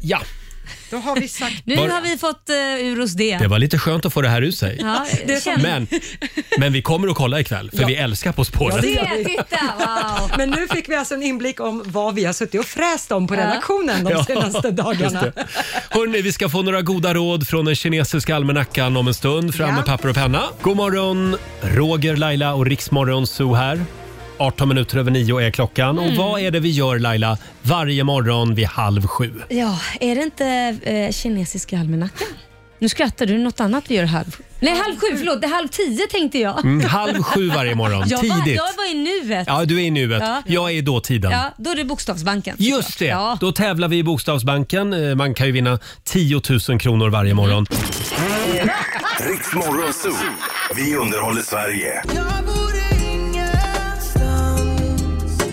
Speaker 1: ja.
Speaker 2: Då har vi sagt...
Speaker 6: Nu
Speaker 1: Var-
Speaker 6: har vi fått uh, ur oss det.
Speaker 1: Det var lite skönt att få det här ur sig.
Speaker 6: Ja, det känns-
Speaker 1: Men, men vi kommer att kolla ikväll, för
Speaker 2: Ja.
Speaker 1: vi älskar På spåret.
Speaker 6: Det, titta, wow.
Speaker 2: Men nu fick vi alltså en inblick om vad vi har suttit och fräst om på redaktionen de
Speaker 1: Ja,
Speaker 2: senaste dagarna.
Speaker 1: just det. Hörrni, vi ska få några goda råd från den kinesiska almanackan om en stund. Fram med papper och penna. God morgon, Roger, Laila och Riksmorgon Zoo här. 18 minuter över nio är klockan. Och
Speaker 6: Mm.
Speaker 1: vad är det vi gör Laila varje morgon vid halv sju?
Speaker 6: Ja, är det inte eh, kinesiska almanackan? Nu skrattar du, något annat vi gör halv... Nej, halv sju, förlåt. Det är halv tio tänkte jag.
Speaker 1: Mm, halv sju varje morgon,
Speaker 6: jag Var,
Speaker 1: tidigt.
Speaker 6: jag var i nuet.
Speaker 1: Ja, du är i nuet.
Speaker 6: Ja.
Speaker 1: Jag är i dåtiden.
Speaker 6: Ja, då är det Bokstavsbanken.
Speaker 1: Just det!
Speaker 6: Ja.
Speaker 1: Då tävlar vi i Bokstavsbanken. Eh, Man kan ju vinna 10 000 kronor varje
Speaker 6: Mm.
Speaker 1: morgon.
Speaker 15: Riks Morgonzoo. Vi underhåller Sverige.
Speaker 12: Jag vore ingenstans,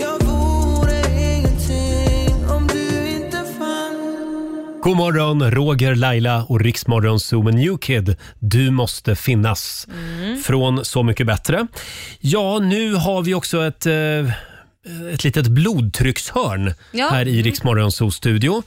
Speaker 12: jag vore ingenting om du inte fanns.
Speaker 1: God morgon, Roger, Laila och Riksmorgon Zoo med New Kid. Du måste finnas.
Speaker 6: Mm.
Speaker 1: Från Så mycket bättre. Ja, nu har vi också ett, eh, ett litet blodtryckshörn
Speaker 7: Ja.
Speaker 1: här
Speaker 6: Mm.
Speaker 1: i Riksmorgon Zoos studio.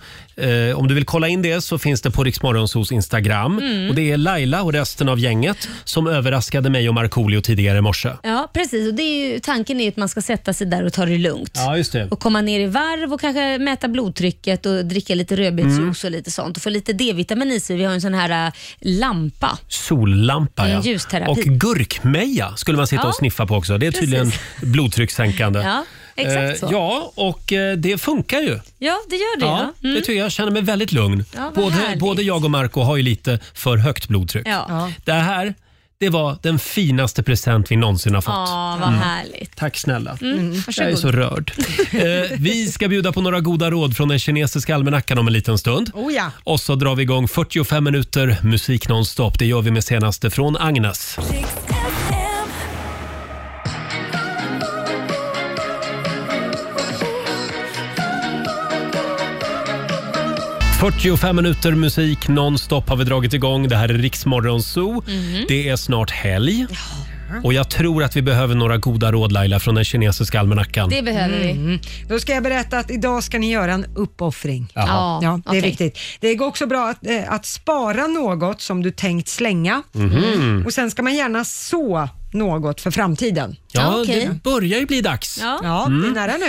Speaker 1: Eh, Om du vill kolla in det så finns det på Riksmorgon Zoos Instagram.
Speaker 6: Mm.
Speaker 1: Och det är Laila och resten av gänget som överraskade mig och Markoolio tidigare i morse.
Speaker 6: Ja, precis. Och det är ju, tanken är ju att man ska sätta sig där och ta det lugnt.
Speaker 1: Ja, just det.
Speaker 6: Och komma ner i varv och kanske mäta blodtrycket och dricka lite
Speaker 1: Mm.
Speaker 6: rödbetsjuice och lite sånt. Och få lite D-vitamin i sig. Vi har ju en sån här äh, lampa.
Speaker 1: Sollampa
Speaker 6: Mm,
Speaker 1: ja.
Speaker 6: ljusterapi.
Speaker 1: Och gurkmeja skulle man sitta
Speaker 6: Ja,
Speaker 1: och sniffa på också. Det är tydligen blodtryckssänkande.
Speaker 6: Ja, exakt
Speaker 1: Eh,
Speaker 6: så.
Speaker 1: Ja, och eh, det funkar ju.
Speaker 6: Ja, det gör det. Ja. Mm.
Speaker 1: det tycker jag. Jag känner mig väldigt lugn.
Speaker 6: Ja, vad
Speaker 1: både,
Speaker 6: härligt.
Speaker 1: både jag och Marco har ju lite för högt blodtryck.
Speaker 6: Ja. Ja.
Speaker 1: Det här det var den finaste present vi någonsin har fått.
Speaker 6: Ja, vad
Speaker 1: Mm.
Speaker 6: härligt.
Speaker 1: Tack snälla.
Speaker 6: Mm,
Speaker 1: Jag är
Speaker 6: varsågod.
Speaker 1: så rörd. Eh, vi ska bjuda på några goda råd från den kinesiska almanackan om en liten stund.
Speaker 2: Oh ja.
Speaker 1: Och så drar vi igång 45 minuter musik nonstop. Det gör vi med senaste från Agnes. 45 minuter musik nonstop har vi dragit igång. Det här är Riksmorgon Zoo.
Speaker 7: Mhm.
Speaker 1: Det är snart helg. Och jag tror att vi behöver några goda råd Laila från den kinesiska almanackan.
Speaker 6: Det behöver vi.
Speaker 1: Mm.
Speaker 2: Då ska jag berätta att idag ska ni göra en uppoffring.
Speaker 1: Jaha. Ja,
Speaker 2: Ja, det är
Speaker 1: okej.
Speaker 2: viktigt. Det går också bra att, eh, att spara något som du tänkt slänga.
Speaker 1: Mhm.
Speaker 2: Och sen ska man gärna så något för framtiden.
Speaker 1: Ja, Ja, okej. det börjar ju bli dags.
Speaker 2: Ja,
Speaker 1: Mm.
Speaker 2: det är nära nu.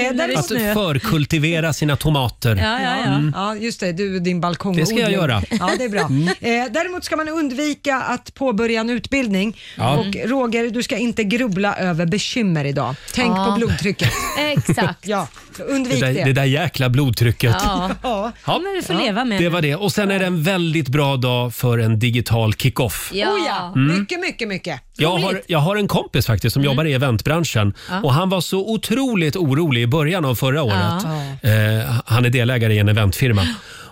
Speaker 2: Eh, där är
Speaker 1: Att
Speaker 2: snö.
Speaker 1: förkultivera sina tomater. Mm.
Speaker 2: ja, just det. Du och din balkong.
Speaker 1: Det ska jag göra.
Speaker 2: Ja, det är bra.
Speaker 1: Mm.
Speaker 2: Eh, däremot ska man undvika att påbörja en utbildning.
Speaker 1: Ja.
Speaker 2: Och Roger, du ska inte grubbla över bekymmer idag. Tänk
Speaker 6: Ja.
Speaker 2: på blodtrycket.
Speaker 6: Exakt.
Speaker 2: ja, så undvik
Speaker 1: Det
Speaker 2: det.
Speaker 1: där, det där jäkla blodtrycket.
Speaker 2: Ja.
Speaker 1: Ja.
Speaker 6: Men du får leva med
Speaker 1: Det var det. Och sen är det en väldigt bra dag för en digital kick-off.
Speaker 2: Ja. Oh, ja.
Speaker 1: Mm.
Speaker 2: Mycket, mycket, mycket.
Speaker 1: Jag har, jag har en kompis faktiskt som
Speaker 6: Mm.
Speaker 1: jobbar i eventbranschen
Speaker 2: Ja.
Speaker 1: och han var så otroligt orolig i början av förra året. Eh, han är delägare i en eventfirma.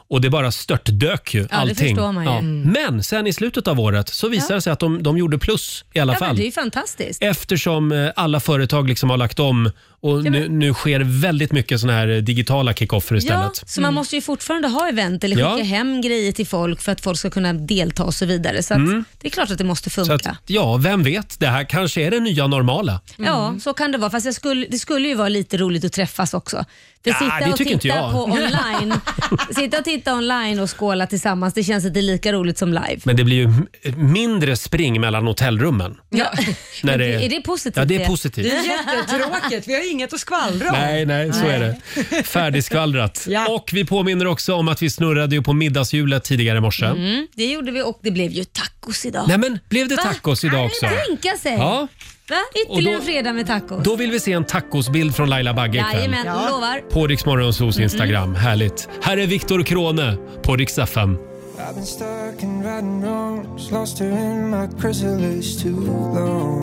Speaker 1: Och det bara störtdök ju
Speaker 6: det
Speaker 1: allting.
Speaker 6: förstår man ju. Mm.
Speaker 1: Men sen i slutet av året så visade det sig att de, de gjorde plus i alla
Speaker 6: ja, men
Speaker 1: fall.
Speaker 6: det är ju fantastiskt.
Speaker 1: Eftersom eh, alla företag liksom har lagt om och nu, nu sker väldigt mycket såna här eh, digitala kickoffer
Speaker 6: Ja,
Speaker 1: istället.
Speaker 6: så man måste ju fortfarande ha event eller
Speaker 1: Ja.
Speaker 6: skicka hem grejer till folk för att folk ska kunna delta och så vidare. Så att
Speaker 1: Mm.
Speaker 6: det är klart att det måste
Speaker 1: Så
Speaker 6: funka.
Speaker 1: att, ja, vem vet? Det här kanske är det nya normala.
Speaker 6: Ja, så kan det vara. Fast jag skulle, det skulle ju vara lite roligt att träffas också. För
Speaker 1: Ja,
Speaker 6: sitta
Speaker 1: det
Speaker 6: och
Speaker 1: tycker
Speaker 6: titta
Speaker 1: inte jag.
Speaker 6: på online Sitta och titta online och skåla tillsammans, det känns inte lika roligt som live.
Speaker 1: Men det blir ju m- mindre spring mellan hotellrummen.
Speaker 6: Ja.
Speaker 1: När det
Speaker 6: Är det positivt?
Speaker 1: Ja, det är positivt.
Speaker 2: Det är jättetråkigt. Vi har inget att skvallra om.
Speaker 1: Nej, nej, så är det. Färdigskvallrat. Och vi påminner också om att vi snurrade ju på middagshjulet tidigare i morse.
Speaker 6: Mm, det gjorde vi och det blev ju tacos idag.
Speaker 1: Nej, men blev det
Speaker 6: Va?
Speaker 1: tacos idag också?
Speaker 6: Tänka sig!
Speaker 1: Ja.
Speaker 6: Va? Ytterligare
Speaker 1: Och då-
Speaker 6: en fredag med tacos.
Speaker 1: Då vill vi se en tacosbild från Laila Bagge ikväll.
Speaker 6: Jajamän, Mm. lovar.
Speaker 1: På Rix Morgonzoos Instagram. Härligt. Här är Viktor Krone på Rix FM.
Speaker 12: I've been stuck in right and wrong, just lost her in my chrysalis too long.